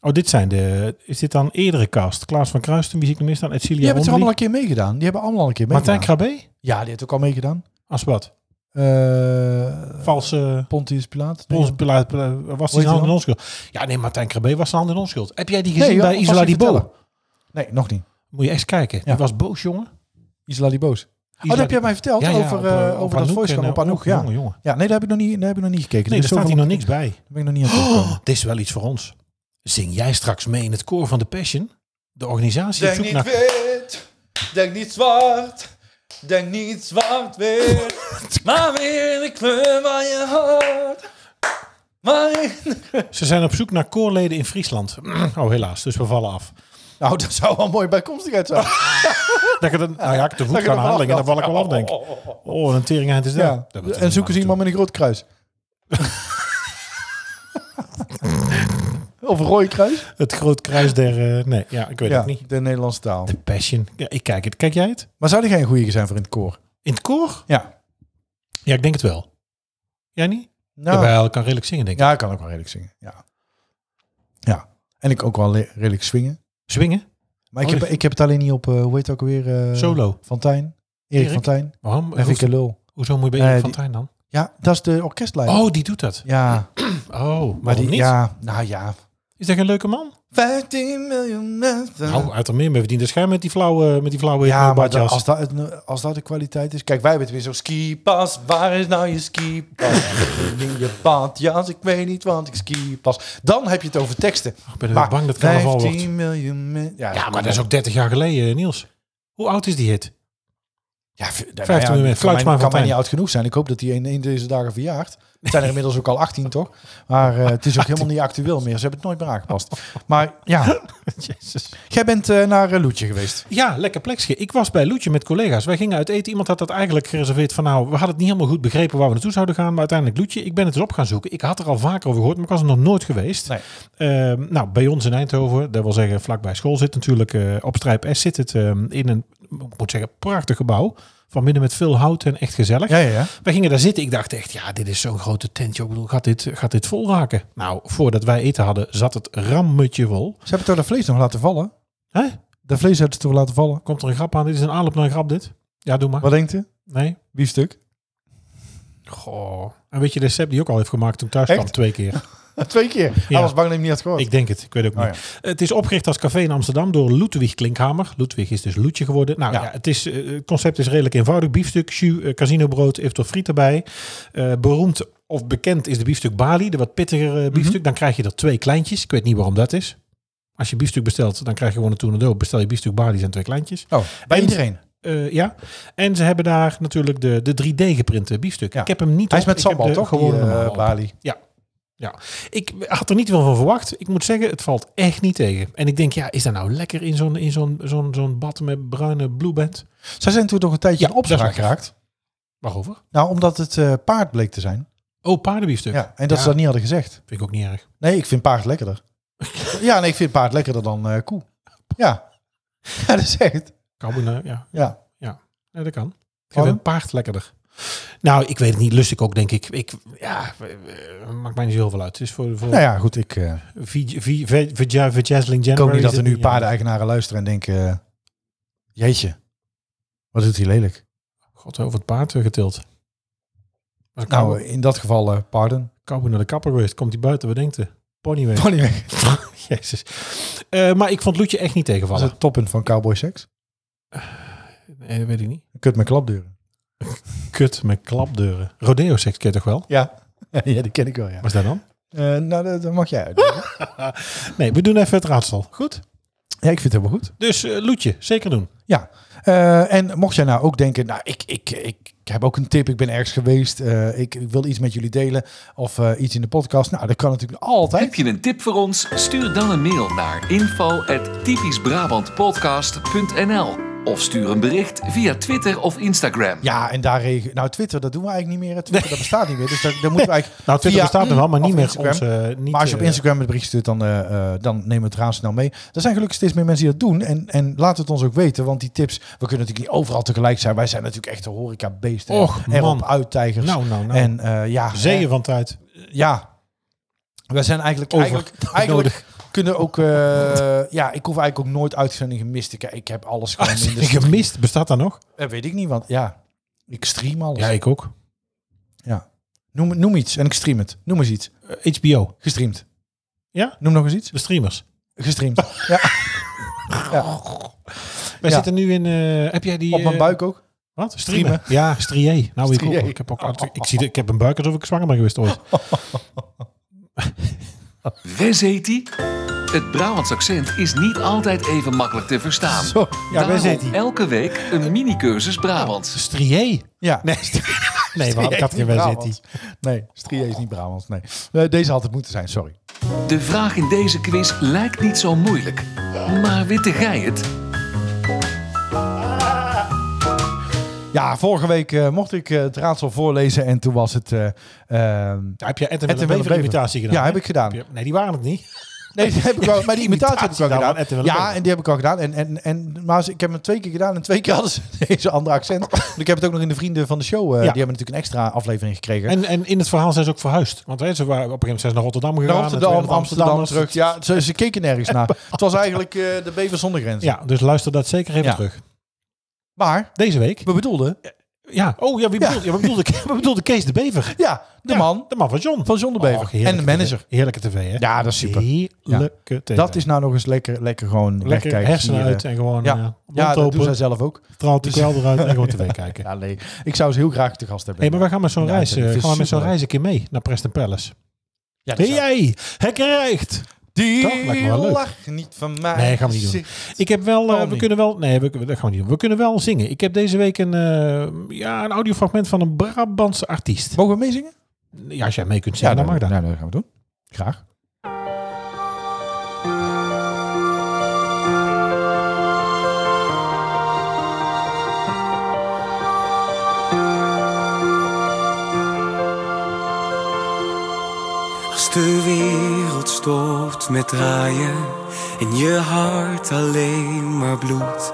[SPEAKER 3] Oh, dit zijn de... Is dit dan eerdere cast? Klaas van Kruispunt, wie zie ik nog meer staan?
[SPEAKER 2] Die
[SPEAKER 3] Edcilia
[SPEAKER 2] hebben het er
[SPEAKER 3] Rombly.
[SPEAKER 2] allemaal een keer meegedaan. Die hebben allemaal een keer meegedaan.
[SPEAKER 3] Martijn Krabbe?
[SPEAKER 2] Ja, die heeft ook al meegedaan.
[SPEAKER 3] Als wat?
[SPEAKER 2] Eh
[SPEAKER 3] Valse...
[SPEAKER 2] Pontius Pilaat.
[SPEAKER 3] Ons beleid- beleid- was die
[SPEAKER 2] hij
[SPEAKER 3] hand in
[SPEAKER 2] dan?
[SPEAKER 3] onschuld? Ja, nee, Martijn Krabbe was zijn hand in onschuld. Heb jij die gezien
[SPEAKER 2] joh,
[SPEAKER 3] bij
[SPEAKER 2] vast
[SPEAKER 3] Isola
[SPEAKER 2] niet
[SPEAKER 3] di Bo?
[SPEAKER 2] vertellen. Nee, nog niet.
[SPEAKER 3] Moet je echt kijken.
[SPEAKER 2] Ja.
[SPEAKER 3] Die was boos, jongen.
[SPEAKER 2] Isla die Boos. Oh,
[SPEAKER 3] Isola
[SPEAKER 2] dat heb
[SPEAKER 3] di-
[SPEAKER 2] jij mij verteld
[SPEAKER 3] Ja, ja,
[SPEAKER 2] over,
[SPEAKER 3] op,
[SPEAKER 2] eh,
[SPEAKER 3] eh,
[SPEAKER 2] over
[SPEAKER 3] op
[SPEAKER 2] dat
[SPEAKER 3] Anouk
[SPEAKER 2] voice
[SPEAKER 3] en,
[SPEAKER 2] van op
[SPEAKER 3] eh,
[SPEAKER 2] Anouk. Ja.
[SPEAKER 3] Jongen, jongen.
[SPEAKER 2] ja, nee, daar heb ik nog niet, daar heb ik nog niet gekeken.
[SPEAKER 3] Nee,
[SPEAKER 2] Er
[SPEAKER 3] daar
[SPEAKER 2] is
[SPEAKER 3] staat hier
[SPEAKER 2] zoveel-
[SPEAKER 3] nog niks bij.
[SPEAKER 2] Daar ben ik nog niet aan het terugkomen.
[SPEAKER 3] Dit is wel iets voor ons. Zing jij straks mee in het koor van de Passion? De organisatie
[SPEAKER 4] Denk
[SPEAKER 3] op zoek
[SPEAKER 4] niet
[SPEAKER 3] naar...
[SPEAKER 4] wit, denk niet zwart, denk niet zwart-wit, maar weer de kleur van je hart. Mijn.
[SPEAKER 3] Ze zijn op zoek naar koorleden in Friesland. Oh, helaas. Dus we vallen af.
[SPEAKER 2] Nou, dat zou wel een mooie bijkomstigheid zijn.
[SPEAKER 3] Dat ik het, nou ja, ik de voet
[SPEAKER 2] Dat je
[SPEAKER 3] gaan
[SPEAKER 2] ervan
[SPEAKER 3] halen en dan
[SPEAKER 2] afgaat.
[SPEAKER 3] val ik wel af, denk ik. Oh, een teringheid is dat.
[SPEAKER 2] Ja.
[SPEAKER 3] Dat moet er
[SPEAKER 2] En zoeken
[SPEAKER 3] niet
[SPEAKER 2] ze
[SPEAKER 3] naartoe.
[SPEAKER 2] iemand met een groot kruis. of een rode kruis?
[SPEAKER 3] Het groot kruis der... eh, nee, ja, ik weet het niet.
[SPEAKER 2] de Nederlandse taal.
[SPEAKER 3] De passion. Ja, ik kijk het. Kijk jij het?
[SPEAKER 2] Maar zou die geen goede zijn voor in het koor?
[SPEAKER 3] In het koor?
[SPEAKER 2] Ja.
[SPEAKER 3] Ja, ik denk het wel. Jij niet?
[SPEAKER 2] Nou,
[SPEAKER 3] Jawel, ik kan redelijk zingen, denk ik.
[SPEAKER 2] ja, ik kan ook wel redelijk zingen. Ja. ja. En ik ook wel le- redelijk swingen.
[SPEAKER 3] Zwingen?
[SPEAKER 2] Maar ik,
[SPEAKER 3] Oh,
[SPEAKER 2] heb, ik heb het alleen niet op, eh, hoe heet het ook weer? eh,
[SPEAKER 3] Solo.
[SPEAKER 2] Fontijn. Erik
[SPEAKER 3] Erik? Oh,
[SPEAKER 2] Fontijn.
[SPEAKER 3] Waarom?
[SPEAKER 2] En Vicky
[SPEAKER 3] Hoezo,
[SPEAKER 2] Lul.
[SPEAKER 3] hoezo moet je bij
[SPEAKER 2] Eh,
[SPEAKER 3] Erik
[SPEAKER 2] die-
[SPEAKER 3] van Tijn dan?
[SPEAKER 2] Ja, dat is de orkestleider.
[SPEAKER 3] Oh, die doet dat.
[SPEAKER 2] Ja,
[SPEAKER 3] Oh, maar
[SPEAKER 2] maar
[SPEAKER 3] die
[SPEAKER 2] die,
[SPEAKER 3] niet?
[SPEAKER 2] ja, nou ja.
[SPEAKER 3] Is dat geen leuke man?
[SPEAKER 2] 15 miljoen mensen.
[SPEAKER 3] Nou, uit meer mee verdiende schijn met die flauwe, met die flauwe
[SPEAKER 2] ja, maar
[SPEAKER 3] badjas.
[SPEAKER 2] dat- als, dat, het- als dat de kwaliteit is. Kijk, wij hebben het weer zo ski.
[SPEAKER 4] Skipas, waar is nou je skipas? In je badjas, ik weet niet, want ik ski pas.
[SPEAKER 2] Dan heb je het over teksten.
[SPEAKER 3] ik ben wel bang dat het carnaval
[SPEAKER 2] 15
[SPEAKER 3] wordt.
[SPEAKER 2] miljoen mensen. Ja,
[SPEAKER 3] Ja, maar dat is ook 30 jaar geleden, eh, Niels. Hoe oud is die hit?
[SPEAKER 2] Ja, v- nou ja,
[SPEAKER 3] miljoen mensen.
[SPEAKER 2] kan
[SPEAKER 3] Fluit
[SPEAKER 2] mij-
[SPEAKER 3] maar
[SPEAKER 2] kan
[SPEAKER 3] Fontijn.
[SPEAKER 2] mij niet oud genoeg zijn. Ik hoop dat die in, in deze dagen verjaart. Het zijn er inmiddels ook al 18, toch? Maar eh, het is ook helemaal niet actueel meer. Ze hebben het nooit meer aangepast. Maar ja,
[SPEAKER 3] Jezus.
[SPEAKER 2] jij bent eh, naar eh, Loetje geweest.
[SPEAKER 3] Ja, lekker plekje. Ik was bij Loetje met collega's. Wij gingen uit eten. Iemand had dat eigenlijk gereserveerd van nou, we hadden het niet helemaal goed begrepen waar we naartoe zouden gaan. Maar uiteindelijk Loetje, ik ben het eens op gaan zoeken. Ik had er al vaker over gehoord, maar ik was er nog nooit geweest.
[SPEAKER 2] Nee.
[SPEAKER 3] Ehm, nou, bij ons in Eindhoven, dat wil zeggen vlakbij school zit natuurlijk, eh, op Strijp S zit het ehm, in een, ik moet zeggen, prachtig gebouw. Van binnen met veel hout en echt gezellig.
[SPEAKER 2] Ja, ja, ja.
[SPEAKER 3] Wij gingen daar zitten. Ik dacht echt, ja, dit is zo'n grote tentje. Ik bedoel, gaat dit, gaat dit vol raken? Nou, voordat wij eten hadden, zat het rammetje vol.
[SPEAKER 2] Ze hebben toch dat vlees nog laten vallen?
[SPEAKER 3] Hè?
[SPEAKER 2] Dat vlees hebben ze toch laten vallen?
[SPEAKER 3] Komt er een grap aan? Dit is een aanloop naar een grap, dit? Ja, doe maar.
[SPEAKER 2] Wat denkt u?
[SPEAKER 3] Nee?
[SPEAKER 2] Biefstuk?
[SPEAKER 3] Goh. En weet je de Seb die ook al heeft gemaakt toen ik thuis
[SPEAKER 2] Echt?
[SPEAKER 3] kwam? Twee keer.
[SPEAKER 2] Twee keer.
[SPEAKER 3] Ja.
[SPEAKER 2] Hij was bang dat hij hem niet had gehoord.
[SPEAKER 3] Ik denk het. Ik weet ook
[SPEAKER 2] Oh,
[SPEAKER 3] niet. Het is opgericht als café in Amsterdam door Ludwig Klinkhamer. Ludwig is dus Loetje geworden. Nou ja,
[SPEAKER 2] Ja.
[SPEAKER 3] het, is, eh, het concept is redelijk eenvoudig. Biefstuk, jus, eh, casinobrood, eventueel friet erbij. Eh, beroemd of bekend is de biefstuk Bali, de wat pittigere eh, biefstuk.
[SPEAKER 2] Mhm.
[SPEAKER 3] Dan krijg je er twee kleintjes. Ik weet niet waarom dat is. Als je biefstuk bestelt, dan krijg je gewoon een tornado. Bestel je biefstuk Bali, zijn twee kleintjes.
[SPEAKER 2] Oh, bij
[SPEAKER 3] En-
[SPEAKER 2] iedereen.
[SPEAKER 3] Eh, ja, en ze hebben daar natuurlijk de, de 3D geprinte biefstuk.
[SPEAKER 2] Ja.
[SPEAKER 3] Ik heb hem niet
[SPEAKER 2] Hij is
[SPEAKER 3] op.
[SPEAKER 2] met
[SPEAKER 3] Ik heb
[SPEAKER 2] sambal,
[SPEAKER 3] de
[SPEAKER 2] toch?
[SPEAKER 3] gewone
[SPEAKER 2] Gewoon die, eh,
[SPEAKER 3] normale op.
[SPEAKER 2] Bali.
[SPEAKER 3] Ja, ik had er niet veel van verwacht. Ik moet zeggen, het valt echt niet tegen. En ik denk, ja, is dat nou lekker in zo'n in zo'n zo'n zo'n bad met bruine blueband?
[SPEAKER 2] Zij zijn toen toch een tijdje
[SPEAKER 3] Ja,
[SPEAKER 2] in
[SPEAKER 3] dat
[SPEAKER 2] opspraak
[SPEAKER 3] is waar.
[SPEAKER 2] geraakt.
[SPEAKER 3] Waarover?
[SPEAKER 2] Nou, omdat het eh, paard bleek te zijn.
[SPEAKER 3] Oh, paardenbiefstuk.
[SPEAKER 2] Ja, en dat
[SPEAKER 3] Ja.
[SPEAKER 2] ze dat niet hadden gezegd.
[SPEAKER 3] Vind ik ook niet erg.
[SPEAKER 2] Nee, ik vind paard lekkerder. ja, nee, ik vind paard lekkerder dan eh, koe. Ja. ja, dat is echt.
[SPEAKER 3] Carbonara, ja.
[SPEAKER 2] Ja.
[SPEAKER 3] ja, dat kan. Ik
[SPEAKER 2] Waarom?
[SPEAKER 3] vind een paard lekkerder. Nou, ik weet het niet. Lust ik ook, denk ik. ik ja, eh, maakt mij niet zoveel uit. Het is voor, voor
[SPEAKER 2] Nou ja, goed, ik eh,
[SPEAKER 3] vi- vi- vi- vi- Vajazzling
[SPEAKER 2] ik hoop
[SPEAKER 3] January
[SPEAKER 2] niet dat
[SPEAKER 3] is
[SPEAKER 2] er
[SPEAKER 3] het
[SPEAKER 2] nu
[SPEAKER 3] niet, ja.
[SPEAKER 2] paardeneigenaren luisteren en denken... eh, jeetje, wat doet hij lelijk.
[SPEAKER 3] God, over het paard eh, getild. Was
[SPEAKER 2] Nou, in dat geval, eh, pardon.
[SPEAKER 3] Cowboy naar de kapper geweest. Komt hij buiten, wat denkt hij? Pony
[SPEAKER 2] Pony weg.
[SPEAKER 3] Jezus. Eh, maar ik vond Loetje echt niet
[SPEAKER 2] Dat is
[SPEAKER 3] tegenvallen.
[SPEAKER 2] het toppunt van cowboy seks.
[SPEAKER 3] Nee,
[SPEAKER 2] eh,
[SPEAKER 3] dat weet ik niet.
[SPEAKER 2] Kut met klapdeuren.
[SPEAKER 3] Kut met klapdeuren. Rodeo seks ken je toch wel?
[SPEAKER 2] Ja. ja, die ken ik wel, ja.
[SPEAKER 3] Wat is dat dan?
[SPEAKER 2] Eh, nou, dat, dat mag jij uitleggen.
[SPEAKER 3] Nee, we doen even het raadsel. Goed.
[SPEAKER 2] ja, ik vind het helemaal goed.
[SPEAKER 3] Dus eh, Loetje, zeker doen.
[SPEAKER 2] Ja, eh, en mocht jij nou ook denken, nou, ik, ik, ik, heb ook een tip, ik ben ergens geweest, eh, ik, ik wil iets met jullie delen of eh, iets in de podcast. Nou, dat kan natuurlijk altijd.
[SPEAKER 1] Heb je een tip voor ons? Stuur dan een mail naar info@typischbrabantpodcast.nl of stuur een bericht via Twitter of Instagram.
[SPEAKER 2] Ja, en daar regen. Nou, Twitter, dat doen we eigenlijk niet meer. hè. Twitter, dat bestaat niet meer. Dus daar, daar moeten we eigenlijk.
[SPEAKER 3] Nou, Twitter
[SPEAKER 2] via-
[SPEAKER 3] bestaat nog wel, maar
[SPEAKER 2] of
[SPEAKER 3] niet meer
[SPEAKER 2] Instagram.
[SPEAKER 3] onze... eh, Niet,
[SPEAKER 2] Maar als je op
[SPEAKER 3] eh,
[SPEAKER 2] Instagram een bericht stuurt, dan, eh, eh, dan nemen we het raam snel mee. Er zijn gelukkig steeds meer mensen die dat doen. En, en laat het ons ook weten, want die tips... We kunnen natuurlijk niet overal tegelijk zijn. Wij zijn natuurlijk echt de horecabeesten.
[SPEAKER 3] Och, man.
[SPEAKER 2] Erop uittijgers.
[SPEAKER 3] Nou, nou, nou.
[SPEAKER 2] En eh, ja...
[SPEAKER 3] Zeeën van tijd.
[SPEAKER 2] ja, we zijn eigenlijk
[SPEAKER 3] Over.
[SPEAKER 2] eigenlijk, eigenlijk kunnen ook. eh, ja, ik hoef eigenlijk ook nooit uitzendingen mis te kijken. Ik heb alles gewoon in de stream.
[SPEAKER 3] Gemist, bestaat dat nog?
[SPEAKER 2] Dat weet ik niet, want ja, ik stream alles.
[SPEAKER 3] Ja, ik ook.
[SPEAKER 2] Noem, noem iets en ik stream het. Noem eens iets.
[SPEAKER 3] Eh, HBO,
[SPEAKER 2] Gestreamd.
[SPEAKER 3] Ja?
[SPEAKER 2] Noem nog eens iets.
[SPEAKER 3] de streamers.
[SPEAKER 2] Gestreamd. ja. ja. Ja.
[SPEAKER 3] Wij zitten nu in... eh, heb jij die...
[SPEAKER 2] Op mijn
[SPEAKER 3] eh,
[SPEAKER 2] buik ook.
[SPEAKER 3] Wat?
[SPEAKER 2] Streamen.
[SPEAKER 3] Streamen? Ja, strié. Nou, ik, ook.
[SPEAKER 2] Strié. Oh.
[SPEAKER 3] ik heb ook... Ik, zie, de- ik heb een buik alsof ik zwanger ben geweest ooit.
[SPEAKER 1] Wes heet die? Het Brabants accent is niet altijd even makkelijk te verstaan.
[SPEAKER 2] Zo. Ja, wij
[SPEAKER 1] Daarom
[SPEAKER 2] zitten hier.
[SPEAKER 1] elke week een mini-cursus Brabants.
[SPEAKER 3] Strié?
[SPEAKER 2] Ja.
[SPEAKER 3] Nee. Nee, maar ik had geen
[SPEAKER 2] Brabant.
[SPEAKER 3] West-City.
[SPEAKER 2] Nee, Strié is niet Brabant. Nee. Eh, Deze had het moeten zijn, sorry.
[SPEAKER 1] De vraag in deze quiz lijkt niet zo moeilijk. Maar witte gij het?
[SPEAKER 2] Ja, vorige week eh, mocht ik eh, het raadsel voorlezen en toen was het... eh, ehm,
[SPEAKER 3] Daar heb je Ed
[SPEAKER 2] Ed en
[SPEAKER 3] en Willem
[SPEAKER 2] Willem
[SPEAKER 3] Wever
[SPEAKER 2] Wever.
[SPEAKER 3] imitatie gedaan.
[SPEAKER 2] Ja,
[SPEAKER 3] hè?
[SPEAKER 2] heb ik gedaan.
[SPEAKER 3] Heb je- Nee, die waren het niet.
[SPEAKER 2] Nee, die heb ik wel, maar die imitatie heb ik wel
[SPEAKER 3] imitatie
[SPEAKER 2] gedaan.
[SPEAKER 3] daarvan, Ed en Willem
[SPEAKER 2] ja,
[SPEAKER 3] Wever.
[SPEAKER 2] en die heb ik al gedaan. En, en, en, maar ze- ik heb hem twee keer gedaan en twee keer hadden ze deze andere accent. Want ik heb het ook nog in de vrienden van de show. eh,
[SPEAKER 3] Ja.
[SPEAKER 2] Die hebben natuurlijk een extra aflevering gekregen.
[SPEAKER 3] En, en in het verhaal zijn ze ook verhuisd. Want hè, ze waren, op een gegeven moment zijn ze naar Rotterdam gegaan.
[SPEAKER 2] naar
[SPEAKER 3] en toen
[SPEAKER 2] Amsterdam,
[SPEAKER 3] werden
[SPEAKER 2] Amsterdam,
[SPEAKER 3] het Amsterdammers.
[SPEAKER 2] terug. Ja, ze, ze keken nergens naar. Het was eigenlijk eh, de Bever zonder grens.
[SPEAKER 3] Ja, dus luister dat zeker even
[SPEAKER 2] Ja.
[SPEAKER 3] terug.
[SPEAKER 2] Maar
[SPEAKER 3] Deze week.
[SPEAKER 2] we bedoelden,
[SPEAKER 3] Ja. Oh ja, wie
[SPEAKER 2] Ja.
[SPEAKER 3] bedoelde, ja, we bedoelden, we bedoelden Kees de Bever.
[SPEAKER 2] ja, de
[SPEAKER 3] Ja,
[SPEAKER 2] man
[SPEAKER 3] De man van John.
[SPEAKER 2] van John de Bever
[SPEAKER 3] Och,
[SPEAKER 2] en
[SPEAKER 3] heerlijke
[SPEAKER 2] de manager.
[SPEAKER 3] TV. Heerlijke tv, hè?
[SPEAKER 2] Ja, dat is super.
[SPEAKER 3] Heerlijke tv.
[SPEAKER 2] Dat is nou nog eens lekker, lekker gewoon
[SPEAKER 3] lekker
[SPEAKER 2] wegkijken,
[SPEAKER 3] hersenen
[SPEAKER 2] hier,
[SPEAKER 3] uit
[SPEAKER 2] eh.
[SPEAKER 3] en gewoon
[SPEAKER 2] Ja.
[SPEAKER 3] ja.
[SPEAKER 2] Ja, dat
[SPEAKER 3] mond
[SPEAKER 2] doen zij
[SPEAKER 3] open,
[SPEAKER 2] zelf ook.
[SPEAKER 3] straalt die
[SPEAKER 2] Dus-
[SPEAKER 3] kwel eruit en gewoon tv kijken.
[SPEAKER 2] Ja, nee. Ik zou ze heel graag te gast hebben.
[SPEAKER 3] hey, maar we gaan met zo'n
[SPEAKER 2] Ja,
[SPEAKER 3] reis,
[SPEAKER 2] dat is
[SPEAKER 3] eh, gaan we met zo'n
[SPEAKER 2] superleuk.
[SPEAKER 3] reis een keer mee naar Preston Palace.
[SPEAKER 2] ja, dat
[SPEAKER 3] Hey,
[SPEAKER 2] zou-
[SPEAKER 3] jij, hij krijgt.
[SPEAKER 2] Die
[SPEAKER 3] Dat lijkt me wel leuk.
[SPEAKER 2] lach niet van mij.
[SPEAKER 3] Nee, gaan we niet doen. Ik heb wel, eh,
[SPEAKER 2] Waarom
[SPEAKER 3] we
[SPEAKER 2] niet?
[SPEAKER 3] kunnen wel, nee, we, dat gaan we niet doen. We kunnen wel zingen. Ik heb deze week een, eh, ja, een audiofragment van een Brabantse artiest.
[SPEAKER 2] Mogen we meezingen?
[SPEAKER 3] Ja, als jij mee kunt zingen, dan mag dat.
[SPEAKER 2] Nou, dat gaan we doen. Graag.
[SPEAKER 5] Als de wereld stopt met draaien en je hart alleen maar bloedt.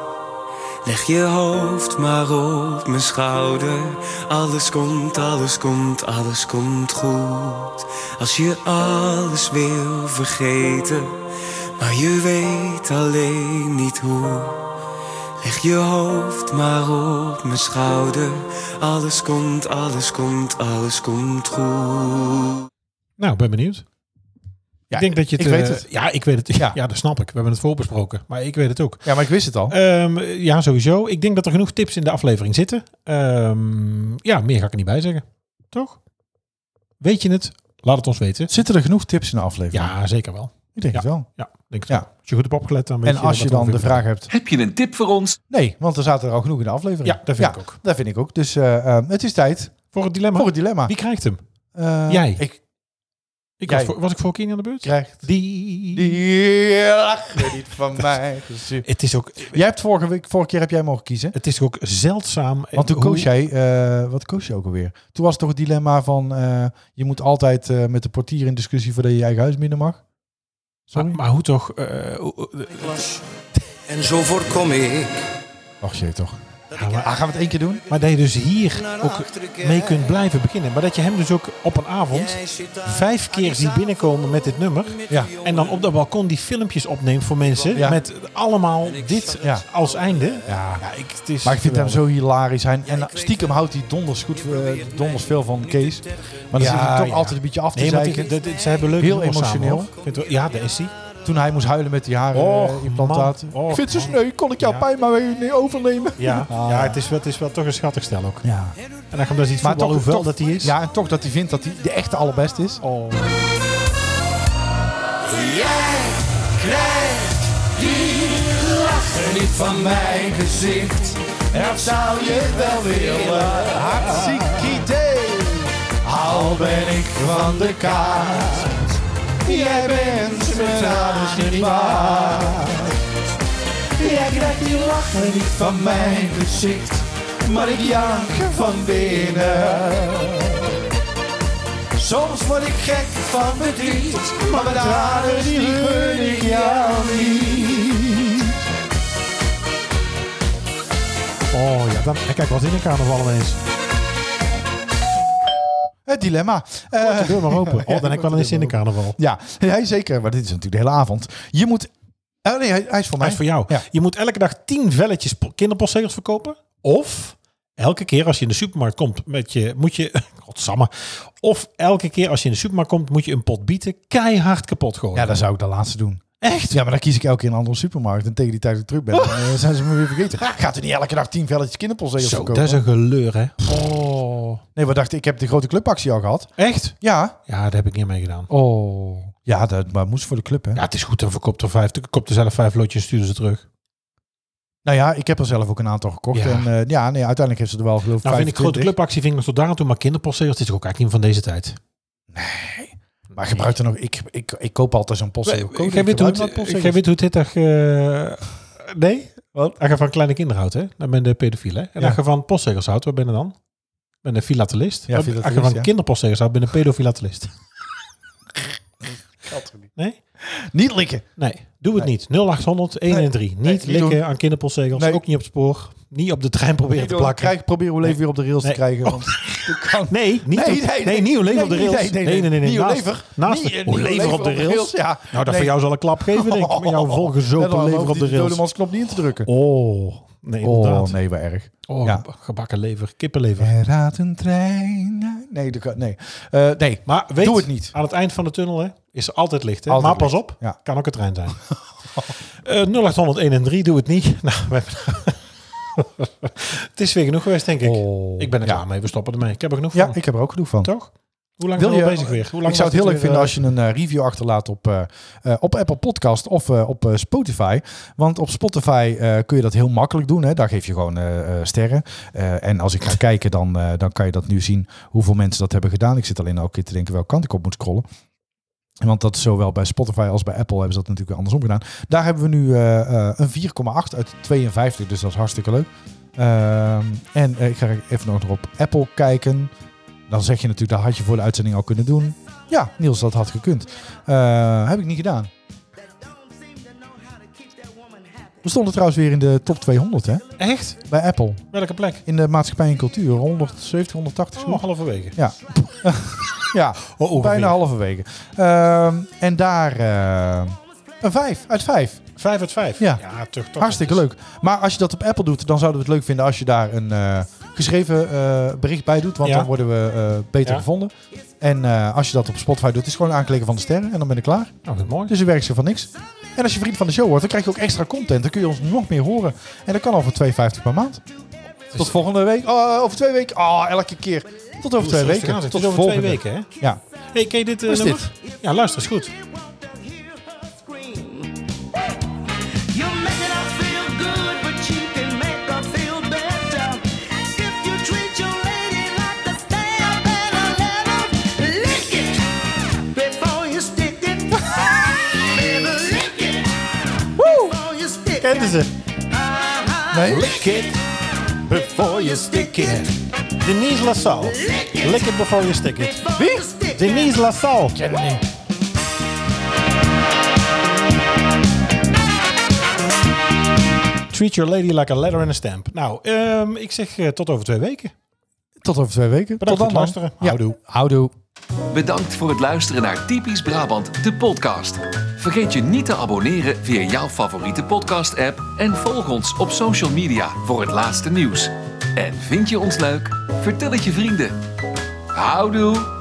[SPEAKER 5] Leg je hoofd maar op mijn schouder. Alles komt, alles komt, alles komt goed. Als je alles wil vergeten, maar je weet alleen niet hoe. Leg je hoofd maar op mijn schouder. Alles komt, alles komt, alles komt goed.
[SPEAKER 3] Nou, ik ben benieuwd.
[SPEAKER 2] Ja,
[SPEAKER 3] ik denk dat je het,
[SPEAKER 2] ik weet
[SPEAKER 3] eh,
[SPEAKER 2] het.
[SPEAKER 3] Ja, ik weet het.
[SPEAKER 2] Ja.
[SPEAKER 3] Ja. dat snap ik. We hebben het voorbesproken, maar ik weet het ook.
[SPEAKER 2] Ja, maar ik wist het al.
[SPEAKER 3] Ehm, ja, sowieso. Ik denk dat er genoeg tips in de aflevering zitten. Ehm, ja, meer ga ik er niet bij zeggen. Toch? Weet je het? Laat het ons weten.
[SPEAKER 2] Zitten er genoeg tips in de aflevering?
[SPEAKER 3] Ja, zeker wel.
[SPEAKER 2] Ik denk
[SPEAKER 3] Ja.
[SPEAKER 2] het wel.
[SPEAKER 3] Ja, denk ik
[SPEAKER 2] Ja.
[SPEAKER 3] wel. Als je goed hebt opgelet, dan weet
[SPEAKER 2] En
[SPEAKER 3] je
[SPEAKER 2] als je
[SPEAKER 3] wat
[SPEAKER 2] dan
[SPEAKER 3] er
[SPEAKER 2] de
[SPEAKER 3] ongeveer
[SPEAKER 2] vraag hebt...
[SPEAKER 1] Heb je een tip voor ons?
[SPEAKER 2] Nee, want er zaten er al genoeg in de aflevering.
[SPEAKER 3] Ja, dat vind ik ook.
[SPEAKER 2] Dat vind ik ook. Dus eh, eh, het is tijd
[SPEAKER 3] komt. Voor het dilemma.
[SPEAKER 2] voor het dilemma.
[SPEAKER 3] Wie krijgt hem?
[SPEAKER 2] Eh,
[SPEAKER 3] Jij.
[SPEAKER 2] Ik
[SPEAKER 3] Ik
[SPEAKER 2] Jij.
[SPEAKER 3] was, voor- was ik voor keer niet aan de beurt?
[SPEAKER 2] krijg
[SPEAKER 3] Die...
[SPEAKER 2] die lach niet van mij.
[SPEAKER 3] Het is ook,
[SPEAKER 2] Jij hebt vorige week, vorige keer heb jij mogen kiezen.
[SPEAKER 3] het is ook zeldzaam.
[SPEAKER 2] Want toen
[SPEAKER 3] hoe-
[SPEAKER 2] koos jij, eh, wat koos je ook alweer? Toen was het toch het dilemma van, eh, je moet altijd eh, met de portier in discussie voordat je je eigen huis binnen mag. Sorry?
[SPEAKER 3] Maar, maar hoe toch? eh, hoe- hoe-
[SPEAKER 5] was. En zo voorkom ik
[SPEAKER 2] Och Ah, jee, toch.
[SPEAKER 5] dat
[SPEAKER 3] ja,
[SPEAKER 5] ik
[SPEAKER 2] Ah,
[SPEAKER 3] maar,
[SPEAKER 2] gaan we het één keer doen?
[SPEAKER 3] Nou, maar dat je dus hier
[SPEAKER 5] naar
[SPEAKER 3] ook
[SPEAKER 5] achteren kijk.
[SPEAKER 3] mee kunt blijven beginnen. Maar dat je hem dus ook op een avond
[SPEAKER 5] Jij zit daar
[SPEAKER 3] vijf
[SPEAKER 5] aan
[SPEAKER 3] keer
[SPEAKER 5] die
[SPEAKER 3] ziet binnenkomen met dit nummer.
[SPEAKER 5] met
[SPEAKER 2] Ja.
[SPEAKER 5] die jongen.
[SPEAKER 3] En dan op dat balkon die filmpjes opneemt voor mensen.
[SPEAKER 2] Ja.
[SPEAKER 3] Met allemaal dit
[SPEAKER 2] Ja.
[SPEAKER 3] als einde.
[SPEAKER 2] Ja.
[SPEAKER 3] ik, het is
[SPEAKER 2] Maar ik vind hem
[SPEAKER 3] geweldig.
[SPEAKER 2] zo hilarisch. Hij, en
[SPEAKER 5] ik weet
[SPEAKER 2] stiekem
[SPEAKER 5] het.
[SPEAKER 2] houdt hij donders, goed, eh, donders veel van Kees. Maar dan
[SPEAKER 3] Ja,
[SPEAKER 2] zit hij toch
[SPEAKER 3] ja.
[SPEAKER 2] altijd een beetje af te
[SPEAKER 3] Nee, want
[SPEAKER 2] zeiken.
[SPEAKER 3] ik- dat- dat- ze hebben leuk
[SPEAKER 2] Heel
[SPEAKER 3] nummers samen,
[SPEAKER 2] emotioneel.
[SPEAKER 3] hoor. Ik vind het wel- ja, daar is hij.
[SPEAKER 2] Toen hij moest huilen met die haren
[SPEAKER 3] Och,
[SPEAKER 2] eh, implantaat.
[SPEAKER 3] man. Och,
[SPEAKER 2] ik vind het zo
[SPEAKER 3] man.
[SPEAKER 2] sneu, kon ik jouw
[SPEAKER 3] Ja.
[SPEAKER 2] pijn maar weer niet overnemen.
[SPEAKER 3] Ja, ja het, is wel, het is wel toch een schattig stel ook.
[SPEAKER 2] Ja.
[SPEAKER 3] En dan komt dat iets voetbal, hoeveel dat hij is.
[SPEAKER 2] Ja, en toch dat hij vindt dat hij de echte allerbest is.
[SPEAKER 3] Oh.
[SPEAKER 5] Jij krijgt die lachen niet van mijn gezicht.
[SPEAKER 2] Dat zou je wel willen. Hartstikke idee. Al ben ik van de kaart. Jij bent mijn alles niet waar. Jij krijgt die lachen niet van mijn gezicht. Maar ik jank van binnen. Soms word ik gek van verdriet. Maar mijn daden die gun ik jou niet.
[SPEAKER 3] Oh ja, dan, en kijk wat in de carnaval ineens.
[SPEAKER 2] Het dilemma. Eh,
[SPEAKER 3] De deur maar open. Oh,
[SPEAKER 2] Ja,
[SPEAKER 3] dan heb ik wel eens in de carnaval.
[SPEAKER 2] Ja, hij zeker. Maar dit is natuurlijk de hele avond. Je moet... Oh nee, hij, hij is voor mij.
[SPEAKER 3] Dat is voor jou.
[SPEAKER 2] Ja.
[SPEAKER 3] Je moet elke dag tien velletjes po- kinderpostzegels verkopen. Of elke keer als je in de supermarkt komt met je... Moet je godsamme. Of elke keer als je in de supermarkt komt moet je een pot bieten keihard kapot gooien.
[SPEAKER 2] Ja, dan zou ik de laatste doen.
[SPEAKER 3] Echt?
[SPEAKER 2] Ja, maar dan kies ik elke keer een andere supermarkt. En tegen die tijd dat ik terug ben, dan, eh, zijn ze me weer vergeten. Gaat u niet elke dag tien velletjes kinderpolzegels
[SPEAKER 3] Zo,
[SPEAKER 2] verkopen?
[SPEAKER 3] dat is een geleur, hè? Oh.
[SPEAKER 2] Nee, we dachten, ik heb de grote clubactie al gehad.
[SPEAKER 3] Echt?
[SPEAKER 2] Ja.
[SPEAKER 3] Ja, daar heb ik niet mee gedaan.
[SPEAKER 2] Oh. Ja, dat maar moest voor de club, hè?
[SPEAKER 3] Ja, het is goed. Dan verkoopt er vijf. Dan koopt er zelf vijf lotjes en sturen ze terug.
[SPEAKER 2] Nou ja, ik heb er zelf ook een aantal gekocht.
[SPEAKER 3] Ja.
[SPEAKER 2] En eh, ja, nee, uiteindelijk heeft ze er wel geloof ik
[SPEAKER 3] Nou vind ik grote
[SPEAKER 2] 25.
[SPEAKER 3] clubactie vind ik nog tot daar aan toe, maar kinderpostzegels is ook eigenlijk niet van deze tijd.
[SPEAKER 2] Maar gebruik er nog... Ik, ik, ik koop altijd zo'n post.
[SPEAKER 3] Jij weet, hoe, het-
[SPEAKER 2] dus.
[SPEAKER 3] jij weet hoe dit dag... eh, nee? Wat? Als je van kleine kinderen houdt, hè? dan ben je de pedofiel. Hè? En
[SPEAKER 2] Ja.
[SPEAKER 3] als je van postzegels houdt, wat ben je dan? Ben je een filatelist.
[SPEAKER 2] Ja,
[SPEAKER 3] Als- als je
[SPEAKER 2] filatelist,
[SPEAKER 3] van
[SPEAKER 2] ja.
[SPEAKER 3] kinderpostzegels houdt, ben je een pedofilatelist. Nee?
[SPEAKER 2] Niet likken.
[SPEAKER 3] Nee, doe het niet. 0800 113. Niet
[SPEAKER 2] niet
[SPEAKER 3] likken
[SPEAKER 2] doen.
[SPEAKER 3] aan kinderpostzegels.
[SPEAKER 2] Nee.
[SPEAKER 3] Ook niet op het spoor. Niet op de trein proberen te plakken.
[SPEAKER 2] Krijg, probeer uw leven weer op de rails
[SPEAKER 3] Nee. Oh.
[SPEAKER 2] te krijgen. Want dat kan
[SPEAKER 3] Nee, niet
[SPEAKER 2] Nee,
[SPEAKER 3] op,
[SPEAKER 2] nee,
[SPEAKER 3] nee,
[SPEAKER 2] nee.
[SPEAKER 3] niet uw leven op de
[SPEAKER 2] Nee,
[SPEAKER 3] rails.
[SPEAKER 2] nee, nee, nee. Niet uw
[SPEAKER 3] naast,
[SPEAKER 2] lever.
[SPEAKER 3] Naast
[SPEAKER 2] Niet-
[SPEAKER 3] de-
[SPEAKER 2] niet
[SPEAKER 3] uw
[SPEAKER 2] uw
[SPEAKER 3] lever op de rails. Oh.
[SPEAKER 2] ja.
[SPEAKER 3] Nou, dat
[SPEAKER 2] Nee.
[SPEAKER 3] voor jou zal een klap geven, denk ik. Met jouw volgezopen
[SPEAKER 2] Net al
[SPEAKER 3] lever op
[SPEAKER 2] hoef
[SPEAKER 3] de
[SPEAKER 2] je die
[SPEAKER 3] rails.
[SPEAKER 2] dodemans knop niet in te drukken.
[SPEAKER 3] Oh, nee, inderdaad.
[SPEAKER 2] Oh, nee, wat erg.
[SPEAKER 3] Oh,
[SPEAKER 2] Ja.
[SPEAKER 3] gebakken lever, kippenlever.
[SPEAKER 2] Er raadt een trein. naar- Nee, dat kan, nee. Eh, nee.
[SPEAKER 3] Maar weet,
[SPEAKER 2] Doe het niet.
[SPEAKER 3] aan het eind van de tunnel hè, is er altijd licht. Hè?
[SPEAKER 2] Altijd
[SPEAKER 3] maar pas
[SPEAKER 2] licht,
[SPEAKER 3] op,
[SPEAKER 2] ja.
[SPEAKER 3] kan ook een trein zijn. Eh 0801 en 3, doe het niet. Nou, we hebben- het is weer genoeg geweest, denk ik.
[SPEAKER 2] Oh.
[SPEAKER 3] ik ben er
[SPEAKER 2] Ja.
[SPEAKER 3] klaar mee, we stoppen ermee. Ik heb er genoeg
[SPEAKER 2] Ja,
[SPEAKER 3] van,
[SPEAKER 2] ik heb er ook genoeg van.
[SPEAKER 3] toch? Hoe lang
[SPEAKER 2] Wil
[SPEAKER 3] zijn we
[SPEAKER 2] je-
[SPEAKER 3] al bezig weer? Hoe lang
[SPEAKER 2] Ik zou
[SPEAKER 3] was
[SPEAKER 2] het heel leuk
[SPEAKER 3] dit weer,
[SPEAKER 2] vinden als je een eh, review achterlaat op, eh, eh, op Apple Podcast of eh, op eh, Spotify. Want op Spotify eh, kun je dat heel makkelijk doen. Hè? Daar geef je gewoon eh, eh, sterren. Eh, en als ik ga kijken, dan, eh, dan kan je dat nu zien hoeveel mensen dat hebben gedaan. Ik zit alleen elke keer te denken welke kant ik op moet scrollen. Want dat is zowel bij Spotify als bij Apple hebben ze dat natuurlijk weer andersom gedaan. Daar hebben we nu eh, eh, een 4,8 uit 52, dus dat is hartstikke leuk. Ehm, en eh, ik ga even nog op Apple kijken. Dan zeg je natuurlijk, dat had je voor de uitzending al kunnen doen. Ja, Niels, dat had gekund. Eh, heb ik niet gedaan. We stonden trouwens weer in de top 200, hè?
[SPEAKER 3] eh, Echt?
[SPEAKER 2] Bij Apple.
[SPEAKER 3] Welke plek?
[SPEAKER 2] In de maatschappij en cultuur. 170, 180.
[SPEAKER 3] Oh,
[SPEAKER 2] zoiets.
[SPEAKER 3] halverwege.
[SPEAKER 2] Ja,
[SPEAKER 3] Oh, ongeveer.
[SPEAKER 2] bijna halverwege. Ehm, en daar eh, een 5 uit 5.
[SPEAKER 3] Vijf uit vijf.
[SPEAKER 2] Ja.
[SPEAKER 3] toch, toch.
[SPEAKER 2] Hartstikke leuk. Maar als je dat op Apple doet, dan zouden we het leuk vinden als je daar een eh, geschreven eh, bericht bij doet. Want
[SPEAKER 3] Ja.
[SPEAKER 2] dan worden we eh, beter
[SPEAKER 3] Ja.
[SPEAKER 2] gevonden. En eh, als je dat op Spotify doet, is gewoon aanklikken van de sterren. En dan ben ik klaar.
[SPEAKER 3] Nou, dat is mooi.
[SPEAKER 2] Dus je werkt ze van niks. En als je vriend van de show wordt, dan krijg je ook extra content. Dan kun je ons nog meer horen. En dat kan al voor 2,50 per maand.
[SPEAKER 3] Dus
[SPEAKER 2] Tot volgende week. Oh, over twee weken. Oh, elke keer. Tot over twee
[SPEAKER 3] Rustig aan,
[SPEAKER 2] weken.
[SPEAKER 3] zeg.
[SPEAKER 2] Tot
[SPEAKER 3] Het is over
[SPEAKER 2] volgende.
[SPEAKER 3] twee weken, hè?
[SPEAKER 2] Ja.
[SPEAKER 3] Hey, ken je dit eh,
[SPEAKER 2] Wat is
[SPEAKER 3] nummer? Ja, luister eens goed.
[SPEAKER 6] You making us feel good, but you can make her feel better. If you treat your lady like the stamp and a letter, lick it before you stick it. Baby, lick it before you stick it.
[SPEAKER 3] Kenden ze?
[SPEAKER 6] Uh-huh.
[SPEAKER 2] Nee?
[SPEAKER 3] Lick it before you stick it. Denise LaSalle.
[SPEAKER 6] Lick it.
[SPEAKER 3] Lick it before you stick it.
[SPEAKER 6] Before you stick it.
[SPEAKER 3] Denise LaSalle. Treat your lady like a letter and a stamp. Nou, ehm, ik zeg eh, tot over twee weken.
[SPEAKER 2] Tot over twee weken.
[SPEAKER 3] Bedankt
[SPEAKER 2] Tot dan.
[SPEAKER 3] voor het luisteren.
[SPEAKER 2] man. Ja.
[SPEAKER 3] Houdoe.
[SPEAKER 2] Houdoe.
[SPEAKER 1] Bedankt voor het luisteren naar Typisch Brabant, de podcast. Vergeet je niet te abonneren via jouw favoriete podcast-app en volg ons op social media voor het laatste nieuws. En vind je ons leuk? Vertel het je vrienden. Houdoe!